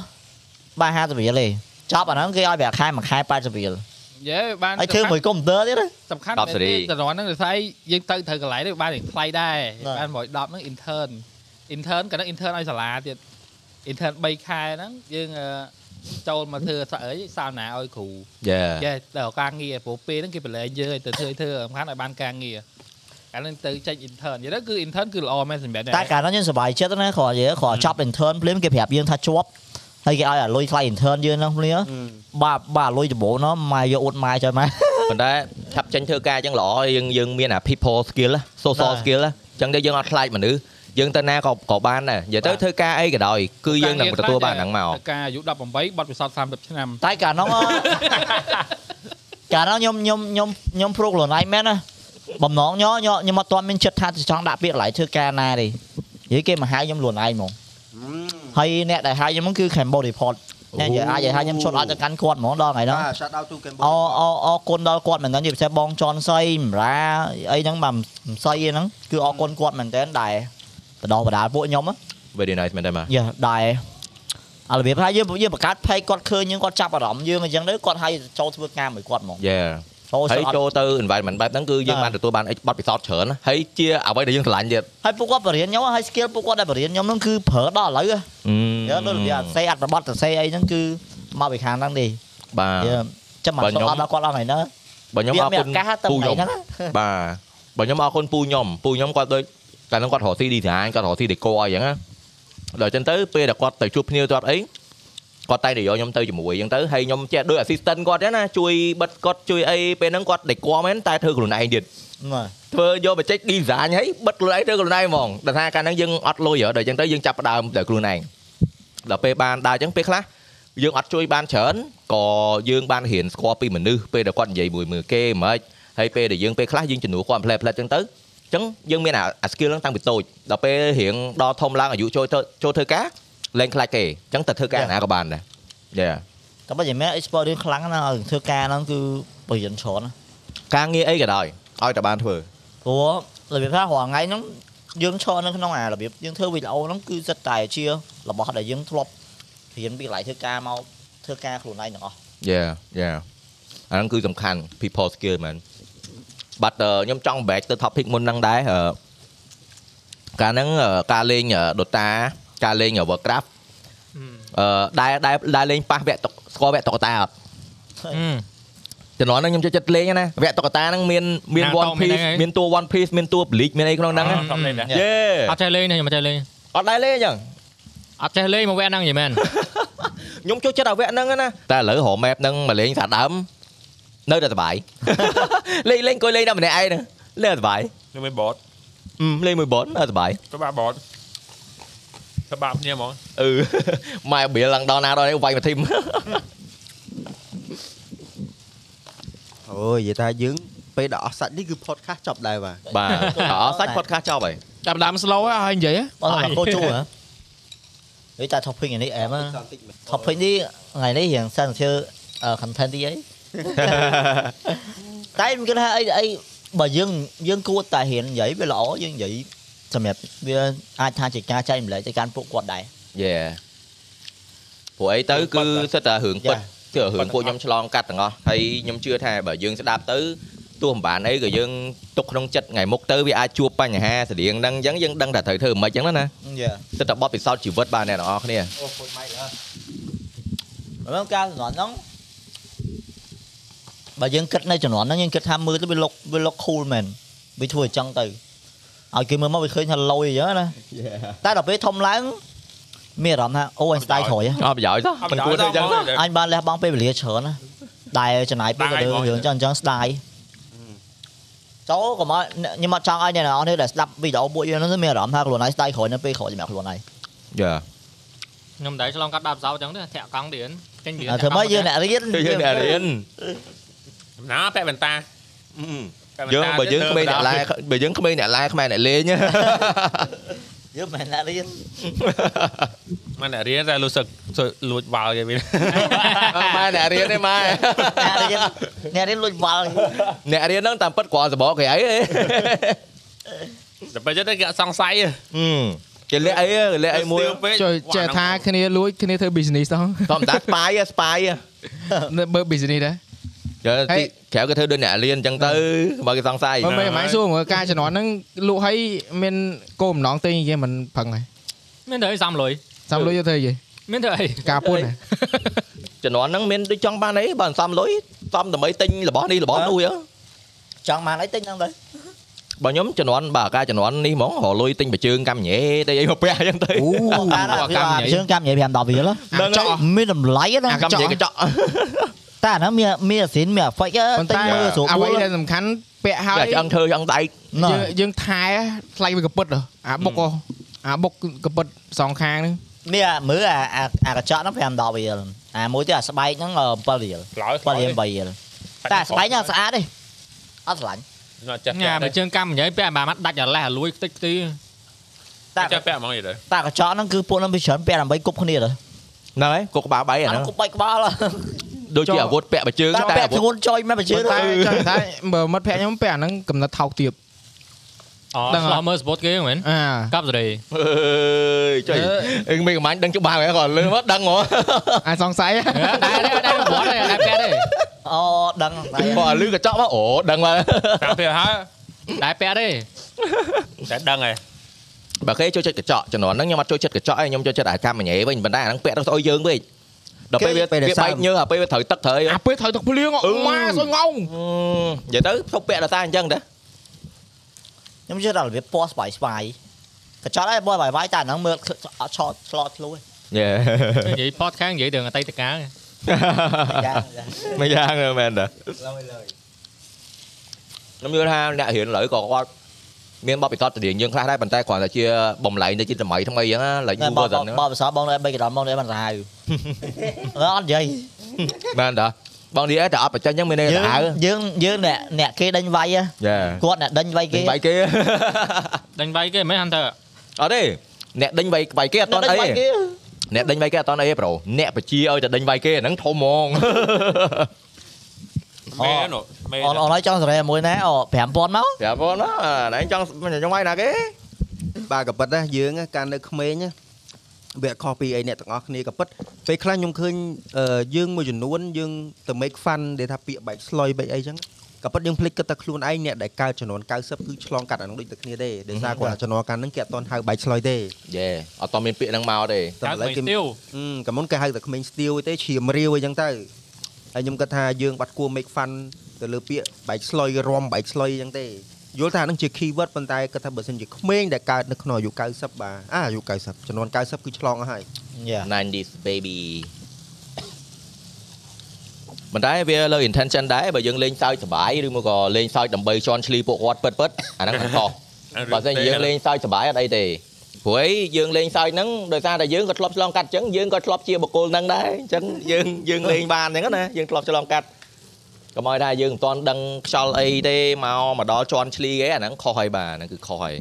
D: បាន50រៀលទេចប់អាហ្នឹងគេឲ្យប្រាក់ខែមួយខែ80រៀល
K: យេបាន
D: ហើយធ្វើមួយកុំព្យូទ័រទៀតណា
K: សំខាន់
B: 10
K: សំខាន់
B: សេរី
K: មែនទេតំណហ្នឹងដោយសារយើងទៅត្រូវកន្លែងនេះបានថ្លៃដែរ
D: បាទ
K: បាន110ហ្នឹង intern intern ក៏ហ្នឹង intern ឲ្យសាលាទៀត intern 3ខែហ្នឹងយើងអឺចូលមកធ្វើសាក់អីសាវណាឲ្យគ្រូ
B: yeah
K: យេដល់ការងារព្រោះពេលហ្នឹងគេប្រឡែងយើងឲ្យទៅធ្វើធ្វើសំខាន់ឲ្យបានការងារកាលហ្នឹងទៅចេញ intern និយាយទៅគឺ intern គឺល្អមែនសម្រាប់អ្នក
D: តែកាលហ្នឹងយើងសប្បាយចិត្តណាគ្រាន់តែយើងគ្រាន់តែចប់ intern ភ្លាមគេប្រាប់យើងថាជាប់ហើយគេឲ្យអាលុយថ្លៃ intern យើងហ្នឹងភ្លាមបាទបាទលុយដំបូងហ្នឹងម៉ែយកអ៊ុតម៉ែចុះម៉ែ
B: ប៉ុន្តែឆាប់ចេញធ្វើការអញ្ចឹងល្អយើងយើងមានអា people skill ណា social
D: បាទ
B: skill ណាអញ្ចឹងទៅយើងអត់ខ្លាចមនុស្សយើងទៅណាក៏ក៏បានដែរនិយាយទៅ
D: បាទ
B: ធ្វើការអីក៏ដោយគឺយើងនឹងទទួលបានហ្នឹងមក
K: ទៅការអាយុ18បាត់ពិសោធន៍30ឆ្នាំ
D: តែកាលហ្នឹងអ่ะ កាលហ្នឹងខ្ញុំខ្ញុំខ្ញុំខ្ញុំព្រួយខ្លួនឯងមែនណាបំណងញញខ្ញុំអត់ទាន់មានចិត្តថាចង់ដាក់ពាក្យកន្លែងធ្វើការណាទេនិយាយគេមកហៅខ្ញុំខ្លួនឯងហ្មងហើយអ្នកដែលហៅខ្ញុំហ្នឹងគឺ Cambodia Report អ្នកនិយាយអាចនិយាយហៅខ្ញុំឈុតអត់ទៅកាន់គាត់ហ្មងដល់ថ្ងៃហ្នឹង
A: បាទ shout out to
D: អ
A: Cambodia
D: អអរគុណដល់គាត់មែនតើជាពិសេសបងចនសៃមរាអីហ្នឹងបាទមិនសៃអីហ្នឹងគឺអរគុណគាត់មែនតើដែរបដោះបដាលពួកខ្ញុំហ៎
B: very nice មែនទេបាទ
D: យ៉ាដែរអារបៀបថាយើងយើងបង្កើតផេកគាត់ឃើញយើងគាត់ចាប់អារម្មណ៍យើងអញ្ចឹងទៅគាត់ឲ្យចូលធ្វើការមួយគាត់ហ្មង
B: yeah
D: ចូល
B: ហើ
D: ស
B: យ
D: អត់
B: ចូលទៅ environment បែបហ្នឹងគឺយើង
D: បាទ
B: បានទទួលបានអីបទពិសោធន៍ច្រើនណាហើយជាអ្វីដែលយើងស្រឡាញ់ទៀត
D: ហើយពួកគាត់បរៀនខ្ញុំហើយ skill ពួកគាត់ដែលបរៀនខ្ញុំហ្នឹងគឺប្រើដល់ឥឡូវហ៎យើ
B: យើ
D: ងដូចរបៀបអត់សេអត្ថបទសរសេរអីហ្នឹងគឺមកពីខាងហ្នឹងទេ
B: បា
D: យើ
B: ទ
D: ងចាំមក
B: បើ
D: ចូល
B: ខ្ញុំ
D: អត់ដល់គាត់អស់ថ្ងៃហ្នឹង
B: បើខ្ញុំ
D: វា
B: អរ
D: មានឱ
B: គុ
D: កាសទៅ
B: ណពូ
D: ថ្ងៃហ្នឹងណា
B: ខ្ញុំបាទបើខ្ញុំអរគុណពូខ្ញុំពូខ្ញុំគាត់ដូចកាលហ្នឹងគាត់រកស៊ី design គាត់រកស៊ី decor អីចឹងណាដល់អញ្ចឹងទៅពេលដែលគាត់ទៅជួបភ្ញៀវគាត់អីគាត់តែងតែយកខ្ញុំទៅជាមួយអញ្ចឹងទៅហើយខ្ញុំចេះដូច assistant គាត់ចឹងណាជួយបិទគាត់ជួយអីពេលហ្នឹងគាត់ decor មែនតែធ្វើខ្លួនឯងទៀត
D: បាទ
B: ធ្វើយកបច្ចេក design ហើយបិទខ្លួនឯងទៅខ្លួនឯងហ្មងដល់ថាកាលហ្នឹងយើងអត់លុយហ៎ដល់អញ្ចឹងទៅយើងចាប់ផ្ដើមដល់ខ្លួនឯងដល់ពេលបានដល់អញ្ចឹងពេលខ្លះយើងអត់ជួយបានច្រើនក៏យើងបានរៀនស្គាល់ពីមនុស្សពេលដែលគាត់និយាយមួយមើលគេហ្មងហើយពេលដែលយើងពេលខ្លះយើងជំនួសគាត់ផ្លែផ្លែអញ្ចឹងទៅអញ្ចឹងយើងមានអាអា skill ហ្នឹងតាំងពីតូចដល់ពេលរៀងដល់ធំឡើងអាយុចូលទៅចូលធ្វើការលែងខ្លាចគេអញ្ចឹងទៅធ្វើការ
D: Yeah.
B: ណាក៏បានដែរ
D: តែ
B: យេ
D: បើយ៉ាងម៉េច experience ខ្លាំងណាស់ឲ្យធ្វើការហ្នឹងគឺបរិញ្ញច្រើនណាស់
B: ការងារអីក៏ដោយឲ្យតែបានធ្វើ
D: ព្រោះរបៀបថារាល់ថ្ងៃហ្នឹងយើងឈរនៅក្នុងអារបៀបយើងធ្វើវីដេអូហ្នឹងគឺសិតតែជារបស់ដែលយើងធ្លាប់រៀនពីកន្លែងធ្វើការមកធ្វើការខ្លួនឯងទាំងអស់
B: Yeah yeah អាហ្នឹងគឺសំខាន់ people skill មែនបាត់ខ្ញុំចង់ break ទៅ topic មុនហ្នឹងដែរអឺកាលហ្នឹងអឺការលេងអឺ Dota ការលេងអឺ Warcraft អឺដែរដែរដែរលេងប៉ះវគ្គតុកស្គាល់វគ្គតុកតាអត់ ចំនួនហ្នឹងខ្ញុំចូលចិត្តលេងណាវគ្គតុក្កតាហ្នឹងមានមាន
G: Naruto
B: One Piece
G: មានអី
B: មានតួ One Piece មានតួ Bleach មានអីក្នុងហ្នឹង
C: អត់ដឹងទេ
B: យេ
G: អត់ចេះលេងទេខ្ញុំអត់ចេះលេង
B: អត់ដែរលេងអញ្ចឹង
G: អត់ចេះលេងមកវគ្គហ្នឹងយីមែន
B: ខ្ញុំចូលចិត្តអាវគ្គហ្នឹងណាតែឥឡូវរហម map ហ្នឹងមកលេងសាដើមនៅតែសប្បាយ លេងលេងអង្គុយលេងតែម្នាក់ឯងហ្នឹងលេងតែសប្បាយ
C: ខ្ញុំមិនបត
B: អឺលេងមួយបនតែសប្បាយ
C: ទៅបាក់បតទៅបាក់គ្នាហ្មង
B: អឺ ម៉ែបៀលឡើងដល់ណាដល់នេះវាយមក ធីម
A: អូយនិយាយថាយើងពេលដល់អស់សាច់នេះគឺ podcast ចប់ដែរបាទ
B: បាទដល់អស់សាច់ podcast ចប់ហើយ
F: តាមដាម slow ហ៎ហើយនិយាយហ៎
D: បងថាកោជួហ៎និយាយតែ topic នេះអែមហ៎
A: ចប់តិចមែន
D: topic នេះថ្ងៃនេះរៀងសិនធ្វើ content ទីអី តែខ្ញុំគិតថាអីអីបើយើងយើងគួរតែហ៊ាននិយាយវាល្អយើងនិយាយសម្រាប់វាអាចថាជាការចែករំលែកទៅកាន់ពួកគាត់ដែរ
B: យេព្រោះអីទៅគឺសិតតែរឿងពិត
D: Yeah.
B: គឺរឿងពួកខ្ញុំឆ្លងកាត់ទាំងអស់ហើយខ្ញុំជឿថាបើយើងស្ដាប់ទៅទោះមិនបានអីក៏យើងទុកក្នុងចិត្តថ្ងៃមុខទៅវាអាចជួបបញ្ហាស្រៀងហ្នឹងអញ្ចឹងយើងដឹងតែត្រូវធ្វើមិនអញ្ចឹងណាណា
D: យ៉ា
B: សិតតែបបពិសោធន៍ជីវិតបានអ្នកនរអស់គ្នា
D: អូពុយម៉ៃលើមើលការជំនាន់ហ្នឹងបើយើងគិតនៅជំនាន់ហ្នឹងយើងគិតថាមើលទៅវាលុកវាលុក cool មែនវាធ្វើអញ្ចឹងទៅឲ្យគេមើលមកវាឃើញថាលយអញ្ចឹងណាតែដល់ពេលធំឡើងមានអារម្មណ៍ថាអូអញស្ដាយក្រោយហ៎
B: អត់ប្រយោជន៍ទេ
C: អត់
B: មិនគួរធ្វើអញ្ចឹងទេ
D: អញបានលះបង់ពេលវេលាច្រើនណាស់ដែលចំណាយពេលទៅលើរឿងចឹងចឹងស្ដាយចូលកុំឲ្យខ្ញុំអត់ចង់ឲ្យអ្នកនរអស់នេះដែលស្ដាប់វីដេអូពួកយើងហ្នឹងមានអារម្មណ៍ថាខ្លួនឯងស្ដាយក្រោយនៅពេលក្រោយសម្រាប់ខ្លួនឯង
B: យេ
G: ខ្ញុំមិនដែរឆ្លងកាត់10សោចឹងទេធាក់កង់ទៀតចេញវា
D: ធ្វើម៉េចយើងអ្នករៀន
B: គឺយើងអ្នករៀន
C: ណាពាក់វ៉ែនតាពាក់វ៉ែនតា
B: យើងបើយើង
C: ទៅ
B: ក្មេងអ្នក
C: ទៅ
B: ឡាបើយើងក្មេងអ្នកឡាខ្មែរអ្នកលេង
D: យើងមិនអ្នករៀន
C: មិនអ្នករៀនតែលូសឹកសឹកលួចបាល់គេវិញ
B: ម៉ែអ្នករៀនទេម៉ែ
D: អ្នករៀនអ្នករៀនលួចវល់
B: អ្នករៀនហ្នឹងតាមពិតគ្រាន់សបកគេអី ទេ
C: តែបើចឹងទៅគេអត់សង្ស័យ
B: អឺគេលេខអីហ៎លេខអីមួយ
F: ចូលចេះថាគ្នាលួចគ្នាធ្វើ business
B: ធ
F: ទៅ
B: ម្មតា spy ហ៎ spy ហ៎
F: នៅបើ business ដែរ
B: យើ
F: ហើ
B: ទី
F: យ
B: ក្រៅគេធ្វើដូចអ្នករៀនអញ្ចឹងទៅបើគេសង្ស័យ
F: មើលមិនហ្មងសួរមើលការជំនាន់ហ្នឹងលក់ឲ្យមានគោលបំណងទិញអីគេមិនប្រឹងហើយ
G: មានទៅអីសាំលុយ
F: សាំលុយយកធ្វើអីគេ
G: មានទៅអី
F: ការពុនហ៎
B: ជំនាន់ហ្នឹងមានដូចចង់បានអីបើអន្សំលុយសំដើម្បីទិញរបស់នេះរបស់នោះហ៎
D: ចង់បានអីទិញហ្នឹងទៅ
B: បើខ្ញុំជំនាន់បើអាការជំនាន់នេះហ្មងរកលុយទិញប្រជើងកាំញ៉េទៅអីមកផ្ទះអញ្ចឹងទៅ
F: អូ
D: បានជើងកម្មញ៉ៃ5 10វាល
F: ចោះ
D: មានតម្លៃណា
B: អាកាំញ៉េកញ្ចក់
D: តែហ្នឹងមានមានអាស៊ីនមានអាហ្វិច
F: ប៉ុ
D: ទិញ
F: ន្តែ
D: មើលស្រួល
F: អ្វីដែលសំខាន់ពាក់ហើយ
B: តែឆ្អឹងធ្វើឆ្អឹងដែក
D: ណា
F: យើងយើងថែថ្លៃវាកពុតហ៎អាបុកហ៎អាបុកកពុតសងខាងហ្នឹង
D: មានមើលអាអាកញ្ចក់ហ្នឹង5 10វាលអាមួយទៀតអាស្បែកហ្នឹង7វាល
C: ឡោយ
D: ប៉លៀម3រៀលតែស្បែកហ្នឹងស្អាតទេអត់ស្រឡាញ់
C: ណាចាស់
G: ញ៉ាបើជើងកម្មញ៉ៃពាក់អាបាត់ដាច់អាលេះអាលួយខ្ទេចខ្ទី
D: តែ
C: ចាស់ពាក់ហ្មងយីទៅ
D: តែកញ្ចក់ហ្នឹងគឺពួកហ្នឹងវាច្រើនពាក់ដើម្បីគប់គ្នាទៅ
B: ហ្នឹងហើយគុកក្បាលបៃអា
D: អា
B: ហ្នឹង
D: ហ្នឹងគប់បែកក្បាល
B: ដូចជាអាវុធពាក់ប្រជើង
D: តែ
B: តែ
D: ពា
B: អា
D: ក់
B: វុ
D: ធ្ង
B: ធ
D: ន់ចុយមែនបើជឿ
F: ប៉ុន្តែចង់ថាបើមិត្តភក្តិខ្ញុំពាក់អាហ្នឹងកំណត់ថោកទៀត
G: អូ
F: ដឹងហើយ
G: ឆ្លោះមើល sport គេហ្នឹងមែន
F: អា
G: កាប់សេរី
B: អើយចុយ
F: អឺ
B: អឹងមិនកំាញ់ដឹងច្បាស់ហ្មងគាត់លឺមកដឹងហ្មង
F: អាសង្ស័យហ៎
G: ដែរដែរដែរប្រវត្តិដែរដែរពាក់ទេ
D: អូដឹងតែ
B: បើលឺកញ្ចក់មកអូដឹងមក
C: តាមពេលហើយ
G: ដែរពាក់ទេ
C: តែដឹងហើយ
B: បើគេចូលចិត្តកញ្ចក់ជំនាន់ហ្នឹងខ្ញុំអត់ចូលចិត្តកញ្ចក់ឯងខ្ញុំចូលចិត្តអាកាមញ៉េវិញប៉ុន្តែអាហ្នឹងពាក់ទៅស្អុយយើងវិញដល់ពេលវាវាបែកញើអាពេលវាត្រូវទឹកត្រូវអីហ៎
F: អាពេលត្រូវទឹកភ្លៀង
B: អឺ
F: អូម៉ាសុយងង
B: និយាយទៅទៅពាក់ដល់តែអញ្ចឹងតា
D: ខ្ញុំជឿដល់របៀបពណ៌ស្បែកស្បាយកញ្ចក់ឯងពណ៌ស្បែកស្បាយតែហ្នឹងមើលអត់ឆ្លតឆ្លតខ្លួន
B: យេ
G: និយាយ podcast ខាងនិយាយទៅអតីតកាល
D: យ៉ាង
B: មិនយ៉ាងទេមែន
D: ឡ
B: តា
D: ើយឡើយ
B: ខ្ញុំយល់ថាអ្នករៀនឥឡូវក៏គាត់មានបទពិសោធន៍ស្តីយើងខ្លះដែរប៉ុន្តែគ្រាន់តែជាបំលែងទៅជាសម័យថ្មីអញ្ចឹងណាឡើងយូរ
D: បប
B: ទៅហ្នឹង
D: បបសបងនៅ3កណ្ដាលមកនៅបានសាហាវអត់និយាយ
B: មែនតាបងឌីអេតែអត់បញ្ចេញអញ្ចឹងមានន័យ
D: យើ
B: ថាហៅ
D: ងយើងយើងអ្នកអ្នកគេដេញវាយ
B: យេ
D: គាត់អ្នកដេញវាយគេ
B: គេបាយគេ
G: ដេញវាយគេមិនមែនហ្នឹងទៅ
B: អត់ទេអ្នកដេញបាយបាយគេអត់តន់អីទេ អ្នកដេញវាយគេអត់តន់អីទេប្រូអ្នកបជាឲ្យតែដេញវាយគេអាហ្នឹងធំហ្ម ង
C: មែនអូមែន
D: អូនអូនឲ្យចង់សរេមួយណែអូ5000មក
B: ប្រាប់បងណាណែចង់ចង់វាយណាគេ
A: បាទក៏ប៉ុតដែរយើងណាកាលនៅក្មេងណាវាអត់ខុសពីអីអ្នកទាំងអស់គ្នាក៏ប៉ុតពេលខ្លះខ្ញុំឃើញអឺយើងមួយចំនួនយើងទៅ make fun ដែលថាពាក្យបែកស្លុយបែកអីចឹងក៏ប៉ុតយើងភ្លេចគិតតែខ្លួនឯងអ្នកដែលកើតចំនួន90គឺឆ្លងកាត់អានឹងដូចតែគ្នាទេដោយសារគាត់ថាចំនួនកាលហ្នឹងគេអត់ទាន់ហៅបែកស្លុយទេ
B: យេអត់តមានពាក្យហ្នឹងមកទេ
G: តែ
A: តែឥឡូវគេ
G: ទៀវ
A: អឺក៏មុនគេហៅតែក្មេងស្ទៀវទេឈាមរាវអីចឹងទៅ ហើយខ្ញុំគិតថាយើងបាត់គួរ make fun ទៅលើពាក្យបែកស្លុយរំបែកស្លុយអញ្ចឹងទេយល់ថានឹងជា keyword ប៉ុន្តែគិតថាបើសិនជាក្មេងដែលកើតនៅក្នុងអាយុ90បាទអាអាយុ90ចំនួន90គឺឆ្លងអស់ហើយ
D: យ៉ា
B: 90s baby ប៉ុន្តែវាលើ intention ដែរបើយើងលេងសើចសប្បាយឬមកក៏លេងសើចដើម្បីជន់ឈ្លីពួកគាត់ពិតពិតអាហ្នឹងមិនខុស បើសិនជាយើងលេងសើចសប្បាយអត់អីទេព្រោះអីយើងលេងសើចហ្នឹងដោយសារតែយើងក៏ធ្លាប់ឆ្លងកាត់អញ្ចឹងយើងក៏ធ្លាប់ជាបុគ្គលហ្នឹងដែរអញ្ចឹងយើងយើងលេងបានអញ្ចឹងណាយើងធ្លាប់ឆ្លងកាត់កុំឲ្យថាយើងមិនទាន់ដឹងខ្យល់អីទេមកមកដល់ជន់ឈ្លីអីអាហ្នឹងខុសហើយបាទហ្នឹងគឺខុសហើយ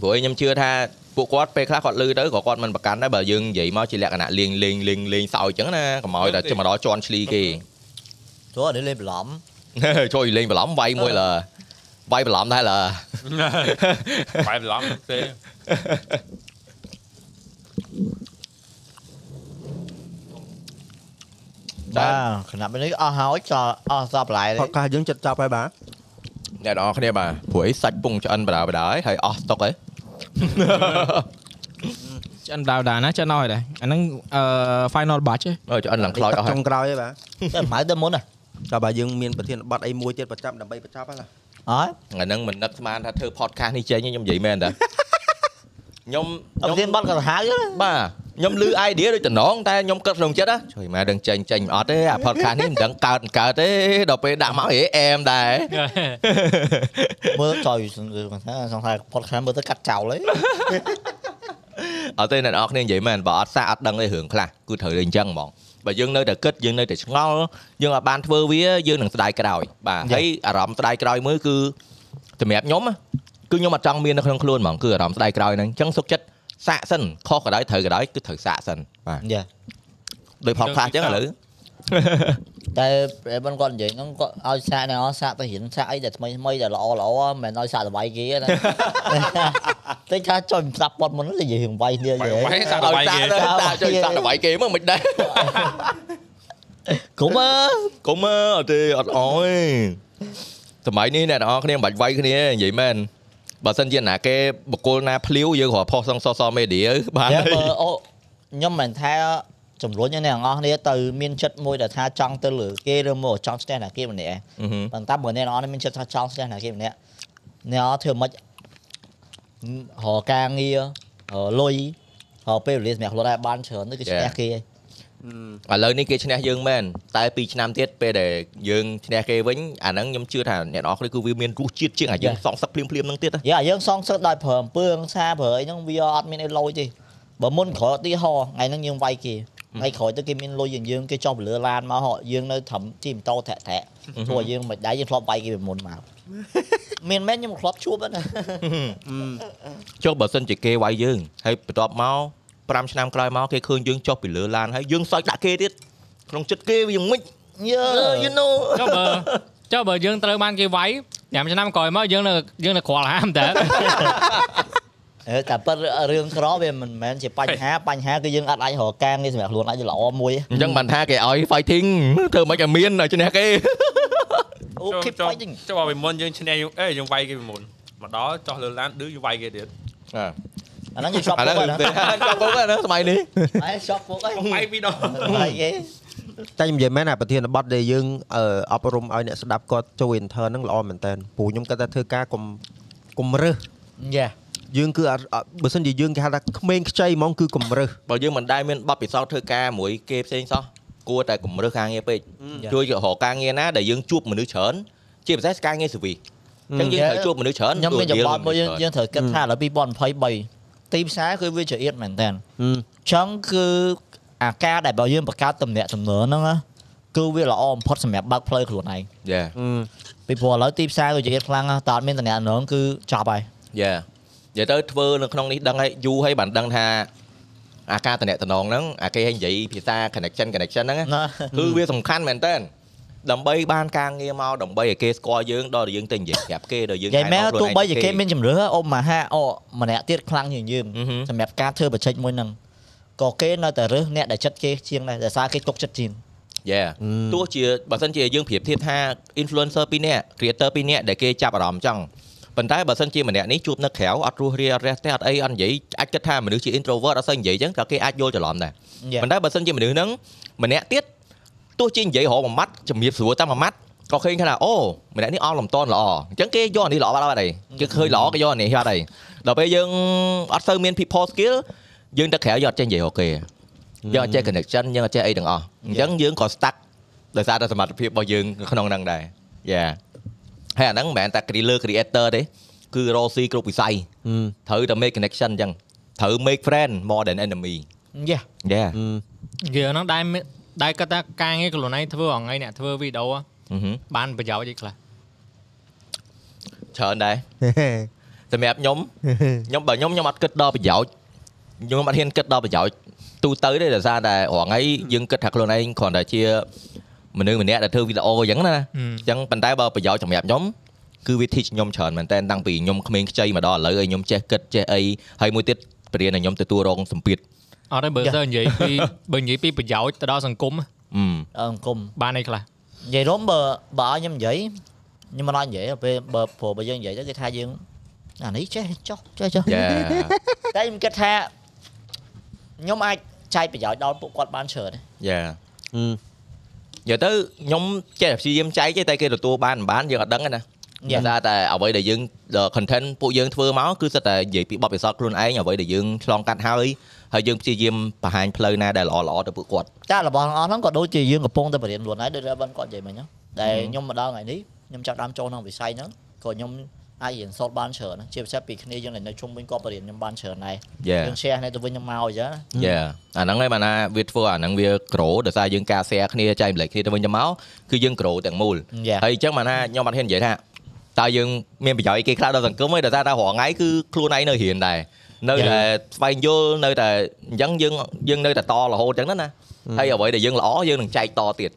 B: ព្រោះអីខ្ញុំជឿថាពួកគាត់ពេលខ្លះគាត់លឺទៅក៏គាត់មិនប្រកាន់ដែរបើយើងនិយាយមកជាលក្ខណៈលេងលេងលេងលេងសើចអញ្ចឹងណាកុំឲ្យតែមកដល់ជន់ឈ្លីគេ
D: ទោះនេះលេងបន្លំ
B: ជួយលេងបន្លំវាយមួយលើវាយបន្លំដែរលើ
C: បែបឡំទេ
D: បាទគណៈនេះអស់ហើយចោលអស់សពឡាយ
A: ផកកាសយើងចិត្តចាប់ហើយបាទ
B: អ្នកនរគ្នាបាទព្រោះអីសាច់ពងឆ្អិនបណ្ដាបណ្ដាហើយហើយអស់ស្តុក ហើយ
F: ឆ្អិនដាវដាណាឆ្អិនអស់ហើយដែរអាហ្នឹងអឺ final batch ឯង
B: អើឆ្អិនឡើងខ្លោចអស់ហើយ
A: ចុងក្រោយហើយបាទ
D: តែម៉ៅទៅមុនហ៎
A: តែបើយើងមានប្រធានបတ်អីមួយទៀតប្រចាំដើម្បីបញ្ចប់ហើយឡា
D: អត់
B: ថ្ងៃហ្នឹងមិននឹកស្មានថាធ្វើ podcast នេះចេញទេខ្ញុំនិយាយមែ នតា ខ្ញុំ
D: អត់
B: ខ្ញុំ
D: មានបាត់ក៏ទៅហៅណា
B: បាទខ្ញុំលឺ idea ដូចតំណងតែខ្ញុំគិតក្នុងចិត្តណាជួយម៉ែដឹងចេញចេញមិនអត់ទេអា podcast នេះមិនដឹងកើតមិនកើតទេដល់ពេលដាក់មកហេអែមដែរ
D: មើលចោលសង្ឃឹមថាសង្ឃឹម podcast មើលទៅកាត់ចោលហើយ
B: អត់ទេអ្នកនរគ្នានិយាយមែនបើអត់សាអត់ដឹងទេរឿងខ្លះគឺត្រូវតែអញ្ចឹងហ្មងបើយើងនៅតែគិតយើងនៅតែឆ្ងល់យើងអត់បានធ្វើវាយើងនឹងស្ដាយក្រោយបាទហើយអារម្មណ៍ស្ដាយក្រោយមួយគឺសម្រាប់ខ្ញុំណាគឺខ្ញុំអត់ចង់មាននៅក្នុងខ្លួនហ្មងគឺអារម្មណ៍ស្ដាយក្រោយហ្នឹងអញ្ចឹងសុខចិត្តសាកសិនខុសក៏ដោយត្រូវក៏ដោយគឺត្រូវសាកសិនបាទ
D: យ៉ា
B: ដោយផលខ្លះអញ្ចឹងឥឡូវ
D: តែប្រហែលគាត់និយាយហ្នឹងគាត់ឲ្យសាកអ្នកអស់សាកទៅរៀនសាកអីតែថ្មីថ្មីតែល្អល្អមិនឲ្យសាកល្បាយគេ ណាតែថាចុចមិនស្ដាប់ប៉ុតមុននិយាយរឿងវាយគ្នាយេ
C: បែបសាក់ដល់បាយគេ
B: ឲ្យសាកដល់សាកជួយសាកដល់វាយគេមកមិនដែរ
D: គុំអើ
B: កុំមើលអត់ទេអត់អស់ទេសម័យនេះអ្នកនរគ្នាមិនបាច់វាយគ្នាទេនិយាយមែនបើសិនជាណាគេបកគលណាភ្លាវយើងគ្រាន់ផុសសងសសមេឌី បាន
D: យ៉ា
B: ហើយ
D: បើអូខ្ញុំមិនថាចំនួនអ្នកទាំងអស់គ្នាទៅមានចិត្តមួយដែលថាចង់ទៅលើគេឬមកចង់ស្ទះណាគេម្នាក់ឯង
B: អឺហឹម
D: ប៉ុន្តែបើអ្នកនរនេះមានចិត្តថាចង់ស្ទះណាគេម្នាក់អ្នកនរធ្វើមិនហៅការងាររកលុយហៅពេលវេលាសម្រាប់ខ្លួនឯងបានច្រើនទៅគឺស្ទះគេហើយ
B: ឥឡូវនេះគេឈ្នះយើងមែនតែ2ឆ្នាំទៀតពេលដែលយើងឈ្នះគេវិញអាហ្នឹងខ្ញុំជឿថាអ្នកនរគ្នាគឺវាមានរសជាតិជាងអាយើងសងសឹកភ្លាមភ្លាមហ្នឹងទៀតណា
D: យ៉ាយើងសងសឹកដោយប្រើអំពើហិង្សាប្រើអីហ្នឹងវាអត់មានអីលុយទេបើមុនក្រោយឧទីហោថ្ងៃហ្នឹងយើងវាយគេថ្ងៃក្រោយទៅគេមានលុយជាងយើងគេចុះពលឺឡានមកហោយើងនៅត្រឹមទីម៉ូតូធាក់ធាក់ព្រោះយើងមិនដែរយើងធ្លាប់វាយគេពីមុនមក មានមែនខ្ញុំធ្លាប់ជួបហ្នឹងណា
B: ចុះបើសិនជាគេវាយយើងហើយបន្ទាប់មក5ឆ្នាំក្រោយមកគេឃើញយើងចុះពីលើឡានហើយយើងសើចដាក់គេទៀតក្នុងចិត្តគេវាយ៉ាងម៉េច you know
K: ចុះបើចុះបើយើងត្រូវបានគេវាយ5ឆ្នាំក្រោយមកយើងនៅយើងនៅក្រលហាមតើ
D: អឺតែប៉ិតរឿងក្រវាមិនមែនជាបញ្ហាបញ្ហាគឺយើងអត់អាចរកការងារសម្រាប់ខ្លួនអាចល្អមួយ
B: អញ្ចឹងបានថាគេឲ្យ fighting ធ្វើមិនឲ្យមានឲ្យឈ្នះគេ
D: អូខេ
C: ចុះ
D: បាញ់
C: ចុះបើពីមុនយើងឈ្នះយើងអេយើងវាយគេពីមុនមកដល់ចោះលើឡានឌឺយើងវាយគេទៀត
D: អាហ្នឹងយើងឈប់
B: អា
D: ពុ
B: ហ្នឹ
D: កអា
B: ង
D: ហ្នឹង
B: ចង់ពុកហ្នឹងសម័យនេះ
D: អាយឈប់ពុកហើយ
C: វាយពីរដង
D: ហើយគេ
A: តែខ្ញុំនិយាយមែនអាប្រធានបတ်ដែលយើងអឺអប់រំឲ្យអ្នកស្ដាប់គាត់ចូល intern ហ្នឹងល្អមែនតើព្រោះខ្ញុំគាត់ថាធ្វើការកុំកុំរើស
D: យ៉ា
A: យើងគឺអត់អត់បើសិនជាយើងគេហៅថាក្មេងខ្ចីហ្មងគឺកុំរើស
B: បើយើងមិនដែលមានបទពិសោធន៍ធ្វើការមួយគេផ្សេងសោះគួរតែគម្រើសការងារពេក ជួយរកការងារណាដែលយើងជួបមនុស្សច្រើនជាពិសេសការងារសេវីអញ្ចឹងយើងត្រូវជួបមនុស្សច្រើន
D: ខ្ញុំមាន
B: ដ
D: ចំ
B: ល
D: បល់មួយយើងយើងត្រូវគិតថាដល់2023ទីផ្សារគឺវាចរៀតមែនតើអញ្ចឹងគឺអាការដែលបើយើងបង្កើតតំណាក់ទំនើហ្នឹងណាគឺវាល្អបំផុតសម្រាប់បើកផ្លូវខ្លួនឯង
B: យ៉ា
D: ពីព្រោះឥឡូវទីផ្សារគឺចរៀតខ្លាំងណាស់តើអត់មានតំណាក់ទំនើគឺចប់ហើយ
B: យ៉ានិយាយទៅធ្វើនៅក្នុងនេះដឹងហើយយូរហើយបានដឹងថាអាការតំណែងហ្នឹងអាគេឲ្យនិយាយភាសា connection connection ហ្នឹងណា គឺវាសំខាន់មែនតើដើម្បីបានការងារមកដើម្បីឲ្យគេស្គាល់យើងដល់យើងទៅនិយាយប្រាប់គេដល់យើង
D: យ៉ាងម៉េចទោះបីជា
B: ឯង
D: គេមានជំរឿអូមហាអូម្នាក់ទៀតខ្លាំងជាងយើង
B: អឺហឹម
D: សម្រាប់ការធ្វើបច្ចេកមួយហ្នឹងក៏គេនៅតែរើសអ្នកដែលចិត្តគេជាងដែរដែលសារគេទុកចិត្តជាង
B: យ៉ាទោះជាបើសិនជាយើងប្រៀបធៀបថា influencer ពីរនាក់ creator ពីរនាក់ដែលគេចាប់អារម្មណ៍ចង់ប៉ុន្តែបើសិនជាម្នាក់នេះជួបនៅក្រៅអត់រស់រាអត់រះទេអត់អីអត់និយាយអាចគិតថាមនុស្សជា introvert អត់សូវនិយាយអញ្ចឹងក៏គេអាចយល់ច្រឡំដែរ
D: យ៉ា
B: ប៉ុន្តែបើសិនជាមនុស្សហ្នឹងម្នាក់ទៀត ទោះជានិយាយរហូតមួយម៉ាត់ជំរាបសួរតាមមួយម៉ាត់ក៏ឃើញថាអូម្នាក់នេះអស់លំតនល្អអញ្ចឹងគេយកអានេះល្អបាត់ហើយគេឃើញល្អគេយកអានេះបាត់ហើយដល់ពេលយើងអត់សូវមាន people skill យើងទៅក្រៅយកអត់ចេះនិយាយរកគេយើងអត់ចេះ connection យើងអត់ចេះអីទាំងអស់អញ្ចឹងយើងក៏ stuck ដោយសារតែសមត្ថភាពរបស់យើងក្នុងហ្នឹងដែរយ៉ាហើយអាហ្នឹងមិនមែនតែ creator creator ទេគឺ role C គ្រប់វិស័យត្រូវតែ make connection អញ្ចឹងត្រូវ make friend more than enemy
G: យ៉ា
B: យ៉ា
G: យើងហ្នឹងដែរមានដែរគាត់ថាការងារខ្លួនឯងធ្វើថ្ងៃអ្នកធ្វើវីដេអូបានប្រយោជន៍អីខ្លះ
B: ច្រើនដែរ សម្រាប់ខ្ញុំខ្ញុំបើខ្ញុំខ្ញុំអត់គិតដល់ប្រយោជន៍ខ្ញុំអត់ហ៊ានគិតដល់ប្រយោជន៍ទូទៅទេដោយសារតែរងឯងយើងគិតថាខ្លួនឯងគ្រាន់តែជាមនុស្សម្នាក់ដែលធ្វើវីដេអូអញ្ចឹងណាអញ្ចឹងប៉ុន្តែបើប្រយោជន៍សម្រាប់ខ្ញុំគឺវាធីចខ្ញុំច្រើនមែនតើតាំងពីខ្ញុំក្មេងខ្ចីមកដល់ឥឡូវឲ្យខ្ញុំចេះគិតចេះអីហើយមួយទៀតបរៀនឲ្យខ្ញុំទទួលរងសម្ពាធ
G: អត់ទេបើទៅនិយាយពីបើនិយាយពីប្រយោជន៍ទៅដល់សង្គម
B: អឺ
D: អង្គគុំ
G: បានអីខ្លះ
D: និយាយរួមបើបើឲ្យខ្ញុំនិយាយខ្ញុំមិនឲ្យនិយាយទេពេលបើព្រោះបើយើងនិយាយទៅគេថាយើងអានេះចេះចោះចេះចោះ
B: Yeah
D: តែខ្ញុំគិតថាខ្ញុំអាចចែកប្រយោជន៍ដល់ពួកគាត់បានច្រើន
B: យ៉ាយកទៅខ្ញុំចេះតែព្យាយាមចែកទេតែគេទទួលបានមិនបានយើងអត់ដឹងទេណា
D: Yeah.
B: តែតែអ្វីដែលយើង content ពួកយើងធ្វើមកគឺសិតតែនិយាយពីបទពិសោធន៍ខ្លួនឯងអ្វីដែលយើងឆ្លងកាត់ហើយហើយយើងព្យាយាមបង្ហាញផ្លូវណាដែលល្អល្អទៅពួកគាត់
D: តែរបស់ទាំងអស់ហ្នឹងក៏ដូចជាយើងកំពុងតែបរៀនខ្លួនហើយដូចដែលបានគាត់និយាយមិញហ្នឹងដែល
B: Mhm.
D: ខ្ញុំមកដល់ថ្ងៃនេះខ្ញុំចាប់ផ្ដើមចូលក្នុងវិស័យហ្នឹងក៏ខ្ញុំអាចរៀនសូត្របានច្រើនណាស់ជាពិសេសពីគ្នាយើងដែលនៅជុំវិញក៏បរៀនខ្ញុំបានច្រើនដែរ
B: Yeah.
D: យើង share គ្នាទៅវិញទៅមកអញ្ចឹងណា
B: យ៉ាអាហ្នឹងឯងបានថាវាធ្វើអាហ្នឹងវាក្រូដោយសារយើងការ share គ្នាចែកម្លែកគ្នាទៅវិញទៅមកគឺយើងក្រូទាំងមូល
D: Yeah.
B: ហើយអញ្ចឹងបានថាខ្ញុំអត់ហ៊ាននិយាយថាតើយើងមានប្រយោជន៍អីគេខ្លះដល់សង្គមទេដោយសារតែរងថ្ងៃគឺខ្លួនឯងនៅរៀនដែរនៅតែស្វែងយល់នៅតែអញ្ចឹងយើងយើងនៅតែតរហូតអញ្ចឹងណាណាហើយអ្វីដែលយើងល្អយើងនឹងចែកតទៀត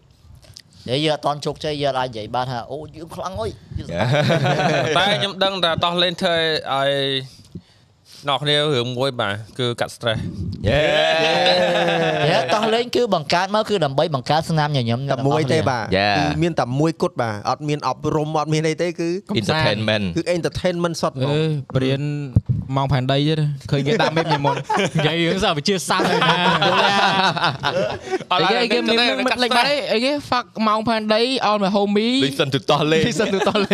D: និយាយយើងអត់តន់ជោគជ័យយើងអាចនិយាយបានថាអូយើងខ្លាំងអុយយើង
B: Dạ.
C: តែខ្ញុំដឹងតែតោះលេងធ្វើឲ្យអ្នកគ្នារឿងមួយបាទគឺកាត់ stress
D: យេតោះលេងគឺបង្កើតមកគឺដើម្បីបង្កើតស្នាមញញឹម
A: តែមួយទេបាទ
B: Yeah.
A: គឺមានតែមួយគត់បាទអត់មានអប់រំអត់មានអីទេគឺ
B: entertainment
A: គឺ entertainment សុទ្ធហ្មង
F: អឺបរៀនម៉ោងផែនដីទៀតឃើញគេដាក់មេឃញមុន
G: និយាយរឿងសារវិជាសាស្ត្រណា
F: À,
C: អត់
F: អី
C: ឡើយ
F: គេអីគេ
C: នឹ
F: មាន
C: ង
F: មិ
C: ទៅ
F: ត្តលេខបាត់អីអីគេ fuck ម៉ោងផែនដី all my homie
B: listen to តោះលេង
F: listen to tole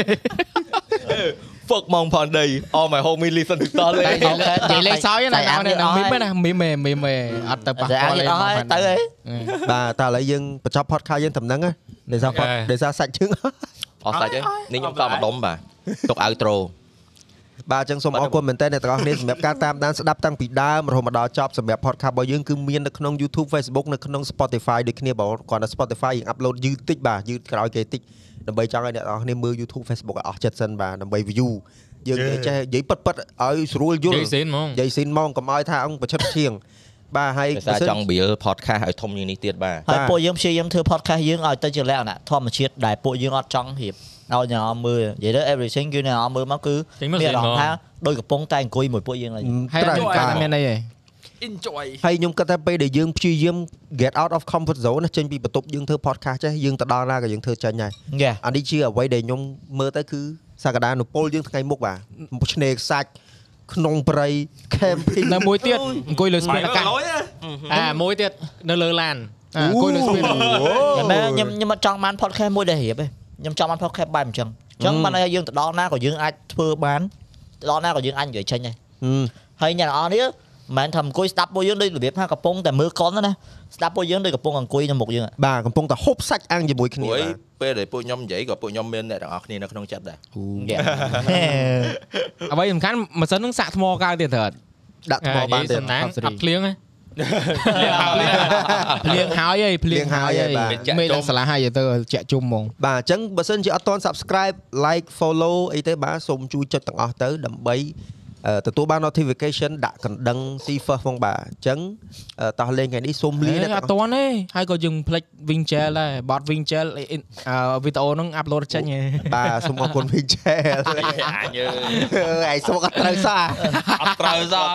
B: fuck មកផនដី all my homie listen to តោះ លេង
F: និយាយលេខសោយណាអត់មានមែនណាមីមែនមីមែនអត់ទៅប៉ះ
D: តែ
F: ពា
D: អាច
F: ល់
D: និយាយអស់ហើយទៅអី
A: បាទតែឥឡូវយើងបញ្ចប់ podcast យើងដំណឹងណាដោយសារ pod- ដោយសារសាច់ជើង
B: អស់សាច់ហើយនេះខ្ញុំតមកដុំបាទទុក outro
A: បាទអញ្ចឹងសូមអរគុណមែនតើអ្នកទាំងអស់គ្នាសម្រាប់ការតាមដានស្ដាប់តាំងពីដើមរហូតមកដល់ចប់សម្រាប់ podcast របស់យើងគឺមាននៅក្នុង YouTube Facebook នៅក្នុង Spotify ដូចគ្នាបងគ្រាន់តែ Spotify យើង upload យឺតតិចបាទយឺតក្រោយគេតិចដើម្បីចង់ឲ្យអ្នកទាំងអស់គ្នាមើល YouTube Facebook ឲ្យអស់ចិត្តសិនបាទដើម្បី view យើងនិយាយចេះនិយាយប៉ិតប៉ិតៗឲ្យស្រួលយល់
G: និយាយសេនហ្មង
A: និយាយស៊ីនមកកុំឲ្យថាអង្គប្រឆិតឈៀងបាទហើយ
B: ដោយសារចង់ build podcast ឲ្យធំជាងនេះទៀតបាទ
D: ហើយពួកយើងព្យាយាមធ្វើ podcast យើងឲ្យទៅជាលក្ខណៈធម្មជាតិដែលពួកយើងអត់ចង់រៀបឲ្យអ្នកអមើលនិយាយទៅ everything គឺអ្នកអមើលមកគឺ
G: ចេញមក
D: មានអារម្មណ៍
G: ស្អីហ្មង
D: ថាដូចកំពុងតែអង្គុយមួយពួកយើងហើយ
F: ហើយ
A: ត្រូវ
F: ខ្ញុំ
A: បាទ
F: អត់មានអីទេ
E: enjoy
A: ហើយខ្ញុំគិតថាពេលដែលយើងព្យាយាម get out of comfort zone ណាចេញពីបន្ទប់យើងធ្វើ podcast ចេះយើងទៅដល់ណាក៏យើងធ្វើចេញហើយ
D: យេ
A: អានេះជាអ្វីដែលខ្ញុំមើលទៅគឺសក្តានុពលយើងថ្ងៃមុខបាទឆ្នេរខ្សាច់ក្នុងព្រៃ camping
F: នៅមួយទៀតអង្គុយលើស្ពានអាកាស
G: អាមួយទៀតនៅលើឡាន
F: អ่าអង្គុយលើស្ពាន
D: តែ
A: Ừ.
D: ខ្ញុំខ្ញុំអត់ចង់បាន podcast មួយដែលរៀបទេខ្ញុំចង់បាន podcast បែបអញ្ចឹងអញ្ចឹងបានន័យថាយើងទៅដល់ណាក៏យើងអាចធ្វើបានទៅដល់ណាក៏យើងអាចនិយាយចេញដែរ
A: ហឹម
D: ហើយអ្នកនរអស់នេះមិនមែនថាអង្គុយស្ដាប់ពួកយើងដូចរបៀបថាកំពុងតែមើលកុនណាស្ដាប់ពួកយើងដូចកំពុងអង្គុយនៅមុខយើង
A: បាទកំពុងតែហូបសាច់អាំងជាមួយគ្នា
B: ពួក
A: បាទ
B: អីពេលដែលពួកខ្ញុំនិយាយក៏ពួកខ្ញុំមានអ្នកទាំងអស់គ្នានៅក្នុងចិត្តដែរ
F: អ្វីសំខាន់ម៉ាស៊ីននឹងសាក់ថ្មកើទៀតត្រូវអត់
A: ដាក់ថ្មបានទៀត
G: សំណាង
F: Top three
G: អត់ភ្លៀងទេ
F: ភ្លៀងហើយហើយភ្លៀងហើយ
A: ភ្លៀងហើយបាទ
F: ហើយមេឃដល់សាលាហើយទៅជែកជុំហ្មង
A: បាទអញ្ចឹងបើសិនជាអត់ទាន់ subscribe like follow អីទេបាទសូមជួយចុចទាំងអស់ទៅដើម្បីអឺទទួលបាន notification ដាក់កណ្ដឹង see first ផងបាទអញ្ចឹងអឺតោះលេងថ្ងៃនេះសូមលា
F: ហេ
A: អ្នកទាំងអ
F: អ
A: ស់
F: ត់តាន់ទេហើយក៏យើងផ្លិច Wingel ដែរបត Wingel វីដេអូហ្នឹងអាប់ឡូតចេញហេ
A: បាទសូមអរគុណ Vichel
C: អញើ
A: អីសូមអត់ត្រូវសោះ
C: អត់ត្រូវសោះ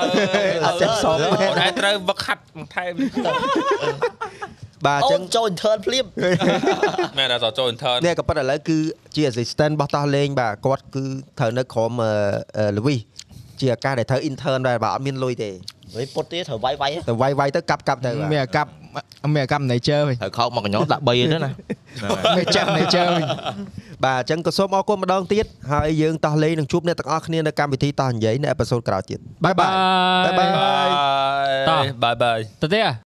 A: អត់ចេះសូមទេ
C: អូនឯងត្រូវវឹកហាត់បន្ថែម
A: បាទអ
D: អូ
A: ញ្ចឹង
D: នចូល intern ភ្លាម
C: មែនអត់ចូល intern
A: នេះក៏ប៉ុន្តែឥឡូវគឺជា assistant របស់តោះលេងបាទគាត់គឺត្រូវនៅក្រុមលូវីសជាឱកាសដែលត្រូវ intern ដែរបាទអត់មានលុយទេ
D: វិញពុតទៀតត្រូវវាយវាយ
A: ទៅវាយវាយទៅកាប់កាប់ទៅ
F: មានអាកັບមានអាកັບ nature វិញ
B: ត្រូវខោកមកកញ្ញោដាក់3ហ្នឹងណា
F: មានចាប់ nature វិញ
A: បាទអញ្ចឹងក៏សូមអរគុណម្ដងទៀតហើយយើងតោះលេងនឹងជួបអ្នកទាំងអស់គ្នានៅកម្មវិធីតោះនិយាយនៅអេពីសូតក្រោយទៀត
F: bye bye
A: Bye bye.
C: បាយបាយបាយ
G: ទៅទេ